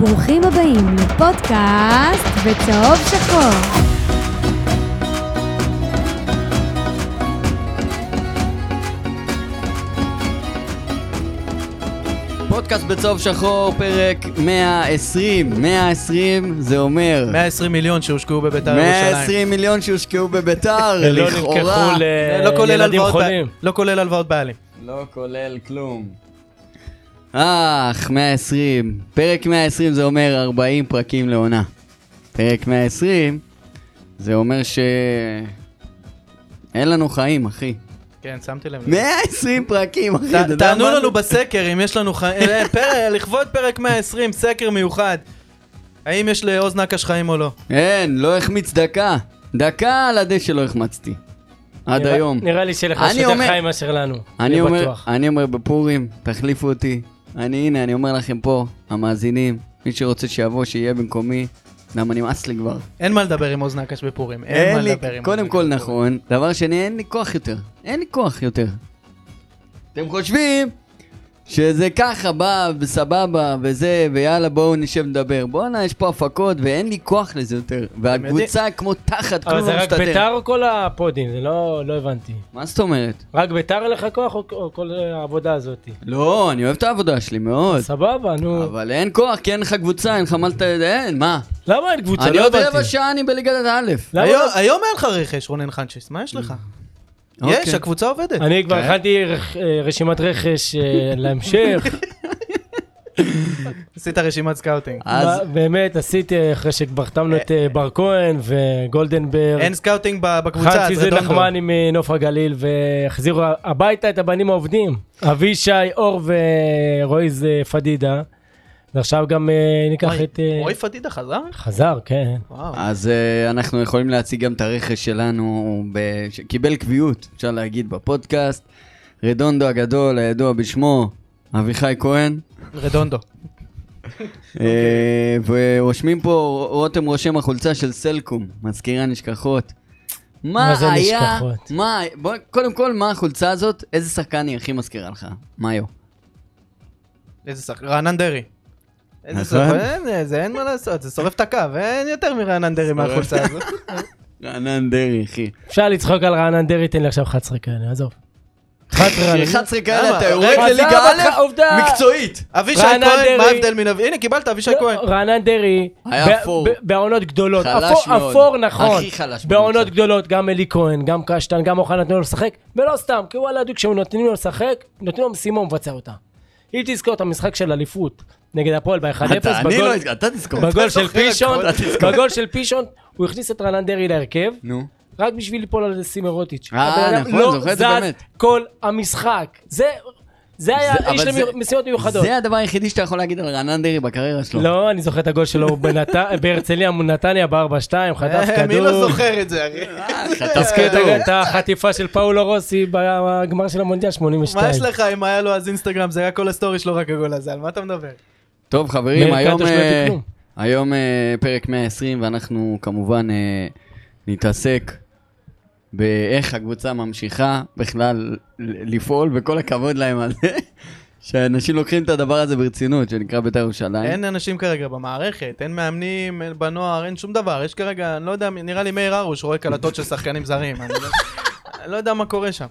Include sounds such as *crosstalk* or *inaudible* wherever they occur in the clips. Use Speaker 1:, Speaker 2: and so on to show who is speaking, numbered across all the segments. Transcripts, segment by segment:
Speaker 1: ברוכים הבאים לפודקאסט בצהוב שחור.
Speaker 2: פודקאסט בצהוב שחור, פרק 120. 120 זה אומר
Speaker 3: 120 מיליון שהושקעו בביתר ירושלים. לא
Speaker 2: 120 מיליון שהושקעו
Speaker 3: *laughs*
Speaker 2: בביתר,
Speaker 4: ולא
Speaker 2: לכאורה.
Speaker 4: לא נלקחו
Speaker 3: זה לא כולל
Speaker 4: לילדים
Speaker 3: הלוואות
Speaker 4: חולים.
Speaker 3: בעלים. לא כולל הלוואות בעלים.
Speaker 2: לא כולל כלום. אך, 120. פרק 120 זה אומר 40 פרקים לעונה. פרק 120 זה אומר ש... אין לנו חיים, אחי.
Speaker 3: כן, שמתי לב. לזה.
Speaker 2: 120 פרקים, אחי. אתה
Speaker 3: ת-
Speaker 2: יודע
Speaker 3: תענו
Speaker 2: מה זה?
Speaker 3: לנו בסקר אם יש לנו חיים, אה, פרק- לכבוד פרק 120, סקר מיוחד. האם יש לאוז נקש חיים או לא?
Speaker 2: אין, לא החמיץ דקה. דקה על הדשא לא החמצתי. עד
Speaker 4: נראה-
Speaker 2: היום.
Speaker 4: נראה לי שלך
Speaker 2: אני
Speaker 4: יש
Speaker 2: אומר-
Speaker 4: יותר חיים מאשר לנו.
Speaker 2: אני
Speaker 4: זה
Speaker 2: אומר,
Speaker 4: בטוח.
Speaker 2: אני אומר בפורים, תחליפו אותי. אני, הנה, אני אומר לכם פה, המאזינים, מי שרוצה שיבוא, שיהיה במקומי. למה נמאס לי כבר.
Speaker 3: אין מה לדבר עם אוז נקש בפורים. אין מה
Speaker 2: לי,
Speaker 3: לדבר עם אוז
Speaker 2: קודם
Speaker 3: נקש
Speaker 2: כל
Speaker 3: בפורים.
Speaker 2: נכון, דבר שני, אין לי כוח יותר. אין לי כוח יותר. אתם חושבים שזה ככה בא וסבבה וזה, ויאללה בואו נשב נדבר. בואנה, יש פה הפקות ואין לי כוח לזה יותר. והקבוצה כמו תחת,
Speaker 4: אבל
Speaker 2: כלום
Speaker 4: זה
Speaker 2: לא
Speaker 4: רק
Speaker 2: מסתדר.
Speaker 4: ביתר או כל הפודים? זה לא לא הבנתי.
Speaker 2: מה זאת אומרת?
Speaker 4: רק ביתר אין לך כוח או- או כל העבודה הזאת?
Speaker 2: לא, אני אוהב את העבודה שלי מאוד.
Speaker 4: סבבה, נו.
Speaker 2: אבל אין כוח, כי אין לך קבוצה, אין לך מה לת... אין, מה?
Speaker 4: למה אין קבוצה?
Speaker 2: אני
Speaker 4: לא
Speaker 2: עוד
Speaker 4: הבנתי.
Speaker 2: רבע שעה אני בליגת א'.
Speaker 4: למה
Speaker 3: היום-
Speaker 4: לא-
Speaker 3: היום אין לך רכש, רונן חנצ'ס, מה יש לך?
Speaker 2: אוקיי.
Speaker 3: יש, הקבוצה עובדת.
Speaker 4: אני כבר
Speaker 2: כן.
Speaker 4: הכנתי רכ- אה, רשימת רכש
Speaker 2: *laughs*
Speaker 4: אה, להמשך.
Speaker 3: עשית רשימת סקאוטינג.
Speaker 2: אז
Speaker 4: מה- באמת, עשיתי אה, אחרי שכבר חתמנו את אה, בר כהן וגולדנברג.
Speaker 3: אין סקאוטינג ב- בקבוצה,
Speaker 4: חנצי
Speaker 3: אז
Speaker 4: אה, זה
Speaker 3: אדום דום.
Speaker 4: נחמני מנוף הגליל, אה, והחזירו הביתה את הבנים העובדים. אבישי, אור ורויז אה, פדידה. ועכשיו גם אה, ניקח
Speaker 3: אוי,
Speaker 4: את... אה,
Speaker 3: רועי פדידה חזר?
Speaker 4: חזר, כן.
Speaker 3: וואו.
Speaker 2: אז אה, אנחנו יכולים להציג גם את הרכש שלנו, ב- שקיבל קביעות, אפשר להגיד, בפודקאסט. רדונדו הגדול, הידוע בשמו, אביחי כהן.
Speaker 3: רדונדו.
Speaker 4: אוקיי.
Speaker 2: אה, ורושמים פה, רותם רושם החולצה של סלקום, מזכירה נשכחות. מה
Speaker 4: מה זה
Speaker 2: היה,
Speaker 4: נשכחות?
Speaker 2: מה, בוא, קודם כל, מה החולצה הזאת, איזה שחקן היא הכי מזכירה לך? מאיו.
Speaker 3: איזה שחק... רענן דרעי. איזה
Speaker 2: נכון.
Speaker 3: שחק... אין, אה, זה אין מה לעשות, זה שורף את הקו, אין יותר מרענן דרעי מהחולצה
Speaker 4: *laughs*
Speaker 3: הזאת.
Speaker 2: רענן דרעי, אחי.
Speaker 4: אפשר לצחוק על רענן דרעי, תן לי עכשיו 11 כאלה, עזוב. 11 רענן.
Speaker 2: 11 כאלה
Speaker 3: למה?
Speaker 2: אתה
Speaker 3: רגע,
Speaker 2: יורד לליגה
Speaker 4: עזוב אותך,
Speaker 2: א',
Speaker 4: עובדה.
Speaker 2: מקצועית.
Speaker 3: אבישי
Speaker 4: רענן
Speaker 3: כהן, מה
Speaker 4: דרעי. לא,
Speaker 3: ההבדל מן... אב- הנה, קיבלת, אבישי כהן.
Speaker 4: רענן דרעי,
Speaker 2: היה
Speaker 4: ב-
Speaker 2: אפור.
Speaker 4: ב- בעונות גדולות,
Speaker 2: חלש
Speaker 4: אפור-
Speaker 2: מאוד.
Speaker 4: אפור נכון,
Speaker 2: הכי חלש
Speaker 4: בעונות
Speaker 2: בקבוצה.
Speaker 4: גדולות גם אלי כהן, גם קשטן, גם אוחנה נתנו לו לשחק, ולא סתם, כי וואלה ידעו כשנותנים לו לשחק, נותנים לו משימה הוא מבצע אותה. אם תזכור את המשחק של אליפות נגד הפועל ב-1-0,
Speaker 2: אתה, אני
Speaker 4: בגול-
Speaker 2: לא, הזכ- אתה תזכור.
Speaker 4: בגול
Speaker 2: אתה
Speaker 4: של
Speaker 2: זוכר
Speaker 4: פישון,
Speaker 2: הכל, אתה תזכור.
Speaker 4: בגול של פישון, הוא הכניס את רענן דרעי להרכב,
Speaker 2: נו.
Speaker 4: רק בשביל ליפול על סימרוטיץ'.
Speaker 2: אה,
Speaker 4: הבן אדם
Speaker 2: נכון, זוכר את זה באמת.
Speaker 4: לא זז כל המשחק. זה- זה היה
Speaker 2: זה-
Speaker 4: איש
Speaker 2: אבל זה-
Speaker 4: למשימות מיוחדות.
Speaker 2: זה הדבר היחידי שאתה יכול להגיד על רענן דרעי בקריירה שלו.
Speaker 4: לא, אני זוכר את הגול שלו הוא בנת- *laughs* בהרצליה מול נתניה ב-4-2, חטף
Speaker 3: אה,
Speaker 4: כדור. אה,
Speaker 3: מי לא זוכר את זה, אחי?
Speaker 2: חטף
Speaker 4: זוכר את
Speaker 2: כדור.
Speaker 4: ה- את החטיפה של פאולו רוסי בגמר של המונדיאל
Speaker 3: מה יש
Speaker 4: 82.
Speaker 3: לך אם היה לו אז אינסטגרם, זה היה כל הסטורי שלו רק הגול הזה, על מה אתה מדבר?
Speaker 2: טוב, חברים,
Speaker 4: מאיר
Speaker 2: היום
Speaker 4: קנטו שלא
Speaker 2: אה,
Speaker 4: תקנו.
Speaker 2: היום אה, פרק 120, ואנחנו כמובן אה, נתעסק באיך הקבוצה ממשיכה בכלל ל- לפעול, וכל הכבוד להם על זה, *laughs* שאנשים לוקחים את הדבר הזה ברצינות, שנקרא בית"ר
Speaker 4: אה?
Speaker 2: ירושלים.
Speaker 3: אין אנשים כרגע במערכת, אין מאמנים, אין בנוער, אין שום דבר, יש כרגע, אני לא יודע, נראה לי מאיר הרוש רואה קלטות של שחקנים זרים, אני לא- אני לא יודע מה קורה שם.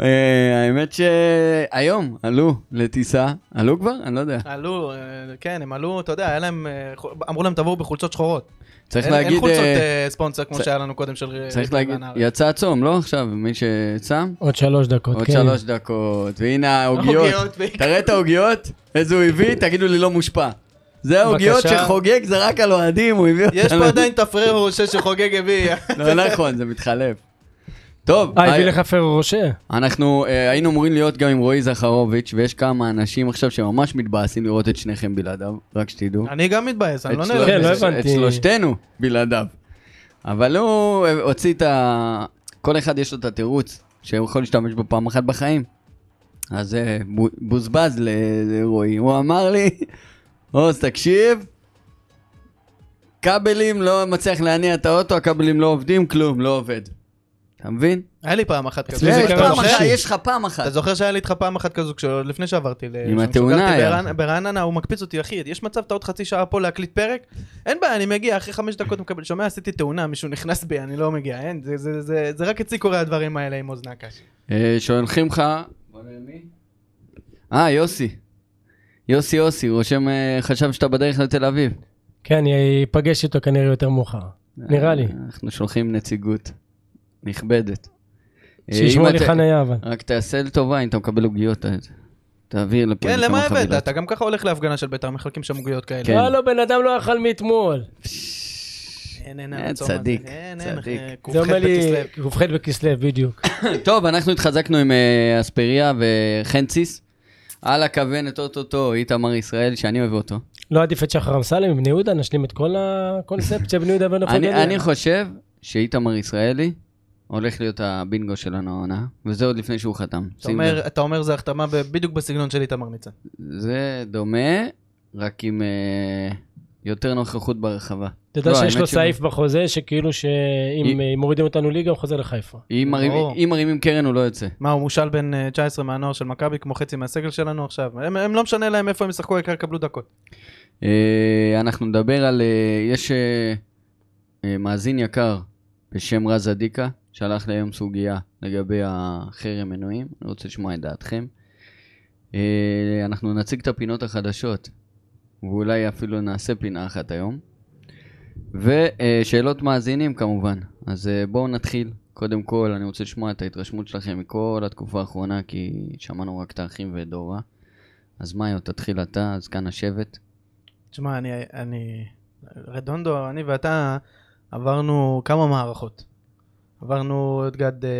Speaker 2: אה, האמת שהיום עלו לטיסה, עלו כבר? אני לא יודע.
Speaker 3: עלו, אה, כן, הם עלו, אתה יודע, היה להם, אה, חו- אמרו להם תבואו בחולצות שחורות.
Speaker 2: צריך
Speaker 3: אין- אין
Speaker 2: להגיד,
Speaker 3: חולצות
Speaker 2: אה,
Speaker 3: אה, ספונסר כמו
Speaker 2: צ-
Speaker 3: שהיה לנו קודם של... אה,
Speaker 2: צריך
Speaker 3: ריבלין
Speaker 2: להגיד,
Speaker 3: והנהר.
Speaker 2: יצא הצום, לא עכשיו, מי שצם?
Speaker 4: עוד שלוש דקות,
Speaker 2: עוד
Speaker 4: כן.
Speaker 2: שלוש דקות, והנה העוגיות.
Speaker 3: העוגיות, בעיקר.
Speaker 2: תראה את העוגיות, איזה הוא הביא, תגידו לי לא מושפע. זה העוגיות
Speaker 4: בבקשה.
Speaker 2: שחוגג זרק על אוהדים, הוא הביא אותנו. *laughs*
Speaker 3: יש פה עדיין את הפרר רושה שחוגג הביא.
Speaker 2: לא נכון, זה מתחלף. טוב,
Speaker 4: אה, הביא
Speaker 2: היי,
Speaker 4: לך פרו רושה?
Speaker 2: אנחנו אה, היינו אמורים להיות גם עם רועי זכרוביץ', ויש כמה אנשים עכשיו שממש מתבאסים לראות את שניכם בלעדיו, רק שתדעו.
Speaker 3: אני גם מתבאס, אני
Speaker 2: את
Speaker 3: לא
Speaker 2: שלוש-
Speaker 4: כן, לא
Speaker 3: נעלב. מזה.
Speaker 2: את
Speaker 4: הבנתי.
Speaker 2: שלושתנו בלעדיו. אבל הוא אה, הוציא את ה... כל אחד יש לו את התירוץ שהוא יכול להשתמש בו פעם אחת בחיים. אז אה, בו- בוזבז ל- לרועי. הוא אמר לי, עוז, תקשיב, כבלים לא מצליח להניע את האוטו, הכבלים לא עובדים, כלום, לא עובד. אתה מבין?
Speaker 3: היה לי פעם אחת כזו.
Speaker 4: אצלי זה
Speaker 2: יש
Speaker 3: אתה
Speaker 4: קרה
Speaker 2: פעם
Speaker 3: זוכר?
Speaker 4: בחיים.
Speaker 2: אחת, יש לך פעם אחת.
Speaker 3: אתה זוכר שהיה לי איתך פעם אחת כזו, כשעוד לפני שעברתי ל...
Speaker 2: עם התאונה
Speaker 3: כשגרתי
Speaker 2: היה.
Speaker 3: ברענ- ברעננה, הוא מקפיץ אותי, אחי, יש מצב אתה עוד חצי שעה פה להקליט פרק? אין בעיה, אני מגיע, אחרי חמש דקות מקבל, שומע, עשיתי תאונה, מישהו נכנס בי, אני לא מגיע, אין, זה- זה- זה זה רק אצלי קורה הדברים האלה עם אוזנה קשה.
Speaker 2: אה, שולחים לך... אה, יוסי. יוסי יוסי, הוא רושם, אה, חשב שאתה בדרך לתל אביב.
Speaker 4: כן, אני אפגש איתו כנראה יותר מאוחר. נראה לי.
Speaker 2: אנחנו שולחים נציגות נכבדת. אה,
Speaker 4: שישמור
Speaker 2: אם
Speaker 4: לי
Speaker 2: אתה-
Speaker 4: חנייה אבל.
Speaker 2: רק תעשה לי טובה אם אתה מקבל עוגיות, אה, תעביר לפה.
Speaker 3: כן,
Speaker 2: כמה
Speaker 3: למה הבאת?
Speaker 2: חבילות.
Speaker 3: אתה גם ככה הולך להפגנה של בית"ר, מחלקים שם עוגיות כאלה.
Speaker 2: כן.
Speaker 4: וואלה, בן אדם לא אכל מאתמול.
Speaker 3: אין, אין,
Speaker 2: אה,
Speaker 3: אין,
Speaker 2: צדיק,
Speaker 3: אין, אה,
Speaker 2: צדיק.
Speaker 3: אין,
Speaker 4: זה אומר לי,
Speaker 3: בכסלו.
Speaker 4: ק"ח בכסלו, בדיוק.
Speaker 2: *laughs* טוב, אנחנו התחזקנו עם אה, אספריה וחנציס. על הכוונת אוטוטו איתמר ישראל, שאני אוהב אותו.
Speaker 4: לא עדיף את שחר אמסלם, בני יהודה, נשלים את כל הקונספט של בני יהודה
Speaker 3: לא
Speaker 4: ונוף
Speaker 2: אני,
Speaker 4: הגליל.
Speaker 2: אני חושב שאיתמר ישראלי הולך להיות הבינגו שלנו העונה, וזה עוד לפני שהוא חתם.
Speaker 3: אתה
Speaker 2: שים
Speaker 3: אומר-
Speaker 2: לב.
Speaker 3: אתה אומר זה החתמה ב- בדיוק בסגנון של איתמר ניצן.
Speaker 2: זה דומה, רק עם אה, יותר נוכחות ברחבה.
Speaker 4: אתה יודע
Speaker 2: לא,
Speaker 4: שיש
Speaker 2: האמת
Speaker 4: לו
Speaker 2: ש-
Speaker 4: סעיף בחוזה, שכאילו שאם
Speaker 2: אי-
Speaker 4: אה, מורידים אותנו ליגה, הוא חוזר לחיפה.
Speaker 2: אם מרים-
Speaker 3: ברור.
Speaker 2: אם מרימים קרן הוא לא יוצא.
Speaker 3: מה, הוא מושל בן אה, 19 מהנוער של מכבי, כמו חצי מהסגל שלנו עכשיו? הם- הם לא משנה להם איפה הם ישחקו, העיקר יקבלו דקות.
Speaker 2: אה, אנחנו נדבר על... אה, יש אה, אה, מאזין יקר בשם רז אדיקה, שלח לי היום סוגיה לגבי החרם מנויים, אני רוצה לשמוע את דעתכם. אה, אנחנו נציג את הפינות החדשות, ואולי אפילו נעשה פינה אחת היום. ושאלות מאזינים כמובן, אז אה, בואו נתחיל. קודם כל, אני רוצה לשמוע את ההתרשמות שלכם מכל התקופה האחרונה, כי שמענו רק את האחים ואת דורה. אז מאיו, תתחיל אתה, אז כאן השבט.
Speaker 3: תשמע, אני, אני... רדונדו, אני ואתה עברנו כמה מערכות. עברנו את גד... אה,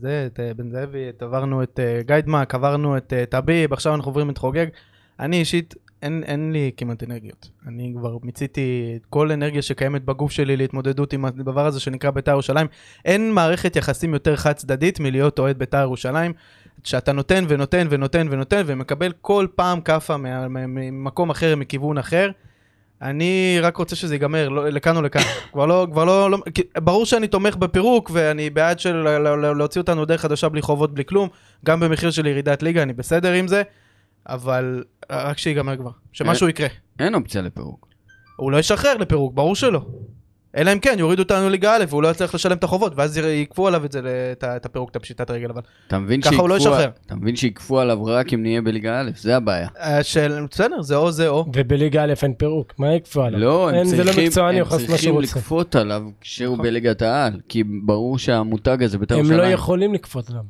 Speaker 3: זה, את אה, בן זאבי, את- עברנו את אה, גיידמק, עברנו את אה, טביב, עכשיו אנחנו עוברים את חוגג. אני אישית, אין, אין לי כמעט אנרגיות. אני כבר מיציתי את כל אנרגיה שקיימת בגוף שלי להתמודדות עם הדבר הזה שנקרא בית"ר ירושלים. אין מערכת יחסים יותר חד צדדית מלהיות אוהד בית"ר ירושלים. שאתה נותן ונותן ונותן ונותן ומקבל כל פעם כאפה מה- מה- ממקום אחר, מכיוון אחר. אני רק רוצה שזה ייגמר, לא, לכאן או לכאן. כבר לא, כבר לא, לא, כי- ברור שאני תומך בפירוק ואני בעד של לה- לה- לה- להוציא אותנו דרך חדשה בלי חובות, בלי כלום. גם במחיר של ירידת ליגה, אני בסדר עם זה, אבל רק שיגמר כבר, שמשהו יקרה.
Speaker 2: אין אופציה לפירוק.
Speaker 3: הוא לא ישחרר לפירוק, ברור שלא. אלא אם כן, יורידו אותנו ליגה א' והוא לא יצליח לשלם את החובות, ואז ייקפו עליו את זה, את ה- את הפירוק, את הפשיטת רגל, אבל...
Speaker 2: אתה מבין
Speaker 3: ככה הוא לא
Speaker 2: שיקפו-
Speaker 3: ישחרר.
Speaker 2: אתה מבין שיקפו עליו רק אם נהיה בליגה א', זה הבעיה.
Speaker 3: אה, של... בסדר, זה או זה או.
Speaker 4: ובליגה א' אין פירוק, מה יקפו עליו?
Speaker 2: לא, הם
Speaker 4: אין, זה לא
Speaker 2: צריכים-
Speaker 4: מקצועני,
Speaker 2: הם
Speaker 4: הוא יכול לעשות מה שהוא
Speaker 2: צריכים
Speaker 4: רוצה. נכון.
Speaker 2: לכפות עליו כשהוא בליגת העל, כי ברור שהמותג הזה בית"ר
Speaker 4: הם לא
Speaker 2: ירושלים.
Speaker 4: יכולים לכפות עליו.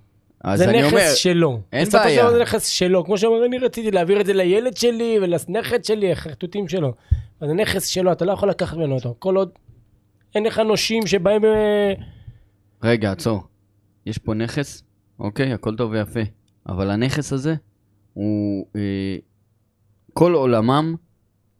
Speaker 2: אז
Speaker 4: זה
Speaker 2: אני אומר,
Speaker 4: נכס שלו.
Speaker 2: אין
Speaker 4: בסופו של
Speaker 2: בעיה.
Speaker 4: דבר זה נכס שלו. כמו שאומר, אני רציתי להעביר את זה לילד שלי ולנכד שלי, החרטוטים שלו. אז זה נכס שלו, אתה לא יכול לקחת ממנו אותו. כל עוד אין לך נושים שבאים... אה,
Speaker 2: רגע, עצור. יש פה נכס, אוקיי, הכל טוב ויפה, אבל הנכס הזה הוא אה, כל עולמם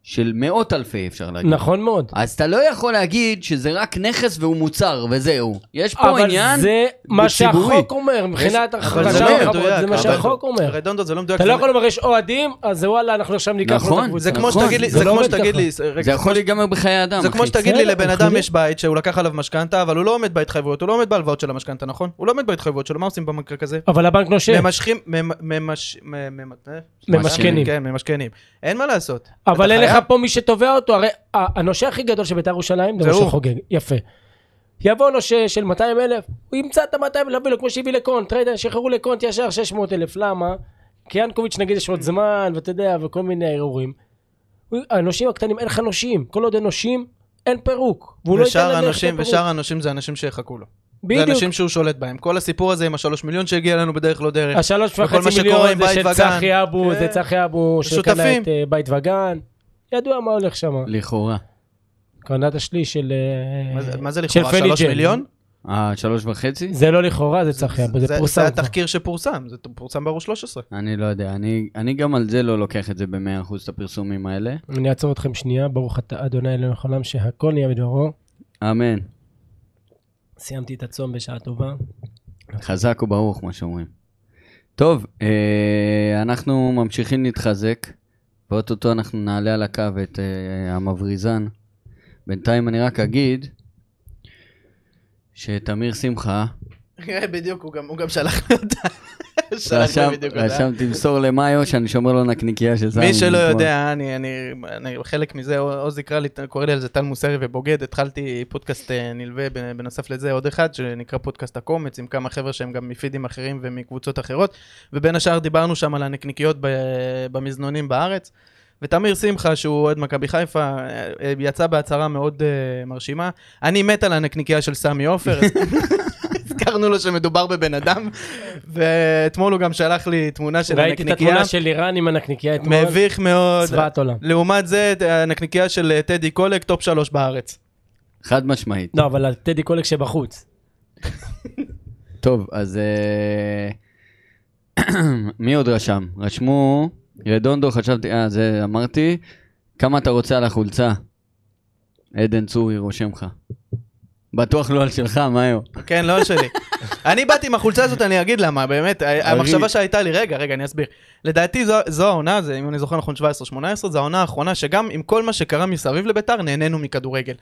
Speaker 2: של מאות אלפי, אפשר להגיד.
Speaker 4: נכון מאוד.
Speaker 2: אז אתה לא יכול להגיד שזה רק נכס והוא מוצר וזהו. יש פה
Speaker 4: אבל
Speaker 2: עניין...
Speaker 4: זה מה
Speaker 2: ציבורי.
Speaker 4: שהחוק אומר, מבחינת
Speaker 3: אבל
Speaker 2: זה
Speaker 4: החלשה
Speaker 2: לא
Speaker 4: לחברות,
Speaker 3: מדויק,
Speaker 4: זה מה
Speaker 3: אבל-
Speaker 4: שהחוק אומר.
Speaker 3: רדונדו זה לא מדויק.
Speaker 4: אתה לא
Speaker 3: זה-
Speaker 4: יכול לומר, יש אוהדים, אז וואלה, אנחנו עכשיו ניקח לו את
Speaker 2: נכון,
Speaker 4: הקבוצה.
Speaker 3: זה כמו
Speaker 2: נכון,
Speaker 3: שתגיד לי,
Speaker 2: זה
Speaker 3: זה
Speaker 4: לא
Speaker 3: כמו
Speaker 4: עובד
Speaker 3: שתגיד
Speaker 4: ככה.
Speaker 3: לי, רגע,
Speaker 2: זה יכול להיגמר בחיי אדם,
Speaker 3: זה
Speaker 2: אחי.
Speaker 3: כמו שתגיד לי
Speaker 4: בסדר,
Speaker 3: לבן
Speaker 4: אנחנו
Speaker 3: אדם
Speaker 4: יודעים.
Speaker 3: יש בית שהוא לקח עליו משכנתה, אבל הוא לא עומד בהתחייבויות, הוא לא עומד בהלוואות של המשכנתה, נכון? הוא לא עומד בהתחייבויות שלו, מה עושים במקרה כזה?
Speaker 4: אבל הבנק נושב.
Speaker 3: ממשכים, ממ- ממש... מ- מ- אה?
Speaker 4: ממשכנים.
Speaker 3: כן, ממשכנים. אין מה לעשות.
Speaker 4: אבל
Speaker 3: אתה
Speaker 4: אין
Speaker 3: חייב.
Speaker 4: לך פה מי שתובע אותו, הרי ה- הנושה הכי גדול של בית"ר ירושלים זה
Speaker 3: זה
Speaker 4: משה
Speaker 3: הוא.
Speaker 4: חוגג, יפה. יבוא נושה של 200 אלף, הוא ימצא את ה-200 אלף, לו, כמו שהביא לקונט, ראית, שחררו לקונט ישר 600 אלף, למה? כי ינקוביץ' נגיד יש עוד זמן, ואתה יודע, וכל מיני ערעורים. הוא- הנושים הקטנים, אין לך נושים, כל עוד אין נושים, אין פירוק. והוא לא ייתן
Speaker 3: ושאר
Speaker 4: להם ללכת
Speaker 3: האנשים,
Speaker 4: לפירוק.
Speaker 3: ושאר האנשים זה אנשים שיחכו לו. זה
Speaker 4: בדיוק.
Speaker 3: אנשים שהוא שולט בהם. כל הסיפור הזה עם השלוש מיליון שהגיע אלינו בדרך לא דרך.
Speaker 4: השלוש
Speaker 3: וכל מה
Speaker 4: וחצי
Speaker 3: שקורה
Speaker 4: מיליון
Speaker 3: עם
Speaker 4: זה
Speaker 3: בית
Speaker 4: של
Speaker 3: וגן.
Speaker 4: צחי אבו, זה
Speaker 3: כן.
Speaker 4: צחי אבו, שקנה
Speaker 3: שותפים.
Speaker 4: את אה, בית וגן. ידוע מה הולך שם.
Speaker 2: לכאורה.
Speaker 4: קנה את השליש של... אה,
Speaker 3: מה זה- מה זה
Speaker 4: של
Speaker 3: לכאורה?
Speaker 4: פלי
Speaker 3: שלוש
Speaker 4: ג'ן.
Speaker 3: מיליון?
Speaker 2: אה, שלוש וחצי?
Speaker 4: זה לא לכאורה, זה צחי אבו, זה פורסם.
Speaker 3: זה
Speaker 4: כבר.
Speaker 3: התחקיר שפורסם, זה פורסם בערוץ 13.
Speaker 2: אני לא יודע, אני, אני גם על זה לא לוקח את זה ב-100% את הפרסומים האלה.
Speaker 4: אני אעצור אתכם שנייה, ברוך אתה אדוני אלוהים העולם שהכל נהיה בדברו.
Speaker 2: אמן.
Speaker 4: סיימתי את הצום בשעה טובה.
Speaker 2: חזק וברוך, מה שאומרים. טוב, אה, אנחנו ממשיכים להתחזק, ואו-טו-טו אנחנו נעלה על הקו את אה, המבריזן. בינתיים אני רק אגיד שתמיר שמחה,
Speaker 3: בדיוק, הוא גם- הוא גם שלח לי אותה. שלח לי
Speaker 2: רשם,
Speaker 3: בדיוק הודעה.
Speaker 2: רשם תמסור למאיו שאני שומר לו נקניקייה של סמי.
Speaker 3: מי שלא
Speaker 2: נכון.
Speaker 3: יודע, אני, אני, אני חלק מזה, עוז יקרא לי, קורא לי על זה טל מוסרי ובוגד, התחלתי פודקאסט אה, נלווה בנ- בנוסף לזה, עוד אחד שנקרא פודקאסט הקומץ, עם כמה חבר'ה שהם גם מפידים אחרים ומקבוצות אחרות, ובין השאר דיברנו שם על הנקניקיות ב- במזנונים בארץ. ותמיר שמחה, שהוא אוהד מכבי חיפה, אה, אה, יצא בהצהרה מאוד אה, מרשימה. אני מת על הנקניקייה של סמי עופר, אז הזכרנו לו שמדובר בבן אדם, ואתמול הוא גם שלח לי תמונה של
Speaker 4: ראיתי
Speaker 3: הנקניקייה.
Speaker 4: את התמונה של לירן עם הנקניקייה אתמול.
Speaker 3: מביך מאוד.
Speaker 4: צבעת עולם.
Speaker 3: לעומת זה, הנקניקייה של אה, טדי קולק, טופ שלוש בארץ.
Speaker 2: חד משמעית.
Speaker 4: לא, אבל טדי קולק שבחוץ.
Speaker 2: טוב, אז אה, *clears throat* מי עוד רשם? רשמו, רדונדו, חשבתי, אה, זה אמרתי. כמה אתה רוצה על החולצה? עדן צורי רושם לך. בטוח לא על שלך, מאיו.
Speaker 3: כן, לא שלי. אני באתי עם החולצה הזאת, אני אגיד למה, באמת, ה- המחשבה שהייתה לי, רגע, רגע, אני אסביר. לדעתי זו- זו העונה, זה, אם אני זוכר נכון, 17-18, זו העונה האחרונה שגם עם כל מה שקרה מסביב לביתר, נהנינו מכדורגל.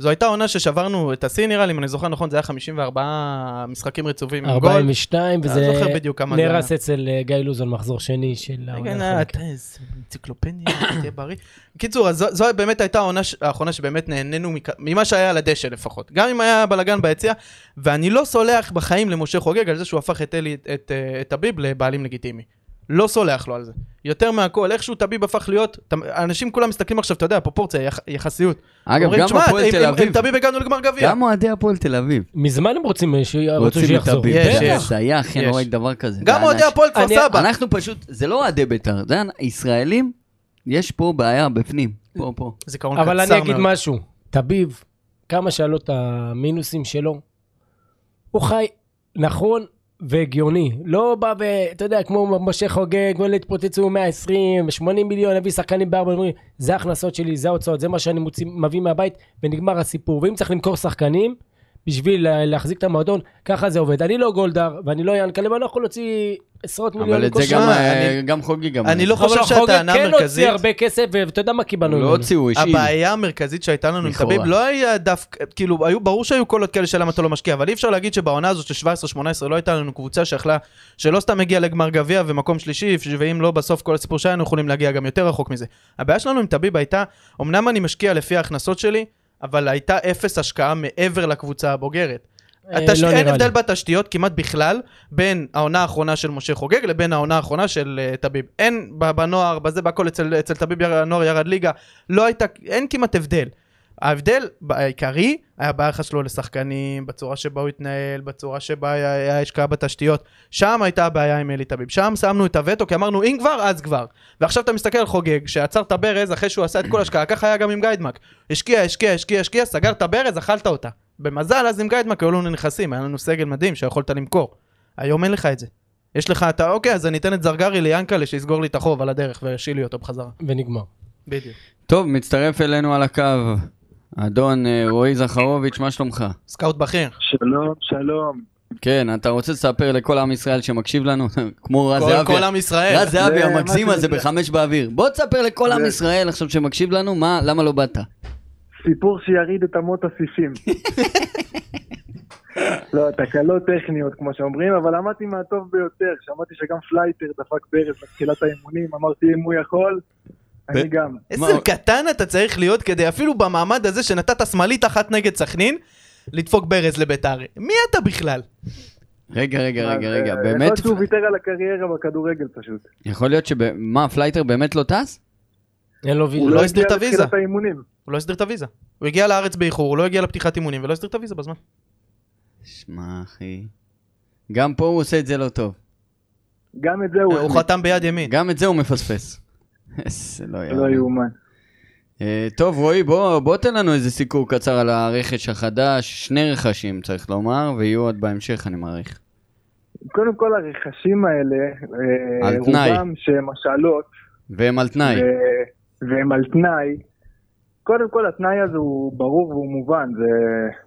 Speaker 3: זו הייתה עונה ששברנו את השיא נראה לי, אם אני זוכר נכון, זה היה 54 משחקים רצופים עם גול.
Speaker 4: 42, וזה
Speaker 3: אני לא זוכר בדיוק כמה זה היה.
Speaker 4: נהרס אצל אה, גיא לוזון, מחזור שני של
Speaker 3: רגע,
Speaker 4: העונה.
Speaker 3: נא,
Speaker 4: האחרונה.
Speaker 3: אתה איזה אנציקלופדיה, תהיה בריא. בקיצור, אז זו- זו באמת הייתה העונה ש- האחרונה שבאמת נהנינו מכ- ממה שהיה על הדשא לפחות. גם אם היה בלאגן ביציע, ואני לא סולח בחיים למשה חוגג על זה שהוא הפך את אלי, את אה, את טביב לבעלים לגיטימי. לא סולח לו על זה. יותר מהכל, איכשהו טביב הפך להיות, ת- האנשים כולם מסתכלים עכשיו, אתה יודע, פרופורציה, יח- יחסיות.
Speaker 2: אגב,
Speaker 3: אומרים,
Speaker 2: גם
Speaker 3: "תשמע,
Speaker 2: הפועל
Speaker 3: עם-
Speaker 2: תל
Speaker 3: עם- עם
Speaker 2: אביב.
Speaker 3: טביב הגענו לגמר גביע.
Speaker 2: גם אוהדי הפועל תל אביב.
Speaker 4: מזמן הם רוצים אה, שהוא- רצו
Speaker 2: רוצים את
Speaker 4: שיחזור.
Speaker 2: אביב.
Speaker 3: יש,
Speaker 2: בטח,
Speaker 3: יש.
Speaker 2: זה היה הכי
Speaker 3: יש.
Speaker 2: נוראי דבר כזה.
Speaker 3: גם
Speaker 2: זה
Speaker 3: אוהדי
Speaker 2: אנש-
Speaker 3: הפועל כפר
Speaker 4: אני-
Speaker 3: סבא.
Speaker 2: אנחנו פשוט, זה לא אוהדי בית"ר, זה ישראלים, יש פה בעיה בפנים. פה, פה.
Speaker 3: זיכרון קצר מאוד.
Speaker 4: אבל אני אגיד משהו, תביב, כמה שהיה לו את המינוסים שלו, הוא חי נכון והגיוני. לא בא ו... אתה יודע, כמו משה חוגג, כמו להתפוצץ הוא 120, 80 מיליון, הביא שחקנים בארבע, אומרים, זה ההכנסות שלי, זה ההוצאות, זה מה שאני מוציא, מביא מהבית, ונגמר הסיפור. ואם צריך למכור שחקנים, בשביל לה- להחזיק את המועדון, ככה זה עובד. אני לא גולדהר, ואני לא ינקלה, ואני לא יכול להוציא עשרות מיליונים.
Speaker 2: אבל את זה
Speaker 4: כל
Speaker 2: גם,
Speaker 4: שנה.
Speaker 2: אה,
Speaker 3: אני-
Speaker 2: גם חוגג גם.
Speaker 3: אני לא
Speaker 4: אבל
Speaker 3: חושב שהטענה
Speaker 4: חוגג כן
Speaker 3: המרכזית...
Speaker 4: הוציא הרבה כסף, ו- ואתה יודע מה קיבלנו
Speaker 2: לא הוציאו, השאיל.
Speaker 3: הבעיה המרכזית שהייתה לנו עם
Speaker 2: לכאורה.
Speaker 3: טביב לא היה דווקא, כאילו, היו, ברור שהיו קולות כאלה של למה אתה לא משקיע, אבל אי אפשר להגיד שבעונה הזאת של 17-18 לא הייתה לנו קבוצה שיכלה, שלא סתם הגיעה לגמר גביע ומקום שלישי, ואם לא בסוף כל הסיפור שלנו יכולים להגיע גם יותר רחוק מזה. הבעיה שלנו עם טביב הייתה, אמנם אני משקיע לפי ההכנסות שלי, אבל הייתה אפס השקעה מעבר לקבוצה הבוגרת.
Speaker 4: אה,
Speaker 3: התש...
Speaker 4: לא
Speaker 3: אין
Speaker 4: נראה לי.
Speaker 3: הבדל בתשתיות כמעט בכלל בין העונה האחרונה של משה חוגג לבין העונה האחרונה של אה, טביב. אין ב- בנוער, בזה, בהכל, אצל, אצל טביב יר- הנוער ירד ליגה, לא הייתה, אין כמעט הבדל. ההבדל העיקרי היה ביחס שלו לשחקנים, בצורה שבה הוא התנהל, בצורה שבה היה- היה השקעה בתשתיות. שם הייתה הבעיה עם אלי טביב. שם שמנו את הווטו, כי אמרנו אם כבר, אז כבר. ועכשיו אתה מסתכל על חוגג, שעצר את הברז אחרי שהוא עשה את כל ההשקעה, ככה היה גם עם גיידמק. השקיע, השקיע, השקיע, השקיע, סגר את הברז, אכלת אותה. במזל, אז עם גיידמק היו לנו נכסים, היה לנו סגל מדהים שיכולת למכור. היום אין לך את זה. יש לך, אתה, אוקיי, אז אני אתן את זרגרי ליאנקלה שיסגור לי את החוב על הדרך וישאיל לי אותו בחזרה.
Speaker 4: ונגמר.
Speaker 3: בדיוק.
Speaker 2: טוב, מצטרף אלינו על הקו. אדון אה, רועי זכרוביץ', מה שלומך?
Speaker 3: סקאוט בכיר.
Speaker 5: שלום, שלום.
Speaker 2: כן, אתה רוצה לספר לכל עם ישראל שמקשיב לנו? *laughs* כמו רז
Speaker 3: כל-
Speaker 2: זהבי.
Speaker 3: כל עם ישראל.
Speaker 2: רז זהבי
Speaker 5: זה מה
Speaker 2: המגזים הזה
Speaker 5: שזה.
Speaker 2: בחמש באוויר. בוא תספר לכל עם
Speaker 5: זה-
Speaker 2: ישראל עכשיו שמקשיב לנו, מה, למה לא באת?
Speaker 5: סיפור שירעיד את אמות
Speaker 3: *laughs*
Speaker 5: הסיפים. לא, תקלות טכניות, כמו שאומרים, אבל למדתי מהטוב ביותר. שמעתי שגם פלייטר דפק ברז בתחילת האימונים, אמרתי, אם הוא יכול, אני גם.
Speaker 3: איזה קטן אתה צריך להיות כדי אפילו במעמד הזה שנתת שמאלית אחת נגד סכנין, לדפוק ברז לביתר. מי אתה בכלל?
Speaker 2: רגע, רגע, רגע,
Speaker 5: אז,
Speaker 2: רגע,
Speaker 5: אה,
Speaker 2: באמת,
Speaker 5: יכול להיות שהוא ויתר על הקריירה בכדורגל פשוט.
Speaker 2: יכול להיות שב... מה, פלייטר באמת לא טס?
Speaker 4: אין לו
Speaker 5: הוא
Speaker 4: וילה.
Speaker 5: לא
Speaker 3: לא הסדיר
Speaker 5: הגיע
Speaker 3: את הוויזה.
Speaker 5: לתחילת האימונים.
Speaker 3: הוא לא הסדיר את הוויזה. הוא הגיע לארץ באיחור, הוא לא הגיע לפתיחת אימונים ולא הסדיר את הוויזה בזמן.
Speaker 2: שמע, אחי. גם פה הוא עושה את זה לא טוב.
Speaker 5: גם את זה
Speaker 2: אה,
Speaker 5: הוא...
Speaker 3: הוא חתם ביד ימין.
Speaker 5: אה,
Speaker 2: גם את זה הוא מפספס. איזה לא יאמן.
Speaker 5: לא יאומן.
Speaker 2: אה, טוב, רועי, בוא, בוא תן לנו איזה סיקור קצר על הרכש החדש. שני רכשים, צריך לומר, ויהיו עוד בהמשך, אני מעריך.
Speaker 5: קודם כל, הרכשים האלה, אה,
Speaker 2: על תנאי.
Speaker 5: רובם שהם השאלות,
Speaker 2: והם על תנאי.
Speaker 5: ו- והם על תנאי. קודם כל התנאי הזה הוא ברור והוא מובן, זה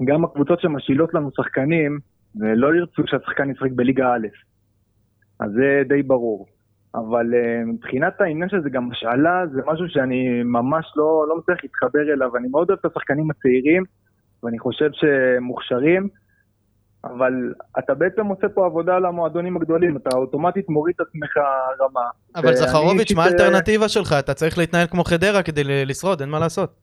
Speaker 5: גם הקבוצות שמשילות לנו שחקנים, אה, לא ירצו שהשחקן ישחק בליגה א', אז זה די ברור. אבל אה, מבחינת העניין שזה גם השאלה, זה משהו שאני ממש לא, לא מצליח להתחבר אליו, אני מאוד אוהב את השחקנים הצעירים, ואני חושב שהם מוכשרים, אבל אתה בעצם עושה פה עבודה על המועדונים הגדולים, אתה אוטומטית מוריד את עצמך רמה.
Speaker 3: אבל
Speaker 5: ואני
Speaker 3: זכרוביץ',
Speaker 5: אישית,
Speaker 3: מה
Speaker 5: אה,
Speaker 3: האלטרנטיבה שלך? אתה צריך להתנהל כמו חדרה כדי ל- לשרוד, אין מה לעשות.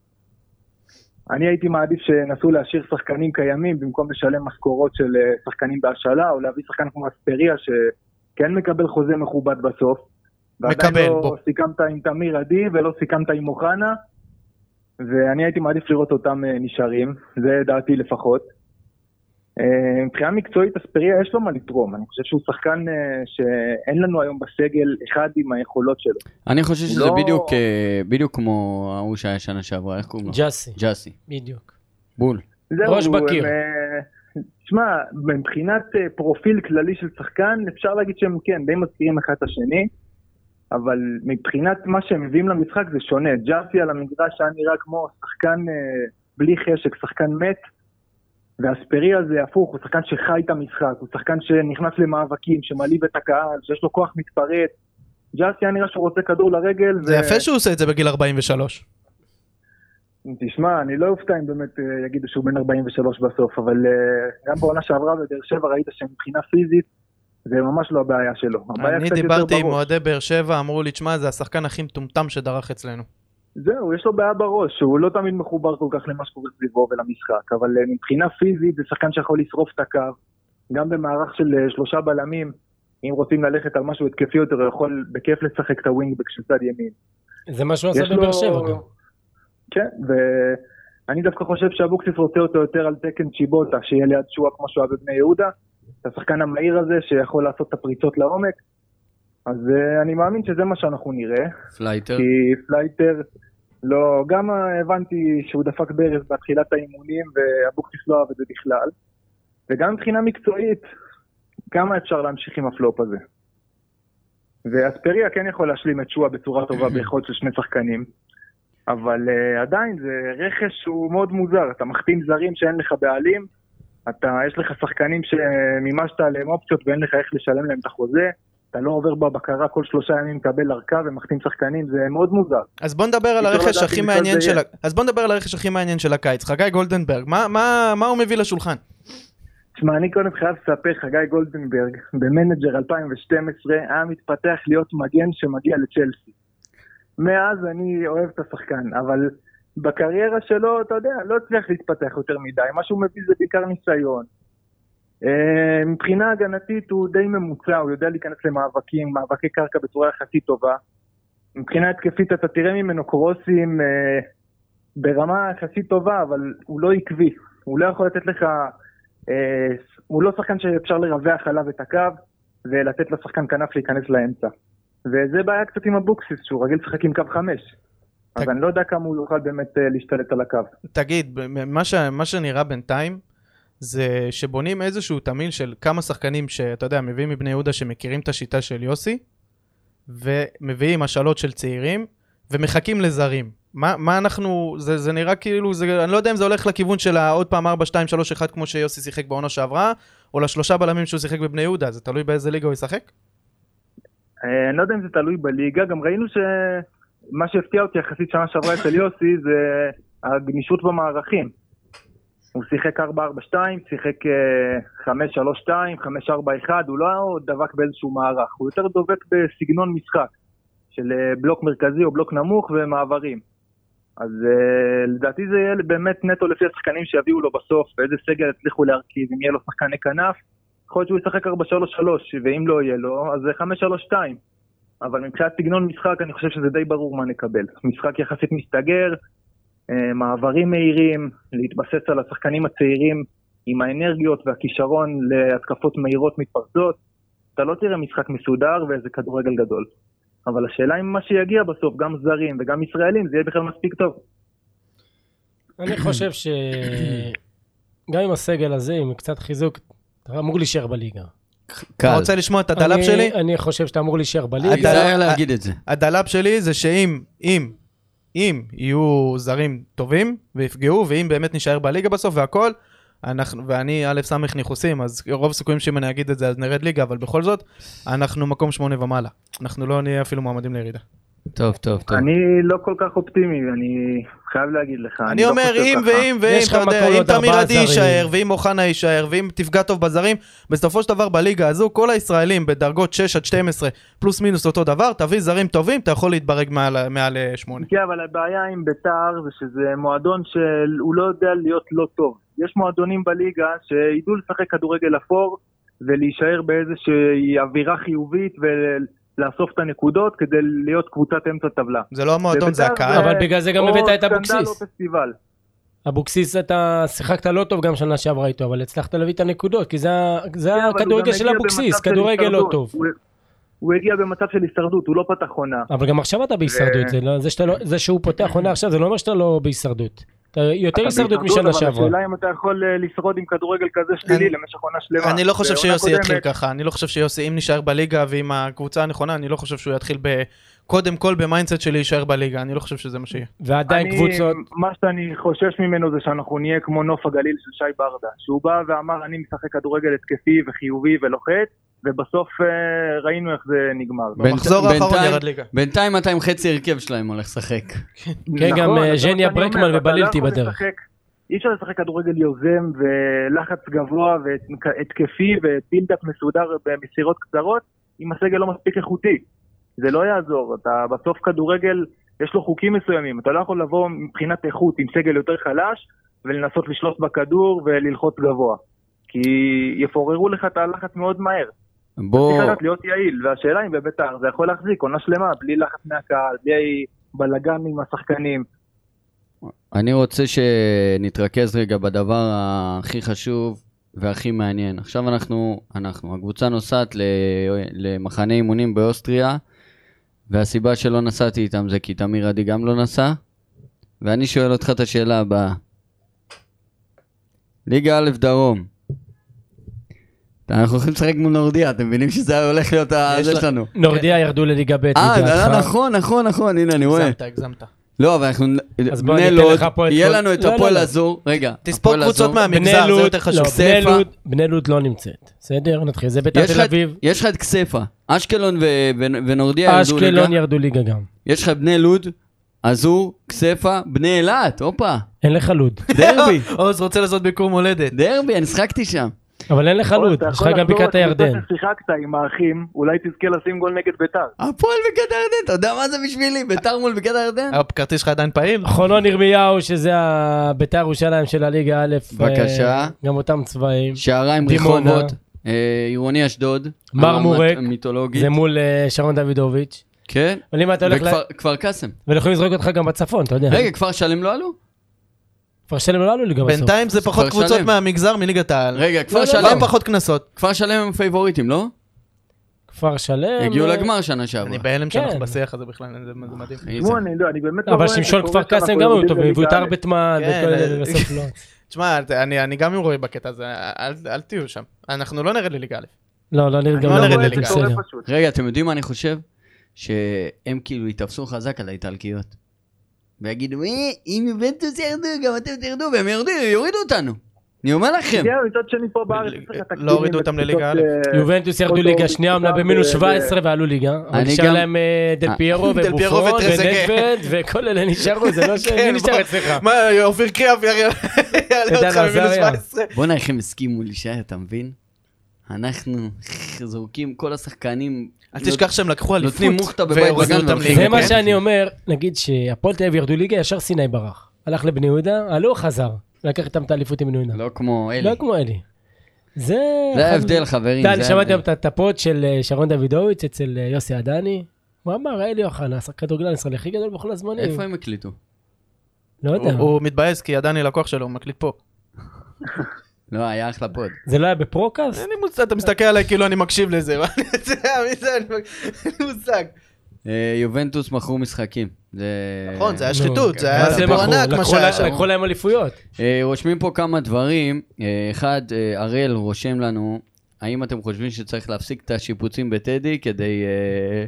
Speaker 5: אני הייתי מעדיף שינסו להשאיר שחקנים קיימים במקום לשלם משכורות של אה, שחקנים בהשאלה, או להביא שחקן כמו אספריה שכן מקבל חוזה מכובד בסוף.
Speaker 3: מקבל,
Speaker 5: ועדיין לא
Speaker 3: בוא.
Speaker 5: סיכמת עם תמיר עדי ולא סיכמת עם אוחנה, ואני הייתי מעדיף לראות אותם אה, נשארים, זה דעתי לפחות. אה, מבחינה מקצועית אספריה יש לו מה לתרום, אני חושב שהוא שחקן אה, שאין לנו היום בסגל אחד עם היכולות שלו.
Speaker 2: אני חושב שזה
Speaker 5: לא-
Speaker 2: בדיוק, אה, בדיוק כמו ההוא שהיה שנה שעברה, איך קוראים לו?
Speaker 4: ג'אסי,
Speaker 2: ג'אסי.
Speaker 4: בדיוק.
Speaker 2: בול.
Speaker 5: זהו,
Speaker 4: ראש בקיר.
Speaker 5: הם, אה, תשמע, מבחינת אה, פרופיל כללי של שחקן, אפשר להגיד שהם כן, די מזכירים אחד את השני, אבל מבחינת מה שהם מביאים למשחק זה שונה. ג'אסי על המגרש היה נראה כמו שחקן אה, בלי חשק, שחקן מת, ואספריה זה הפוך, הוא שחקן שחי את המשחק, הוא שחקן שנכנס למאבקים, שמלהיב את הקהל, שיש לו כוח מתפרץ. ג'אסי היה נראה שהוא רוצה כדור לרגל.
Speaker 3: זה
Speaker 5: ו-
Speaker 3: יפה שהוא עושה את זה בגיל 43.
Speaker 5: תשמע, אני לא אופתע אם באמת אה, יגידו שהוא בן 43 בסוף, אבל אה, גם בעונה שעברה בבאר שבע ראית שמבחינה פיזית זה ממש לא הבעיה שלו. הבעיה
Speaker 3: אני
Speaker 5: קצת יותר
Speaker 3: דיברתי עם
Speaker 5: בראש.
Speaker 3: אוהדי באר שבע, אמרו לי, תשמע, זה השחקן הכי מטומטם שדרך אצלנו.
Speaker 5: זהו, יש לו בעיה בראש, שהוא לא תמיד מחובר כל כך למה שקורה סביבו ולמשחק, אבל אה, מבחינה פיזית זה שחקן שיכול לשרוף את הקו, גם במערך של אה, שלושה בלמים, אם רוצים ללכת על משהו התקפי יותר, הוא יכול בכיף לשחק את הווינגבק של צד ימין.
Speaker 4: זה מה שהוא עשה
Speaker 5: יש
Speaker 4: בבאר
Speaker 5: לו-
Speaker 4: שבע גם.
Speaker 5: כן, ואני דווקא חושב שאבוקסיס רוצה אותו יותר על תקן צ'יבוטה, שיהיה ליד שואה כמו שהוא היה בבני יהודה, את השחקן המהיר הזה שיכול לעשות את הפריצות לעומק, אז אה, אני מאמין שזה מה שאנחנו נראה,
Speaker 2: פלייטר.
Speaker 5: כי פלייטר לא, גם אה, הבנתי שהוא דפק ברז בתחילת האימונים ואבוקסיס לא אהב את זה בכלל, וגם מבחינה מקצועית, כמה אפשר להמשיך עם הפלופ הזה. ואספריה כן יכול להשלים את שואה בצורה טובה ביכולת של שני שחקנים, אבל uh, עדיין זה רכש שהוא מאוד מוזר, אתה מחתים זרים שאין לך בעלים, אתה, יש לך שחקנים שמימשת עליהם אופציות ואין לך איך לשלם להם את החוזה, אתה לא עובר בבקרה כל שלושה ימים מקבל ארכה ומחתים שחקנים, זה מאוד מוזר.
Speaker 3: אז בוא נדבר על
Speaker 5: כי לא
Speaker 3: הרכש
Speaker 5: ידעתי
Speaker 3: הכי
Speaker 5: בכלל
Speaker 3: מעניין
Speaker 5: זה
Speaker 3: של ה...
Speaker 5: יהיה.
Speaker 3: אז בוא נדבר על הרכש הכי מעניין של הקיץ. חגי גולדנברג, מה- מה מה הוא מביא לשולחן?
Speaker 5: תשמע, אני קודם חייב לספר, חגי גולדנברג, במנג'ר 2012, היה מתפתח להיות מגן שמגיע לצ'לסי. מאז אני אוהב את השחקן, אבל בקריירה שלו, אתה יודע, לא הצליח להתפתח יותר מדי. מה שהוא מביא זה בעיקר ניסיון. אה, מבחינה הגנתית הוא די ממוצע, הוא יודע להיכנס למאבקים, מאבקי קרקע בצורה יחסית טובה. מבחינה התקפית אתה תראה ממנו קרוסים אה, ברמה יחסית טובה, אבל הוא לא עקבי. הוא לא יכול לתת לך אה, הוא לא שחקן שאפשר לרווח עליו את הקו ולתת לשחקן כנף להיכנס לאמצע. וזה בעיה קצת עם אבוקסיס, שהוא רגיל לשחק עם קו חמש. אז
Speaker 3: תק-
Speaker 5: אני לא יודע כמה הוא יוכל באמת אה, להשתלט על הקו.
Speaker 3: תגיד, ב- מה, ש... מה שנראה בינתיים זה שבונים איזשהו תמהיל של כמה שחקנים שאתה יודע, מביאים מבני יהודה שמכירים את השיטה של יוסי, ומביאים השאלות של צעירים, ומחכים לזרים. מה, מה אנחנו, זה, זה נראה כאילו, זה, אני לא יודע אם זה הולך לכיוון של העוד פעם 4, 2, 3, 1 כמו שיוסי שיחק בעונה שעברה, או לשלושה בלמים שהוא שיחק בבני יהודה, זה תלוי באיזה ליגה הוא ישחק?
Speaker 5: אה, אני לא יודע אם זה תלוי בליגה, גם ראינו שמה שהפתיע אותי יחסית שנה שעברה אצל יוסי זה הגמישות במערכים. הוא שיחק 4-4-2, שיחק אה, 5-3-2, 5-4-1, הוא לא דבק באיזשהו מערך, הוא יותר דובק בסגנון משחק של אה, בלוק מרכזי או בלוק נמוך ומעברים. אז אה, לדעתי זה יהיה באמת נטו לפי השחקנים שיביאו לו בסוף, ואיזה סגל יצליחו להרכיב, אם יהיה לו שחקני כנף, יכול להיות שהוא ישחק 4-3-3, ואם לא יהיה לו, אז זה 5-3-2. אבל מבחינת סגנון משחק, אני חושב שזה די ברור מה נקבל. משחק יחסית מסתגר, אה, מעברים מהירים, להתבסס על השחקנים הצעירים עם האנרגיות והכישרון להתקפות מהירות מתפרצות. אתה לא תראה משחק מסודר ואיזה כדורגל גדול. אבל השאלה אם מה שיגיע בסוף, גם זרים וגם ישראלים, זה יהיה בכלל מספיק טוב.
Speaker 4: אני
Speaker 5: *clears throat*
Speaker 4: חושב ש... גם עם הסגל הזה, עם קצת חיזוק, אתה אמור להישאר בליגה.
Speaker 3: אתה
Speaker 2: קל.
Speaker 3: רוצה לשמוע את הדלאפ
Speaker 4: אני-
Speaker 3: שלי?
Speaker 4: אני חושב שאתה אמור להישאר בליגה.
Speaker 2: תיזהר להגיד את זה.
Speaker 3: הדלאפ שלי זה שאם, אם, אם יהיו זרים טובים ויפגעו, ואם באמת נישאר בליגה בסוף והכל, אנחנו, ואני א' ס' ניחוסים, אז רוב הסיכויים שאם אני אגיד את זה אז נרד ליגה, אבל בכל זאת, אנחנו מקום שמונה ומעלה. אנחנו לא נהיה אפילו מועמדים לירידה.
Speaker 6: טוב, טוב, טוב.
Speaker 5: אני לא כל כך אופטימי, אני חייב להגיד לך.
Speaker 3: אני
Speaker 5: לא
Speaker 3: אומר
Speaker 5: חושב
Speaker 3: אם
Speaker 5: ככה.
Speaker 3: ואם ואם,
Speaker 4: יש לך
Speaker 3: אתה יודע, אם
Speaker 4: מטולות,
Speaker 3: תמיר
Speaker 4: ארבעה
Speaker 3: עדי
Speaker 4: זרים.
Speaker 3: יישאר, ואם אוחנה יישאר, ואם תפגע טוב בזרים, בסופו של דבר בליגה הזו כל הישראלים בדרגות 6 עד 12 פלוס מינוס אותו דבר, תביא זרים טובים, אתה יכול להתברג מעל- מעל 8.
Speaker 5: כן, אבל הבעיה עם ביתר זה שזה מועדון שהוא לא יודע להיות לא טוב. יש מועדונים בליגה שידעו לשחק כדורגל אפור ולהישאר באיזושהי אווירה חיובית ולאסוף את הנקודות כדי להיות קבוצת אמצע טבלה.
Speaker 3: זה לא המועדון, זה
Speaker 5: בביתר
Speaker 3: הקהל.
Speaker 4: אבל בגלל זה גם
Speaker 5: או
Speaker 4: הבאת את
Speaker 5: סקנדל לא
Speaker 4: אבוקסיס.
Speaker 5: או פסטיבל.
Speaker 4: אבוקסיס אתה שיחקת לא טוב גם שנה שעברה איתו, אבל הצלחת להביא את הנקודות, כי זה ה- זה
Speaker 5: כן, אבל הוא
Speaker 4: הכדורגל
Speaker 5: גם
Speaker 4: אה, של
Speaker 5: הגיע
Speaker 4: אבוקסיס,
Speaker 5: במצב של
Speaker 4: כדורגל לא
Speaker 5: הישרדות.
Speaker 4: טוב.
Speaker 5: הוא- הוא הגיע במצב של הישרדות, הוא לא פתח עונה.
Speaker 4: אבל גם עכשיו אתה בהישרדות, זה לא- זה שאתה לא- זה שהוא פותח עונה עכשיו זה לא אומר שאתה לא בהישרדות. אתה יותר הישרדות משנה
Speaker 5: אבל
Speaker 4: שעברה.
Speaker 5: השאלה אם אתה יכול אה, לשרוד עם כדורגל כזה שלילי
Speaker 3: אני-
Speaker 5: למשך עונה שלמה.
Speaker 3: אני לא חושב
Speaker 5: בעונה
Speaker 3: שיוסי
Speaker 5: קודמת-
Speaker 3: יתחיל ככה, אני לא חושב שיוסי, אם נשאר בליגה ועם הקבוצה הנכונה, אני לא חושב שהוא יתחיל ב... קודם כל במיינדסט של להישאר בליגה, אני לא חושב שזה מה שיהיה.
Speaker 4: ועדיין
Speaker 5: אני-
Speaker 4: קבוצות,
Speaker 5: מה שאני חושש ממנו זה שאנחנו נהיה כמו נוף הגליל של שי ברדה, שהוא בא ואמר אני משחק כדורגל התקפי וחיובי ולוחץ, ובסוף אה, ראינו איך זה נגמר.
Speaker 2: בין-
Speaker 3: במחזור האחרון
Speaker 2: בינתיים-
Speaker 3: ירד ליגה.
Speaker 2: בינתיים אתה עם חצי הרכב שלהם הולך לשחק.
Speaker 4: כן, גם,
Speaker 5: נכון,
Speaker 4: אה,
Speaker 5: זה מה
Speaker 4: ז'ניה
Speaker 5: שאני
Speaker 4: ברקמן
Speaker 5: אומר, אתה לא
Speaker 4: ובלילטי
Speaker 5: יכול
Speaker 4: בדרך.
Speaker 5: לשחק- אי אפשר לשחק כדורגל יוזם ולחץ גבוה והתקפי ובילדאפ מסודר במסירות קצרות, אם הסגל לא מספיק איכותי. זה לא יעזור, אתה בסוף כדורגל, יש לו חוקים מסוימים, אתה לא יכול לבוא מבחינת איכות עם סגל יותר חלש ולנסות לשלוט בכדור וללחוץ גבוה. כי יפוררו לך את הלחץ מאוד מהר. צריך
Speaker 2: בוא,
Speaker 5: לדעת להיות יעיל, והשאלה אם בביתר זה יכול להחזיק עונה שלמה, בלי לחץ מהקהל, בלי בלאגן עם השחקנים.
Speaker 2: אני רוצה שנתרכז רגע בדבר הכי חשוב והכי מעניין. עכשיו אנחנו, אנחנו, הקבוצה נוסעת ל- למחנה אימונים באוסטריה, והסיבה שלא נסעתי איתם זה כי תמיר עדי גם לא נסע, ואני שואל אותך את השאלה הבאה. ליגה א' דרום. אנחנו הולכים לשחק מול נורדיה, אתם מבינים שזה הולך להיות ה-
Speaker 3: יש
Speaker 2: זה
Speaker 3: לה-
Speaker 2: שלנו.
Speaker 4: נורדיה ירדו לליגה ב'
Speaker 2: כן. אה,
Speaker 4: לידיעתך.
Speaker 2: נכון, נכון, נכון, הנה אני רואה.
Speaker 3: הגזמת, הגזמת.
Speaker 2: לא, אבל אנחנו...
Speaker 4: אז בוא,
Speaker 2: בני
Speaker 4: אני אתן
Speaker 2: לוד,
Speaker 4: לך פה את
Speaker 2: יהיה
Speaker 4: כל-
Speaker 2: לנו את
Speaker 4: לא, לא,
Speaker 2: הפועל
Speaker 4: לא.
Speaker 2: הזור. רגע,
Speaker 3: תספור
Speaker 2: הפועל
Speaker 3: קבוצות
Speaker 2: הזור.
Speaker 3: מהמגזר,
Speaker 4: בני
Speaker 3: זה
Speaker 4: לוד-
Speaker 3: יותר חשוב.
Speaker 4: לא, בני
Speaker 2: כסייפה.
Speaker 4: לוד- בני לוד לא נמצאת. בסדר, נתחיל. זה ביתר
Speaker 2: יש
Speaker 4: תל
Speaker 2: לך-
Speaker 4: אביב,
Speaker 2: יש לך את כסייפה, אשקלון ו- ו- ונורדיה ירדו ליגה.
Speaker 4: אשקלון ירדו ליגה גם.
Speaker 2: יש לך בני לוד, אזור, כסייפה, בני אילת, הופה,
Speaker 4: אין לך לוד. *laughs*
Speaker 2: *laughs* דרבי,
Speaker 3: עוז רוצה לעשות ביקור מולדת.
Speaker 2: דרבי, אני שחקתי שם.
Speaker 4: אבל אין לך לוד,
Speaker 5: נכון, אתה
Speaker 4: יש
Speaker 5: יכול
Speaker 4: לך גם
Speaker 5: לחזור
Speaker 4: בקעת
Speaker 5: לקבוצה
Speaker 4: הירדן.
Speaker 5: ששיחקת עם האחים, אולי תזכה לשים גול נגד ביתר.
Speaker 2: הפועל בגד הירדן, אתה יודע מה זה בשבילי? ביתר מול בגד הירדן?
Speaker 3: הכרטיס שלך עדיין פעיל?
Speaker 4: חולון ירמיהו, שזה ה- ביתר ירושלים של הליגה א'.
Speaker 2: בבקשה.
Speaker 4: אה, גם אותם צבעים.
Speaker 2: שעריים
Speaker 4: דימונה.
Speaker 2: רחובות, אה, עירוני אשדוד.
Speaker 4: מרמורק.
Speaker 2: המת- מיתולוגית.
Speaker 4: זה מול אה, שרון דוידוביץ'.
Speaker 2: כן.
Speaker 4: אבל אם אתה הולך... ל- אה.
Speaker 2: וכפר- כפר קאסם.
Speaker 4: ואנחנו יכולים לזרוק אותך גם בצפון, אתה יודע.
Speaker 2: רגע, כפר שלם לא עלו?
Speaker 4: כפר שלם לא עלו ליגה בסוף.
Speaker 3: בינתיים זה פחות
Speaker 2: כפר
Speaker 3: קבוצות
Speaker 2: שלם.
Speaker 3: מהמגזר מליגת העל.
Speaker 2: רגע,
Speaker 3: לא,
Speaker 2: כפר
Speaker 3: לא,
Speaker 2: שלם.
Speaker 3: לא, פחות קנסות.
Speaker 2: כפר שלם הם פייבוריטים, לא?
Speaker 4: כפר שלם...
Speaker 2: הגיעו
Speaker 4: אה,
Speaker 2: לגמר שנה שעברה.
Speaker 3: אני בהלם שאנחנו
Speaker 4: כן.
Speaker 3: בשיח הזה בכלל, זה זה מדהים.
Speaker 2: אחי, זה-
Speaker 5: תשמעו, אני לא, אני באמת לא רואה...
Speaker 4: אבל
Speaker 5: את זה
Speaker 4: שמשון
Speaker 5: קורה
Speaker 4: כפר קאסם גם
Speaker 5: שאנחנו
Speaker 4: היו
Speaker 5: יורדים
Speaker 4: טובים, והוא
Speaker 5: לליגה
Speaker 4: את
Speaker 5: א'.
Speaker 4: ארבטמן
Speaker 3: כן,
Speaker 4: וכל
Speaker 3: אה,
Speaker 4: אלה, ובסוף
Speaker 2: *laughs*
Speaker 4: לא.
Speaker 3: תשמע, אתה- אני אני גם עם רועי בקטע הזה, אל- אל תהיו שם. אנחנו לא נרד לליגה א'.
Speaker 4: לא, לא נרד גם
Speaker 3: לא
Speaker 5: אני לא
Speaker 3: נרד
Speaker 4: לרדת,
Speaker 5: רואה את
Speaker 3: לליגה.
Speaker 5: זה קורה
Speaker 4: בסדר.
Speaker 5: פשוט.
Speaker 2: רגע, אתם יודעים מה אני חושב? שהם כאילו יתאפסו חזק על האיטלקיות. ויגידו, "אה, אם יובנטוס ירדו, גם אתם תרדו, והם ירדו, יורידו אותנו. אני אומר לכם.
Speaker 5: כן, מצד שני פה בארץ יש לך
Speaker 3: לא
Speaker 5: תקציבים
Speaker 3: הורידו אותם
Speaker 5: וקבוצות,
Speaker 3: לליגה א'.
Speaker 5: אה,
Speaker 4: יובנטוס ירדו
Speaker 5: אותו
Speaker 4: ליגה שנייה,
Speaker 5: משחק,
Speaker 4: אמנם במינוס
Speaker 5: אה,
Speaker 4: 17 ועלו ליגה. אבל
Speaker 2: אני
Speaker 4: נשאר
Speaker 2: גם-
Speaker 4: להם אה, דל
Speaker 2: אה,
Speaker 4: פיירו
Speaker 3: דל פיירו
Speaker 4: ובופון
Speaker 3: וטרזגה.
Speaker 4: ונדווד וכל אלה נשארו, זה לא ש... מי נשאר
Speaker 3: בוא.
Speaker 4: אצלך?
Speaker 3: מה, אופיר קריאף יעלה
Speaker 4: עידן
Speaker 3: אותך ממינוס
Speaker 4: עזריה.
Speaker 3: 17?
Speaker 2: בואנה, איך הם הסכימו להישאר, אתה מבין? אנחנו זורקים כל השחקנים. לא-
Speaker 3: אל תשכח שהם לקחו אליפות.
Speaker 2: נותנים מוכתה בבית
Speaker 3: והורידו
Speaker 2: בגן
Speaker 3: אותם
Speaker 2: והולכים
Speaker 3: ליגה,
Speaker 4: זה מה
Speaker 3: כן?
Speaker 4: שאני אומר, נגיד שהפועל תל אביב ירדו ליגה, ישר סיני ברח. הלך לבני יהודה, עלו, חזר. לקח איתם את האליפות עם בני יהודה.
Speaker 2: לא כמו אלי.
Speaker 4: לא כמו אלי. זה...
Speaker 2: זה ההבדל, חברים.
Speaker 4: אתה יודע,
Speaker 2: זה
Speaker 4: אני
Speaker 2: ההבדל.
Speaker 4: שמעתי גם את הטפות של אה, שרון דוידוביץ' אצל אה, יוסי עדני. הוא אמר, אלי אוחנה, השחק כדורגלן הישראלי הכי גדול בכל הזמנים.
Speaker 2: איפה הם הקליטו?
Speaker 4: לא יודע.
Speaker 3: הוא- הוא מתבאס כי עדיין הלקוח שלו, הוא מקליט פה.
Speaker 2: לא, היה אחלה פוד.
Speaker 4: זה לא היה בפרוקאסט?
Speaker 3: אין לי מושג, אתה מסתכל עליי כאילו אני מקשיב לזה, מה אני יודע, *laughs* מי זה, אני מק- אין לי מושג.
Speaker 2: אה, יובנטוס מכרו משחקים. זה...
Speaker 3: נכון, זה היה
Speaker 4: נו,
Speaker 3: שחיתות, זה
Speaker 4: לא, כן. מה
Speaker 3: היה סיפור
Speaker 4: מכרו?
Speaker 3: ענק מה
Speaker 4: לקחו
Speaker 3: שהיה
Speaker 4: לה-
Speaker 3: שם.
Speaker 4: לקחו להם אליפויות.
Speaker 2: אה, רושמים פה כמה דברים. אה, אחד, אה, הראל רושם לנו, האם אתם חושבים שצריך להפסיק את השיפוצים בטדי כדי, אה,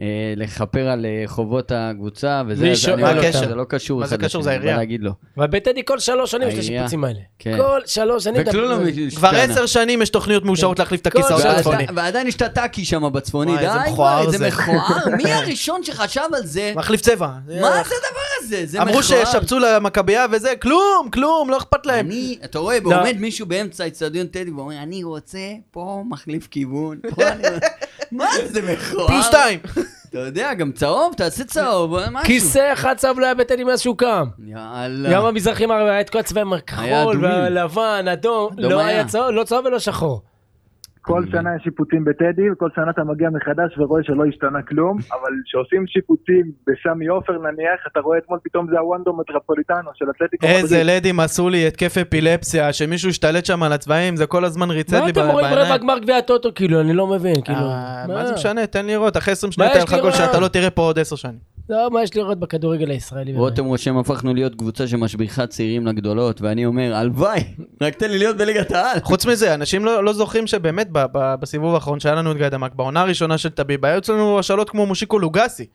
Speaker 2: אה, לכפר על אה, חובות הקבוצה, וזה
Speaker 4: מי
Speaker 2: אז
Speaker 4: שואל
Speaker 2: אני אומר
Speaker 3: אותם?
Speaker 2: לך שזה לא קשור.
Speaker 3: מה זה
Speaker 2: אחד
Speaker 3: קשור?
Speaker 2: לשני,
Speaker 3: זה
Speaker 2: אני
Speaker 3: העירייה.
Speaker 2: בא להגיד לו.
Speaker 4: ובטדי כל שלוש שנים יש את
Speaker 2: העירייה.
Speaker 4: השיפוצים האלה.
Speaker 2: כן.
Speaker 4: כל שלוש שנים.
Speaker 2: וכלום לא
Speaker 4: מדברים.
Speaker 2: משתנה.
Speaker 3: כבר עשר שנים יש תוכניות מאושרות להחליף את
Speaker 4: כן. כל
Speaker 3: הכיסאות
Speaker 4: שנה.
Speaker 2: ועדיין-
Speaker 3: הצפוני.
Speaker 2: ועדיין יש את הטאקי שם בצפוני, די,
Speaker 3: וואי, איזה
Speaker 2: וואי,
Speaker 3: מכוער
Speaker 2: זה
Speaker 3: זה.
Speaker 2: מכוער, מי הראשון שחשב על
Speaker 3: *laughs*
Speaker 2: זה?
Speaker 3: מחליף צבע.
Speaker 2: מה זה הדבר הזה? זה מכוער.
Speaker 3: אמרו שישפצו למכבייה וזה, כלום, כלום, לא אכפת להם.
Speaker 2: אני, אתה רואה,
Speaker 4: לא.
Speaker 2: עומד מישהו באמצע אצטדיון טדי ואומר, אני רוצה פה מחליף
Speaker 3: *laughs*
Speaker 2: כיוון. פה אני רוצה-" מה זה, זה
Speaker 4: לא
Speaker 2: מכוער?
Speaker 3: פי
Speaker 4: *laughs*
Speaker 3: שתיים.
Speaker 2: אתה יודע, גם צהוב, תעשה צהוב, אה, משהו.
Speaker 4: כיסא אחד צהוב לא היה בטדי מאז שהוא קם.
Speaker 3: לא.
Speaker 4: גם
Speaker 2: יאללה.
Speaker 4: המזרחי מערבי היה את כל הצבעים
Speaker 2: היה
Speaker 4: הכחול
Speaker 2: אדומים.
Speaker 4: והלבן, אדום,
Speaker 2: אדום
Speaker 4: לא
Speaker 2: היה.
Speaker 4: היה צהוב, לא צהוב ולא שחור.
Speaker 5: כל שנה יש שיפוצים בטדי, וכל שנה אתה מגיע מחדש ורואה שלא השתנה כלום, אבל כשעושים שיפוצים בסמי עופר נניח, אתה רואה אתמול פתאום זה הוונדו מטרפוליטנו של
Speaker 4: לא
Speaker 5: אתלטיקו.
Speaker 3: איזה לא-
Speaker 5: מדריד.
Speaker 3: לדים עשו לי התקף אפילפסיה, שמישהו השתלט שם על הצבעים, זה כל הזמן ריצד
Speaker 4: מה
Speaker 3: לי
Speaker 4: אתם רואים רבע
Speaker 3: בעיניים.
Speaker 4: גמר גביע הטוטו, כאילו, אני לא מבין, כאילו.
Speaker 3: אה, מה זה משנה, תן לראות, אחרי 20 שניות
Speaker 4: מה
Speaker 3: היה
Speaker 4: יש
Speaker 3: לך גול
Speaker 4: לראות?
Speaker 3: שאתה לא תראה פה עוד 10 שנים.
Speaker 4: לא, מה יש לראות בכדורגל הישראלי? באמת?
Speaker 2: רותם רושם, הפכנו להיות קבוצה שמשביחה צעירים לגדולות, ואני אומר, הלוואי, רק תן לי להיות בליגת העל.
Speaker 3: חוץ מזה, אנשים לא, לא זוכרים שבאמת ב, ב, בסיבוב האחרון שהיה לנו את גיא דמק, בעונה הראשונה של טביב, היו אצלנו השאלות כמו מושיקו לוגסי.